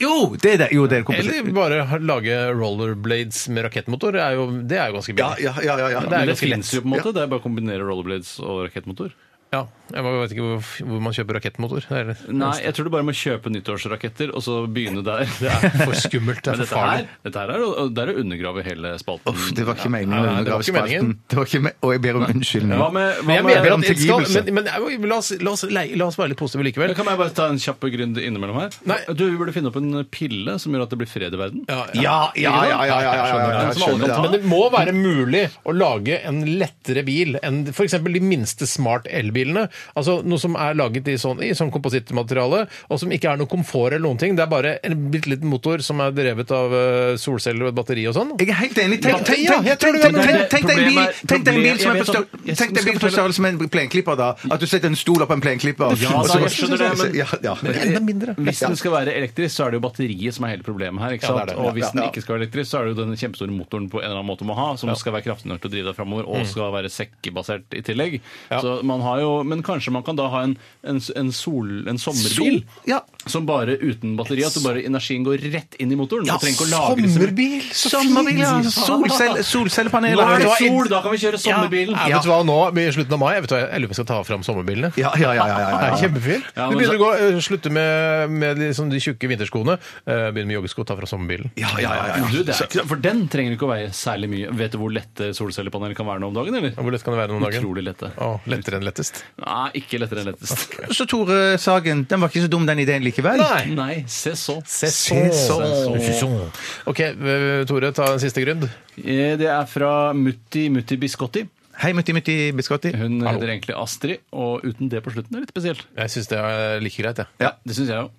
C: Jo, det er det. Jo, det er kompetent.
B: Eller bare ha- lage rollerblades med rakettmotor. Det er jo, det er jo ganske
C: Ja,
B: billig.
C: ja, ja. ja, ja.
B: Det er
D: Men det
B: ganske
D: finnes
B: lett.
D: jo på en måte. Det er bare å kombinere rollerblades og rakettmotor.
B: Ja. Jeg bare vet ikke hvor, hvor man kjøper rakettmotor. Det er
D: Nei, jeg tror du bare må kjøpe nyttårsraketter og så begynne der. <laughs> Det er
B: for skummelt. Det
D: Men
B: er for
D: dette her,
B: farlig.
D: dette her er, å- det er å undergrave hele spalten.
C: Uff, det var ikke meningen
B: nei,
C: å
B: det var
C: undergrave
B: ikke meningen.
C: spalten. Det var ikke me og jeg ber om unnskyldning.
D: Hva med,
B: Men
D: hva
B: jeg
D: med
B: mener
C: om
B: at det skal,
C: tilgivelse?
B: men, men nei, la, oss, la, oss, lei- la oss være litt positive likevel.
D: Kan jeg bare ta en kjapp grunn innimellom her?
B: Nei.
D: Du, Vi burde finne opp en pille som gjør at det blir fred i verden.
B: Ja,
C: Ja, ja, ja, ja, ja, ja, ja, ja, ja,
D: Den som alle
C: skjønner
D: kan ta.
B: Men
C: det.
B: det må være mulig å lage en lettere bil enn f.eks. de minste smart elbilene. Altså Noe som er laget i sånn, i sånn komposittmateriale, og som ikke er noe komfort eller noen ting. Det er bare en bitte liten motor som er drevet av eh, solceller og et batteri og sånn.
C: Jeg er helt enig. Tenk, tenk,
B: Ja, jeg tror
C: tenk,
B: du
C: tenk, tenk,
B: er-
C: tenk, tenk deg en bil,
D: Problemet er-
C: tenk deg en bil som er på
D: jeg vet
C: størrelse
D: om- jeg
C: Tenk deg en bil
D: skal
C: som er på
D: fortelle-
C: størrelse med en plenklipper, da. At du setter en stol opp en plenklipper. og
D: Ja,
C: så
D: da,
C: bare-
D: jeg skjønner det, men-
C: Ja, ja.
B: Enda mindre.
D: Hvis den skal være elektrisk, så er det jo batteriet som er hele problemet her. ikke
B: Ja, det
D: sant?
B: er det.
D: Og hvis
C: Ja,
D: den
C: ja.
D: ikke skal være elektrisk, så er det jo den kjempestore motoren på en eller annen måte må ha, som skal være kraftig nok til å drive deg framover, og skal være sekkbasert i
B: Mm.
D: tillegg.
B: Ja.
D: Så man har jo, Men kanskje man kan da ha en, en, en, sol, en sommerbil
C: Ja.
D: som bare uten batteri, at du bare energien går rett inn i motoren.
C: Ja,
D: du trenger ikke å lagre det som-
C: sommerbil, så Sommerbil, ja.
D: fint.
C: Solcelle-
D: Nå
C: Solcellepaneler.
D: er det sol, da kan vi kjøre sommerbilen!
B: Ja, vet du hva, nå i slutten av mai jeg vet hva, jeg lurer på om jeg skal ta fram sommerbilene.
C: Ja, ja, ja. ja, ja,
B: Det
C: ja.
B: er kjempefint.
D: Ja,
B: du
D: men
B: begynner
D: så-
B: å gå, eh, slutte med, med de, sånn, de tjukke vinterskoene. eh, Begynner med joggesko, ta fra sommerbilen.
C: Ja, ja, ja, ja.
D: Du, det er ikke, for den trenger ikke å veie særlig mye. Vet du hvor lette solcellepaneler kan være nå om dagen, eller?
B: Hvor lett kan det være noen dager?
D: Utrolig lette.
B: Å, lettere enn lettest.
D: Nei, ikke lettere enn lettest.
C: Så Tore Sagen, den var ikke så dum, den ideen likevel.
D: Nei, se så.
B: Sesong.
C: Sesong.
B: Sesong. OK, eh, Tore, ta en siste grunn.
D: Eh, Det er fra Mutti Mutti Biscotti.
C: Hei, Mutti Mutti Biscotti.
D: Hun
B: Hallo.
D: heter egentlig Astrid, og uten det på slutten er litt spesielt.
B: Jeg syns det er like greit, jeg.
D: Ja, det syns jeg jo.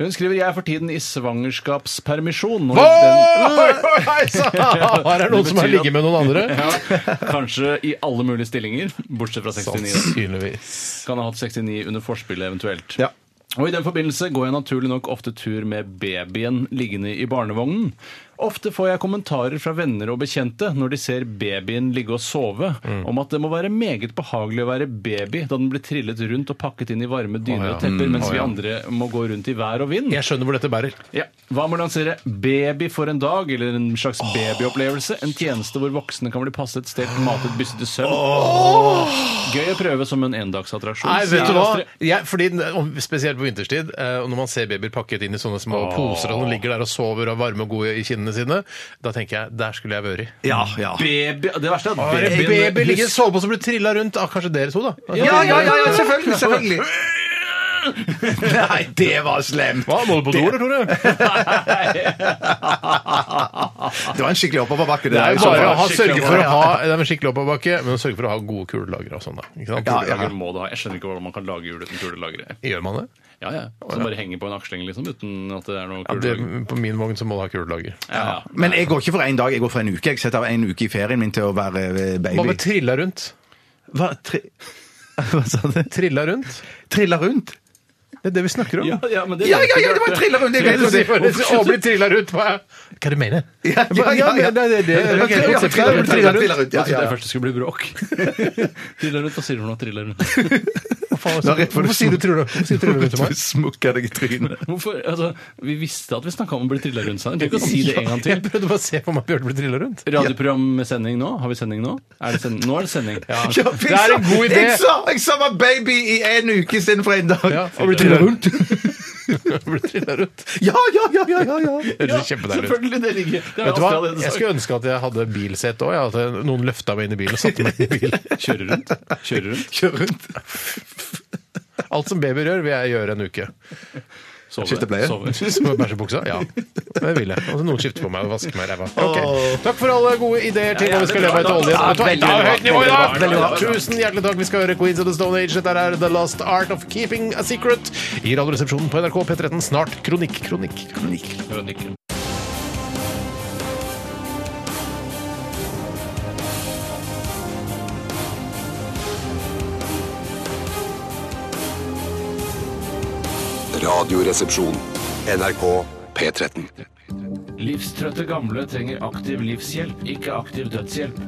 D: Hun skriver 'Jeg er for tiden i svangerskapspermisjon'. Når
B: Oi, oi,
D: den-
B: oi, <laughs> sa- Her er noen som har
D: betyr at-
B: ligget med noen andre.
D: Ja, kanskje i alle mulige stillinger, bortsett fra 69.
B: Sannsynligvis.
D: Kan ha hatt 69 under forspillet eventuelt.
C: Ja.
D: Og I den forbindelse går jeg naturlig nok ofte tur med babyen liggende i barnevognen. Ofte får jeg kommentarer fra venner og bekjente når de ser babyen ligge og sove, om at det må være meget behagelig å være baby da den blir trillet rundt og pakket inn i varme dyner og tepper, mens vi andre må gå rundt i vær og vind.
B: Jeg skjønner hvor dette bærer.
D: Ja. Hva med å lansere Baby for en dag, eller en slags babyopplevelse? En tjeneste hvor voksne kan bli passet, stelt, matet, bysset til søvn. Gøy å prøve som en endagsattraksjon.
B: Nei, vet
D: sier
B: du hva?
D: Astrid.
B: Jeg, fordi, om- spesielt på vinterstid, eh, og når man ser babyer pakket inn i sånne små poser, og de ligger der og sover og er varme og gode i kinnene sine, da tenker jeg der skulle jeg vært.
C: Ja, ja.
D: Baby, det verste er at <laughs>
B: Bare
D: babyen
B: baby ligger i en sovepose og blir trilla rundt. Ah, kanskje dere to, da.
C: Ja, ja, ja, ja selvfølgelig, selvfølgelig. Nei, det var slemt.
B: Hva, må du på do, eller, Tore?
C: Det var en skikkelig oppoverbakke.
B: Det er
C: der, i
B: jo
C: så
B: bare å
C: fall.
B: ha, sørge for å
C: Ja,
B: ha det er en skikkelig oppoverbakke, men å sørge for å ha gode kulelagre og sånn, da. Ikke sant?
C: Ja, ja.
D: Kulelager må det ha. Jeg skjønner ikke hvordan man kan lage jul uten kulelagre.
B: Gjør man det?
D: Ja, ja. Som bare henger på en aksling liksom, uten at det er noe
B: Ja, det?
D: kulelager.
B: På min vogn så må du ha kulelager.
D: Ja, ja.
C: Men jeg går ikke for en dag, jeg går for en uke. Jeg setter av en uke i ferien min til å være eh,
B: Hva med
C: baby.
B: trilla rundt?
C: Hva, tri... Hva sa du?
B: Trilla rundt?
C: Trilla rundt?
B: Det er det vi snakker om.
D: Ja, ja, men det
C: Ja, ja, ja, det var en trilla rundt! Jeg vet
B: Du sier
C: ikke.
B: bare, Å, bli trilla rundt, hva er Hva er det du mener?
C: Ja, ja, ja, ja.
B: Det er det- det er
C: Ja, ja,
B: konseptet.
C: trilla rundt, trilla rundt, trilla rundt. Ja, ja,
D: Jeg trodde jeg
C: ja.
D: først det skulle bli bråk. <laughs> triller rundt, hva sier du for noe? Triller rundt.
C: Nå rett for
B: Hvorfor sier du trilla hvorfor sier du trilla rundt til meg?
C: Du smukker deg i trynet.
D: Hvorfor? Altså, vi visste at vi snakka om å bli trilla rundt seg. Du <laughs> kan si det en gang
B: Jeg
D: til.
B: prøvde bare å se på meg Bjørte bli trilla rundt.
D: Radioprogram med sending nå? Har vi sending nå? Er det send nå er det sending.
C: <laughs> Ja,
D: <laughs>
B: Det er en god idé.
C: Jeg sa jeg sa var baby i en uke istedenfor en dag.
B: Ja,
C: og bli trilla rundt.
B: Bli trilla rundt.
C: Ja, ja, ja, ja, ja, ja.
B: Det høres kjempedeilig ut.
D: Selvfølgelig, det ligger det
B: Vet
D: er
B: du
D: Astrid
B: hva?
D: allerede
B: Jeg
D: sagt.
B: skulle ønske at jeg hadde bilsete òg. At jeg- noen løfta meg inn i bilen og satte meg inn i bilen.
D: Kjøre rundt. Kjøre <laughs> rundt.
C: <laughs> Kjør rundt.
B: Alt som babyer gjør, vil jeg gjøre en uke.
D: Sove.
C: Skifte bleie.
D: Sove.
B: Som å bæsje i buksa? Ja, det vil jeg. Og så noen skifter på meg og vasker meg i ræva. Ok. Takk for alle gode ideer til
D: Ja,
B: hva vi skal
D: jævlig
B: leve av
D: bra.
B: etter oljen.
D: Ja,
B: Vet du hva?
D: veldig
B: Det er
D: bra.
B: høyt nivå i dag!
D: Veldig bra.
B: Tusen hjertelig takk. Vi skal høre Queens of the Stone Age. Dette er The Lost Art of Keeping a Secret i Radioresepsjonen på NRK P13. Snart kronikk, kronikk.
C: Kronikk.
D: Kronikken.
A: Radioresepsjon. NRK P13.
D: Livstrøtte gamle trenger aktiv livshjelp, ikke aktiv dødshjelp.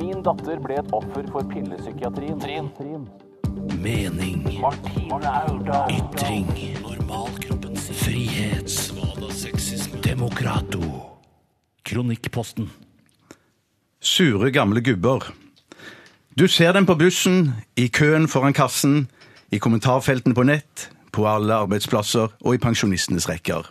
F: Min datter ble et offer for pillepsykiatrien.
E: Mening. Ytring. Normalkroppen sin. Frihet. Demokrato. Kronikkposten.
C: Sure gamle gubber. Du ser dem på bussen, i køen foran kassen, i kommentarfeltene på nett, på alle arbeidsplasser og i pensjonistenes rekker.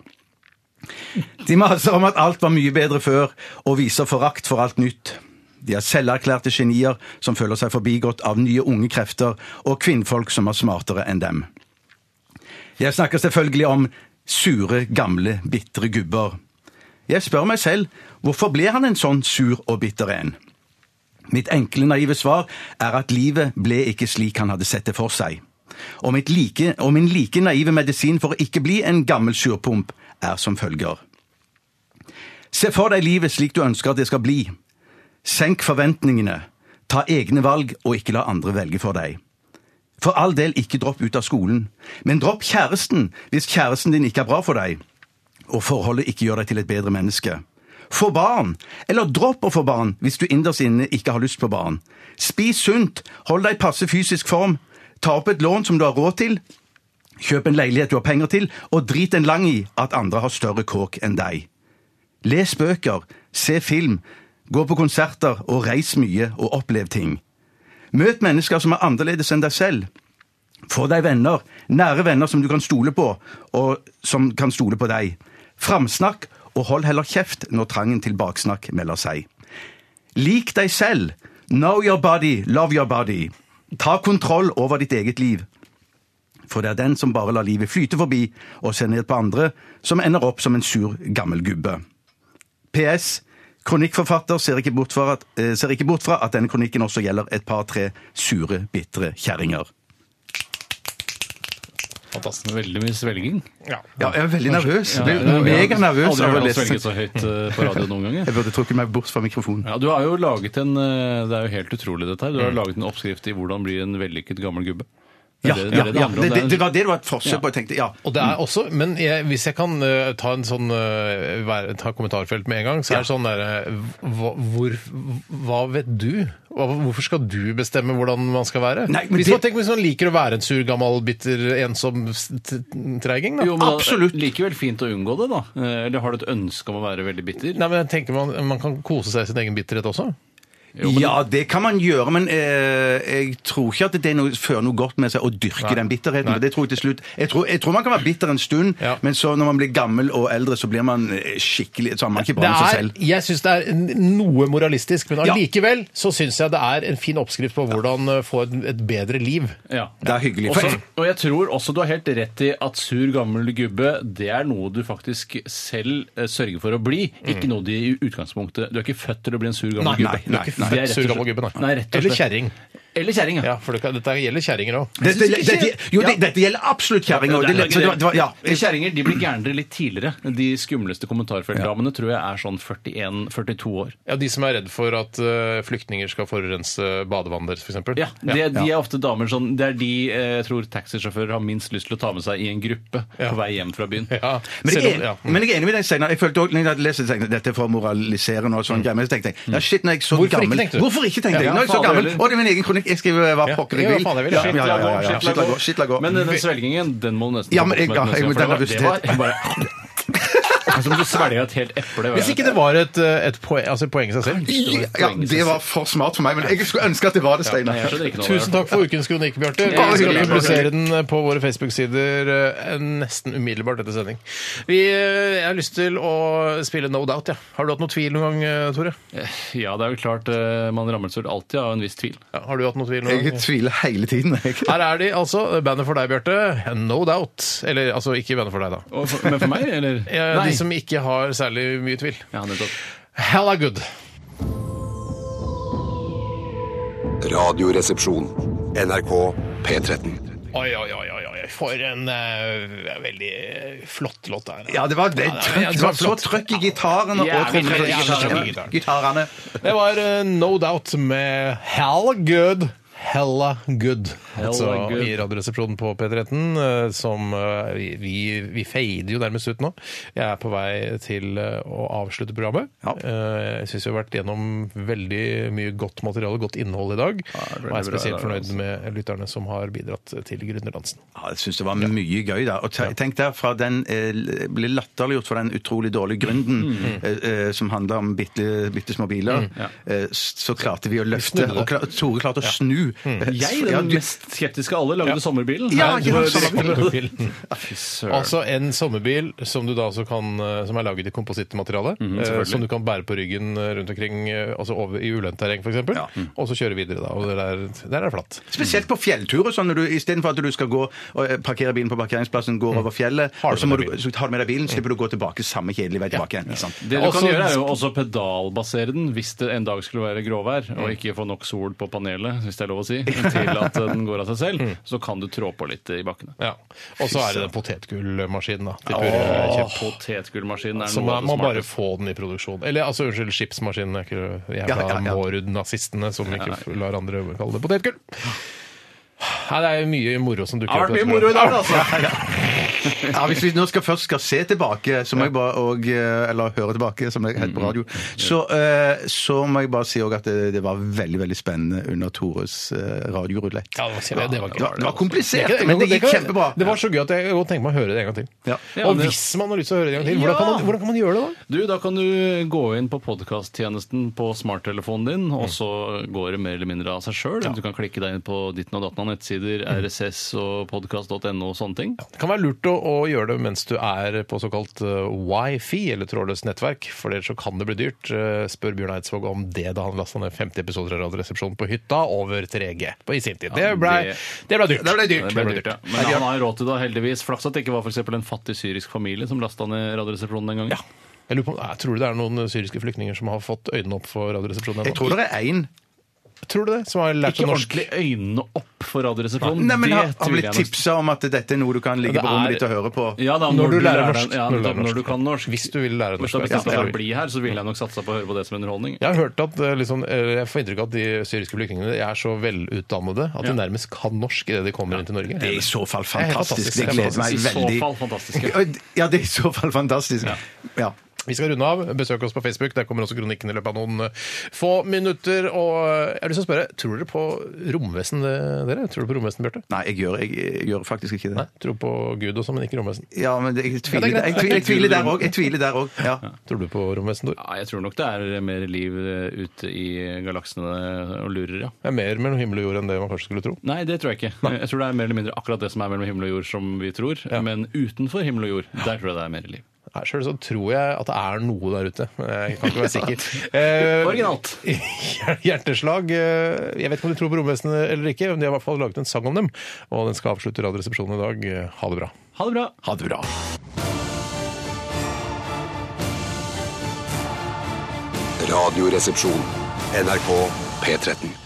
C: De maser om at alt var mye bedre før, og viser forakt for alt nytt. De er selverklærte genier som føler seg forbigått av nye unge krefter og kvinnfolk som er smartere enn dem. Jeg snakker selvfølgelig om sure, gamle, bitre gubber. Jeg spør meg selv, hvorfor ble han en sånn sur og bitter en? Mitt enkle, naive svar er at livet ble ikke slik han hadde sett det for seg. Og, mitt like, og min like naive medisin for å ikke bli en gammel surpomp er som følger. Se for deg livet slik du ønsker at det skal bli. Senk forventningene. Ta egne valg, og ikke la andre velge for deg. For all del, ikke dropp ut av skolen, men dropp kjæresten hvis kjæresten din ikke er bra for deg, og forholdet ikke gjør deg til et bedre menneske. Få barn, eller dropp å få barn hvis du innerst inne ikke har lyst på barn. Spis sunt, hold deg i passe fysisk form, ta opp et lån som du har råd til, kjøp en leilighet du har penger til, og drit en lang i at andre har større kåk enn deg. Les bøker, se film, gå på konserter og reis mye og opplev ting. Møt mennesker som er annerledes enn deg selv. Få deg venner, nære venner som du kan stole på, og som kan stole på deg. Framsnakk, og hold heller kjeft når trangen til baksnakk melder seg. Lik deg selv. Know your body, love your body. Ta kontroll over ditt eget liv. For det er den som bare lar livet flyte forbi og ser ned på andre, som ender opp som en sur gammel gubbe. PS. Kronikkforfatter ser ikke bort fra at, eh, ser ikke bort fra at denne kronikken også gjelder et par-tre sure, bitre kjerringer.
D: Fantastisk. Veldig mye svelging.
G: Ja, jeg er veldig nervøs. Jeg
D: Ja,
G: blir
D: jeg
G: mega
D: har
G: nervøs
D: Aldri
G: av å
D: hørt han
G: lese.
D: svelge så høyt eh, på radio noen ganger. <laughs>
C: Jeg burde trukket meg bort fra mikrofonen.
D: Ja, du har jo laget en eh, Det er jo helt utrolig dette her. Du har laget en oppskrift i hvordan bli en vellykket gammel gubbe. Det
C: Ja,
D: er det- det
C: ja,
D: er det det
C: ja.
D: handler om.
C: Det, det,
D: Det
C: det
D: er en-
C: var det det var et forsøk på. Jeg tenkte, ja.
B: Og det er også, men jeg, hvis jeg kan eh, ta en sånn eh, være- ta kommentarfelt med en gang, så er det sånn derre hva, hvor, hva vet du? Hva, hvorfor skal du bestemme hvordan man skal være?
C: Nei, men
B: hvis,
C: det-
B: man, tenk, hvis man liker å være en sur, gammel, bitter, ensom s- t- treiging, da.
D: Jo, men da-
C: Absolutt.
D: Likevel fint å unngå det, da. Eh, Eller har du et ønske om å være veldig bitter?
B: Nei, men jeg tenker man, man kan kose seg i sin egen bitterhet også.
C: Ja, det kan man gjøre, men eh, jeg tror ikke at det er noe, fører noe godt med seg å dyrke den bitterheten. for Det tror Jeg til slutt. Jeg tror, jeg tror man kan være bitter en stund,
B: Ja.
C: men så når man blir gammel og eldre, så blir man eh, skikkelig Så har man
B: Det
C: ikke bra med seg
B: er,
C: selv.
B: jeg syns det er n- noe moralistisk, men
C: Ja.
B: allikevel så syns jeg det er en fin oppskrift på hvordan eh, få et, et bedre liv.
D: Ja.
C: Det er hyggelig.
D: Også, og jeg tror også du har helt rett i at sur, gammel gubbe, det er noe du faktisk selv eh, sørger for å bli. Ikke noe de i utgangspunktet Du er ikke født til å bli en sur, gammel
C: Nei,
D: gubbe.
C: nei, nei, nei.
D: Du er ikke født til å bli
B: Sur, gammel gubbe, nei.
D: nei rett og
B: Eller
D: slett.
B: kjerring.
D: Eller kjerring, ja.
B: Ja, for det, kan- dette gjelder kjerringer òg.
C: Dette,
D: Jeg synes ikke-
C: dette, jo, det,
D: Ja.
C: dette gjelder absolutt kjerringer. Det, er lett- så det, var- det, var- ja.
D: Men Kjerringer de blir gærnere litt tidligere. De skumleste kommentarfeltdamene tror jeg er sånn 41-42 år.
B: Ja, De som er redd for at eh, flyktninger skal forurense badevannet deres, f.eks.
D: Ja, det, De er ofte damer sånn Det er de eh, jeg tror taxisjåfører har minst lyst til å ta med seg i en gruppe på vei hjem fra byen.
B: Ja.
C: Men,
B: Selv om,
C: jeg, er-
B: ja.
C: men jeg er enig med deg, Steinar. Jeg følte også, når jeg hadde lest det, tenkte jeg, dette er for moraliserende og sånn greier. Men så tenkte jeg, ja shit, når jeg er så
B: Hvorfor ikke,
C: gammel
B: tenkte du?
C: Hvorfor ikke, tenkte jeg?
B: Ja,
C: Når jeg er så
D: faen,
C: gammel,
D: eller-
C: og det er min egen kronikk, jeg skriver hva
B: Ja,
C: pokker jeg
B: ja,
C: vil.
B: faen, jeg vil.
C: Ja,
B: Shit,
C: ja, ja, ja, ja.
D: Shit, la gå,
C: Shit, la gå.
D: Men den svelgingen, den må du nesten
C: Ja, men jeg-
D: ta bort
C: ja,
D: med en
C: jeg-
D: gang,
C: den
D: for det var- det var- bare- Som du svelger et helt eple. var
B: Hvis
D: jeg-
B: ikke det var et, eh, et poeng, altså et poeng i seg selv.
C: Ja, det var for smart for meg, men jeg skulle ønske at det var det,
D: Nei, jeg
C: Steinar.
D: skjønner ikke noe.
B: Tusen takk for ukens kronikk, Bjarte. Vi
D: Ja,
B: skal
D: hyggelig.
B: publisere den eh, på våre Facebook-sider eh, nesten umiddelbart etter sending. Vi, eh, jeg har lyst til å spille No Doubt, ja. Har du hatt noe tvil noen gang, eh, Tore?
D: Ja, det er jo klart eh, man rammes vel alltid av en viss tvil.
B: Ja, har du hatt noe tvil noen
C: Jeg
B: gang?
C: tviler hele tiden. jeg.
B: Her er de, altså. Bandet for deg, Bjarte. No Doubt. Eller altså, ikke bandet for deg, da.
D: Og for- Men for meg, eller?
B: Eh, De som ikke har særlig mye tvil.
D: Ja, nettopp.
B: Hella good.
A: Radioresepsjon. NRK P13.
B: Oi, oi, oi, oi, oi. for en eh, veldig flott låt der.
C: Ja, det var, det,
B: det-
C: trøkk,
B: det
C: det
B: var
C: var så
B: flott.
C: trøkk i gitarene og
D: Ja,
C: trommene.
D: veldig,
C: Ja,
D: veldig,
B: veldig.
C: Gitarene.
B: Det var eh, No Doubt med Hella Good. Hella Good. altså
D: good.
B: i Radioresepsjonen på P13, eh, som eh, vi- vi, vi fader jo nærmest ut nå. Jeg er på vei til eh, å avslutte programmet. Eh, Jeg syns vi har vært gjennom veldig mye godt materiale, godt innhold i dag.
D: det er veldig
B: og jeg er
D: bra
B: spesielt
D: i dag, altså.
B: fornøyd med lytterne som har bidratt til Gründerdansen.
C: Ja, jeg syns det var mye gøy, da. Og te- tenk der, fra den eh, ble latterliggjort for den utrolig dårlige gründen eh, eh, som handla om bitte, bitte små biler, eh, s- så klarte vi å løfte.
B: snudde det.
C: Og kla- Tore klarte å snu. Eh,
D: Jeg,
C: så- ja,
D: den
C: du-
D: mest skeptiske av alle, lagde sommerbilen.
C: Ja,
D: Nei,
C: ikke
D: det var-
C: sant,
D: Fy søren.
B: Altså en sommerbil som, du da også kan, eh, som er laget i komposittmateriale.
D: Mhm,
B: eh, som du kan bære på ryggen eh, rundt omkring, eh, altså over, i ulendt terreng f.eks. eksempel
D: Mhm.
B: Og så kjøre videre, da. Og det der, der er det flatt.
C: Spesielt på fjelltur og sånn, når du istedenfor at du skal gå og eh, parkere bilen på parkeringsplassen, går over fjellet,
B: Har du
C: og så,
B: med
C: må
B: deg
C: du, så tar du med deg bilen, slipper du å gå tilbake samme kjedelige vei tilbake igjen. ikke sant?
D: Det du
B: Også-
D: kan gjøre, er jo også pedalbasere den hvis det en dag skulle være gråvær,
B: Mm.
D: og ikke få nok sol på panelet, hvis det er lov å si, til at den går av seg
B: Mm.
D: selv. Så kan du trå på litt i bakkene.
B: Ja. Og så er det den potetgullmaskinen, da. Til Purre
D: Åh,
B: Kjepp.
D: Potetgullmaskinen er
B: Så
D: noe
B: man
D: av
B: må
D: det
B: bare
D: smarte.
B: få den i produksjon. Eller altså, unnskyld, skipsmaskinen. er ikke det jævla
C: Ja, ja, ja.
B: Mårud-nazistene som ikke lar andre kalle det potetgull. Nei, det er mye moro som dukker
D: Det har
B: opp. i
D: vært
B: dette
D: mye moro i
B: programmet.
D: dag, altså!
C: <laughs> Ja, Hvis vi nå skal først skal se tilbake, så må jeg bare og, eh, eller høre tilbake, som det heter
B: Mm,
C: på radio, så, eh, så må jeg bare si også at det, det var veldig veldig spennende under Tores eh, radiorulett.
B: Ja, det var kjempe- det var gøy.
C: det var, det var komplisert,
B: Det kan-
C: men det
B: kan-
C: gikk kjempebra.
B: Det var så gøy at jeg godt tenker meg å høre det en gang til.
C: Ja.
D: Ja,
B: og
D: men-
B: hvis man har lyst til å høre det en gang til, hvordan kan man, hvordan kan man gjøre det da?
D: Du, da kan du gå inn på podkasttjenesten på smarttelefonen din,
B: Mm.
D: og så går det mer eller mindre av seg sjøl. Du kan klikke deg inn på ditten og datten av nettsider,
B: Mm.
D: RSS og podkast.no og sånne ting.
B: Det kan være lurt å, å gjøre det mens du er på såkalt eh, wifi, eller trådløst nettverk, for ellers så kan det bli dyrt. Eh, spør Bjørn Eidsvåg om det da han lasta ned 50 episoder av Radioresepsjonen på hytta over 3G på, i sin tid. Det ble,
D: det-
B: det ble dyrt.
C: Det ble dyrt.
D: Det ble dyrt, ja. Men han har råd til det, heldigvis. Flaks at det ikke var for eksempel en fattig syrisk familie som lasta ned Radioresepsjonen den gangen.
B: Jeg lurer på, nei, tror du det er noen syriske flyktninger som har fått øynene opp for Radioresepsjonen?
C: Jeg tror det er én.
B: Tror du det? Som har lært
D: Ikke
B: seg norsk?
D: ordentlig øynene opp for Radioresepsjonen.
C: Nei, men
D: det
C: har, har
D: tror jeg
C: blitt
D: nesten.
C: tipsa om at dette er noe du kan ligge
B: Det
C: på rommet
B: er-
C: ditt og høre på.
D: Ja, da,
B: Når du lærer
D: deg-
B: norsk.
D: Ja,
B: Når du
D: nettopp,
B: lærer
D: når du
B: norsk.
D: kan norsk.
B: Hvis du vil lære norsk,
D: Hvis jeg
B: ja,
D: skal
B: ja.
D: bli her, så ville jeg nok satsa på å høre på det som underholdning.
B: Jeg har hørt at eh, liksom, eh, jeg får inntrykk av at de syriske flyktningene er så velutdannede at de
D: Ja.
B: nærmest kan norsk idet de kommer inn til Norge.
C: Det er i så fall
B: er helt
C: fantastisk.
B: fantastisk.
C: Det gleder
B: Nei,
C: meg
D: I så
C: veldig.
D: fall fantastisk. ja.
C: Ja, det er i så fall fantastisk. Ja.
B: Vi skal runde av. Besøk oss på Facebook. Der kommer også kronikken i løpet av noen eh, få minutter. Og eh, jeg har lyst til å spørre, tror dere på romvesen, eh, dere? Tror dere på romvesen, Bjarte?
C: Nei, jeg gjør, jeg, jeg gjør faktisk ikke det.
B: Nei, tror på Gud og sånn, men ikke romvesen.
C: Ja, men det, jeg, tviler,
B: Ja, det er greit.
C: jeg, tviler, jeg tviler der òg. Jeg tviler der òg. Ja.
B: Tror du på romvesen, Tor?
D: Ja, jeg tror nok det er mer liv eh, ute i galaksene og lurer, ja.
B: Det er mer mellom himmel og jord enn det man kanskje skulle tro.
D: Nei, det tror jeg ikke. Jeg tror det er mer eller mindre akkurat det som er mellom himmel og jord, som vi tror. Men utenfor himmel og jord, der tror jeg det er mer liv.
B: Nei, Selv så tror jeg at det er noe der ute. men Jeg kan ikke være sikker. Eh,
D: Originalt.
B: <laughs> Hjerteslag. eh, Jeg vet ikke om de tror på romvesenet eller ikke, men de har i hvert fall laget en sang om dem. Og den skal avslutte Radioresepsjonen i dag. Ha det bra.
D: Ha det bra.
B: Ha det bra.
A: Radioresepsjon. NRK P13.